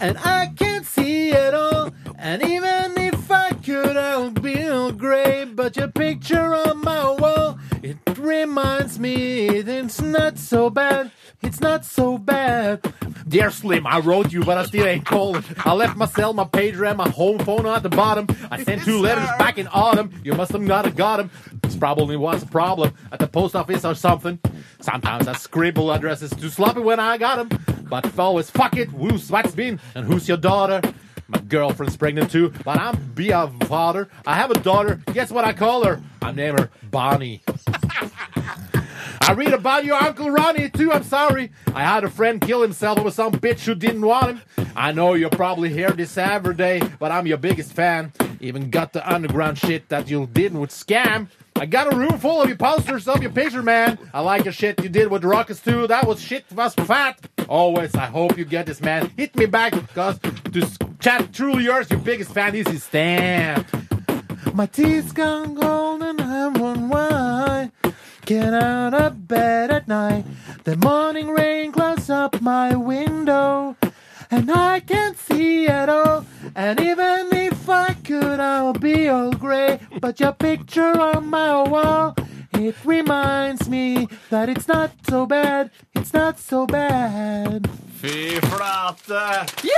Speaker 4: and I can't see at all. And even if I could, I'll be all gray. But your picture on my wall It reminds me it's not so bad. It's not so bad. Dear Slim, I wrote you, but I still ain't calling. I left my cell, my pager, and my home phone at the bottom. I sent two letters back in autumn. You must have not have got 'em. This probably was a problem at the post office or something. Sometimes I scribble addresses too sloppy when I got 'em. But always fuck it. Who's what's been and who's your daughter? My girlfriend's pregnant too, but I'm be a father. I have a daughter. Guess what I call her? I name her Bonnie. I read about your Uncle Ronnie too, I'm sorry. I had a friend kill himself over some bitch who didn't want him. I know you're probably here this every day, but I'm your biggest fan. Even got the underground shit that you did with Scam. I got a room full of your posters of your picture, man. I like your shit you did with Rockets too. That was shit was fat. Always, I hope you get this, man. Hit me back, cause to s- chat truly yours, your biggest fan is his Stan. My teeth gone gold and I wonder why. Get out of bed at night. The morning rain clouds up my window. And I can't see at all. And even if I could, I'll be all gray. But your picture on my wall, it reminds me that it's not so bad. It's not so bad.
Speaker 5: Fy flate!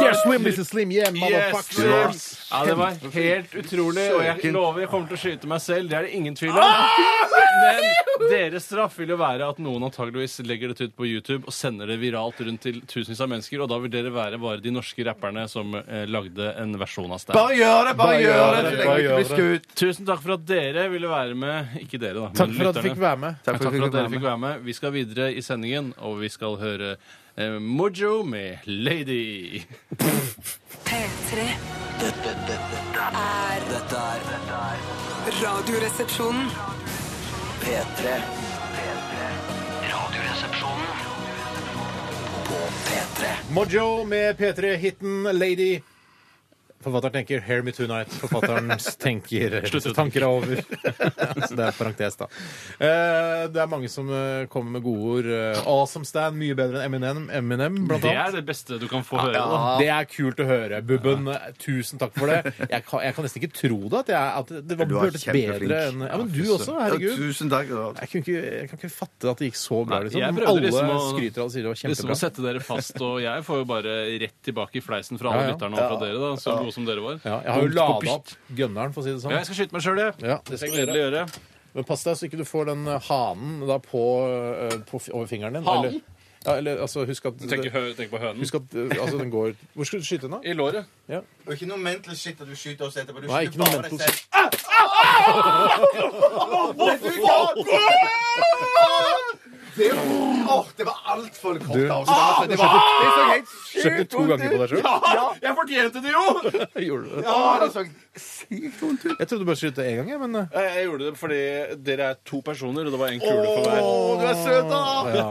Speaker 4: Dear Slim, Mrs. Slim, yeah, motherfucker.
Speaker 5: Yes, ja, det var helt utrolig, og jeg lover jeg kommer til å skyte meg selv. Det er det ingen tvil
Speaker 4: Ah!
Speaker 5: om. Men deres straff vil jo være at noen antageligvis legger dette ut på YouTube og sender det viralt rundt til tusenvis av mennesker, og da vil dere være bare de norske rapperne som eh, lagde en versjon av Stan.
Speaker 6: Bare gjør det! Bare gjør det!
Speaker 4: bare
Speaker 6: Legg
Speaker 4: gjør
Speaker 6: ut, visk ut.
Speaker 5: Tusen takk for at dere ville være med. Ikke dere, da. men
Speaker 4: Takk for at du
Speaker 5: lytterne.
Speaker 4: fikk være med.
Speaker 6: Takk
Speaker 5: Takk for at
Speaker 6: fikk
Speaker 5: dere
Speaker 6: være
Speaker 5: fikk
Speaker 6: med.
Speaker 5: være med. Vi skal videre i sendingen, og vi skal høre eh, Mojo med Lady.
Speaker 8: P3.
Speaker 2: Dette, dette, dette,
Speaker 8: er
Speaker 2: dette er dette er
Speaker 8: Radioresepsjonen.
Speaker 2: P3. P3. Radioresepsjonen på P3.
Speaker 4: Mojo med P3-hiten Lady. Forfatteren tenker 'Hear me tonight'. Forfatterens tenker
Speaker 5: Slutt.
Speaker 4: tanker er over. Så det er parentes, da. Eh, det er mange som eh, kommer med gode ord. Eh, awesome Stan, mye bedre enn Eminem, Eminem blant
Speaker 5: Det
Speaker 4: annet.
Speaker 5: er det beste du kan få høre. da.
Speaker 4: Det er kult å høre, Bubben. eh, Tusen takk for det. Jeg kan, jeg kan nesten ikke tro det, at, jeg, at det var,
Speaker 6: Du er
Speaker 4: hørtes
Speaker 6: kjempeflink.
Speaker 4: bedre enn Ja, men du også,
Speaker 6: Ja,
Speaker 4: herregud.
Speaker 6: Tusen takk. Rad.
Speaker 4: Jeg, kunne ikke, jeg kan ikke fatte at det gikk så bra.
Speaker 5: Nei,
Speaker 4: Liksom.
Speaker 5: jeg prøvde
Speaker 4: Alle
Speaker 5: liksom å-
Speaker 4: skryter av det og sier det var
Speaker 5: Liksom
Speaker 4: kjempebra.
Speaker 5: å sette dere fast, og jeg får jo bare rett tilbake i fleisen fra alle
Speaker 4: Ja, ja.
Speaker 5: lytterne og fra dere, da, så gode som dere var.
Speaker 4: Ja, jeg har jo
Speaker 5: Punkt på
Speaker 4: lada
Speaker 5: pist.
Speaker 4: opp gunneren, for å si det sånn.
Speaker 5: Ja, jeg skal skyte meg sjøl, jeg.
Speaker 4: Ja,
Speaker 5: Det skal jeg gledelig gjøre.
Speaker 4: Men pass deg så ikke du får den eh, hanen da på, eh, på fi- over fingeren din.
Speaker 5: Hanen?
Speaker 4: Eller, ja, eller altså, husk at,
Speaker 5: Tenk, hø- tenk på hønen.
Speaker 4: husk at eh, altså, den går Hvor skal du skyte den, da?
Speaker 5: I låret.
Speaker 9: Og ikke noe mental shit at du skyter oss etterpå. Du
Speaker 4: Nei,
Speaker 9: skyter
Speaker 4: ikke noe
Speaker 9: bare
Speaker 4: mental
Speaker 9: deg selv. Det er jo Åh, det var altfor kort avstand. Det var
Speaker 6: Det så helt
Speaker 4: Skjøt du
Speaker 6: sykt
Speaker 4: to
Speaker 6: vondt
Speaker 4: ganger på
Speaker 6: ut!
Speaker 4: deg sjøl?
Speaker 5: Jeg fortjente det jo! altså-
Speaker 4: Gjorde du Ah, det?
Speaker 6: Ja, det så sykt vondt ut.
Speaker 4: Jeg trodde du bare skjøt det én gang, jeg, men eh,
Speaker 5: Jeg gjorde det fordi dere er to personer, og det var én kule for hver.
Speaker 6: Å, du er søt, da!
Speaker 4: ja.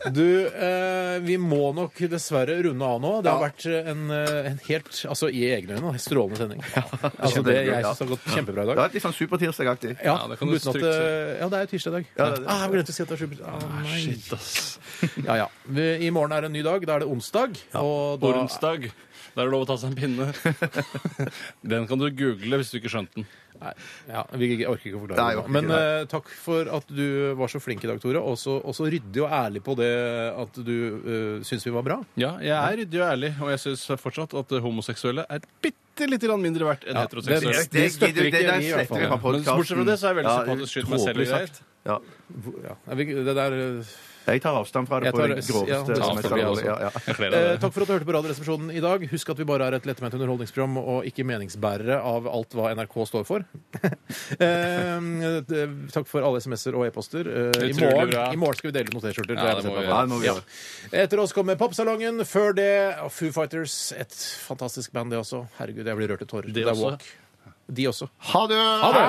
Speaker 4: Du, eh, vi må nok dessverre runde av nå. Det har vært eh, en, eh, en helt Altså i egne øyne en strålende sending. Altså, det jeg syns har gått kjempebra i
Speaker 6: Det
Speaker 4: dag.
Speaker 6: var litt sånn supertirsdagaktig.
Speaker 4: Ja,
Speaker 5: Ja, det kan du
Speaker 4: uten at,
Speaker 5: trygt si.
Speaker 4: eh, ja, det er jo tirsdag i dag.
Speaker 6: Ja, det er det.
Speaker 4: Ah, jeg glemte å si at det er super... Ah, nei.
Speaker 5: Shit, ass.
Speaker 4: Ja, ja. Vi- I morgen er det en ny dag. Da er det onsdag. Og da,
Speaker 5: Ormsdag. Da er det lov å ta seg en pinne. Den kan du google hvis du ikke skjønte den.
Speaker 4: Nei, ja, vi orker ikke å forklare
Speaker 6: Nei,
Speaker 4: det.
Speaker 6: jeg
Speaker 4: nå.
Speaker 6: orker ikke,
Speaker 4: Men eh, takk for at du var så flink i dag, Tore. Også, også ryddig og ærlig på det at du uh, syns vi var bra.
Speaker 5: Ja, jeg er ryddig og ærlig, og jeg syns fortsatt at homoseksuelle er bitte lite grann mindre verdt enn
Speaker 4: Ja,
Speaker 5: heteroseksuelle.
Speaker 4: det-
Speaker 6: Det
Speaker 4: støtter
Speaker 6: gidder-
Speaker 4: ikke
Speaker 6: det der
Speaker 4: vi i hvert fall.
Speaker 6: sletter vi fra
Speaker 5: Men
Speaker 6: podcasten.
Speaker 5: bortsett fra det så er jeg veldig
Speaker 6: Ja,
Speaker 5: sympatisk skyt meg selv i
Speaker 6: tåpelig
Speaker 5: greier.
Speaker 6: sagt. Ja.
Speaker 4: Hvor- Ja. Nei, vi- Det der eh,
Speaker 6: Jeg tar avstand fra det
Speaker 4: Jeg
Speaker 6: på
Speaker 4: tar-
Speaker 6: det
Speaker 4: ja,
Speaker 6: groveste.
Speaker 4: det
Speaker 6: som jeg
Speaker 4: skal vi
Speaker 6: kan.
Speaker 5: også.
Speaker 6: Ja, ja.
Speaker 5: Jeg kler
Speaker 4: Eh,
Speaker 5: av det.
Speaker 4: takk for at du hørte på Radioresepsjonen i dag. Husk at vi bare er et lettment underholdningsprogram og ikke meningsbærere av alt hva NRK står for. eh, det- takk for alle SMS-er og e-poster. Eh, i,
Speaker 5: Utrolig
Speaker 4: morgen,
Speaker 5: bra.
Speaker 4: I morgen skal vi dele ut noen T-skjorter.
Speaker 5: Ja,
Speaker 4: Det har
Speaker 5: det må
Speaker 4: jeg
Speaker 5: vi
Speaker 4: bestemt meg
Speaker 6: Ja, det må
Speaker 5: Ja.
Speaker 6: vi gjøre.
Speaker 4: for. Etter oss kommer Popsalongen. Før det og Foo Fighters. Et fantastisk band, det også. Herregud, jeg blir rørt til tårer. Det er
Speaker 5: også.
Speaker 4: Walk. De også.
Speaker 6: Ha det!
Speaker 4: Ha det!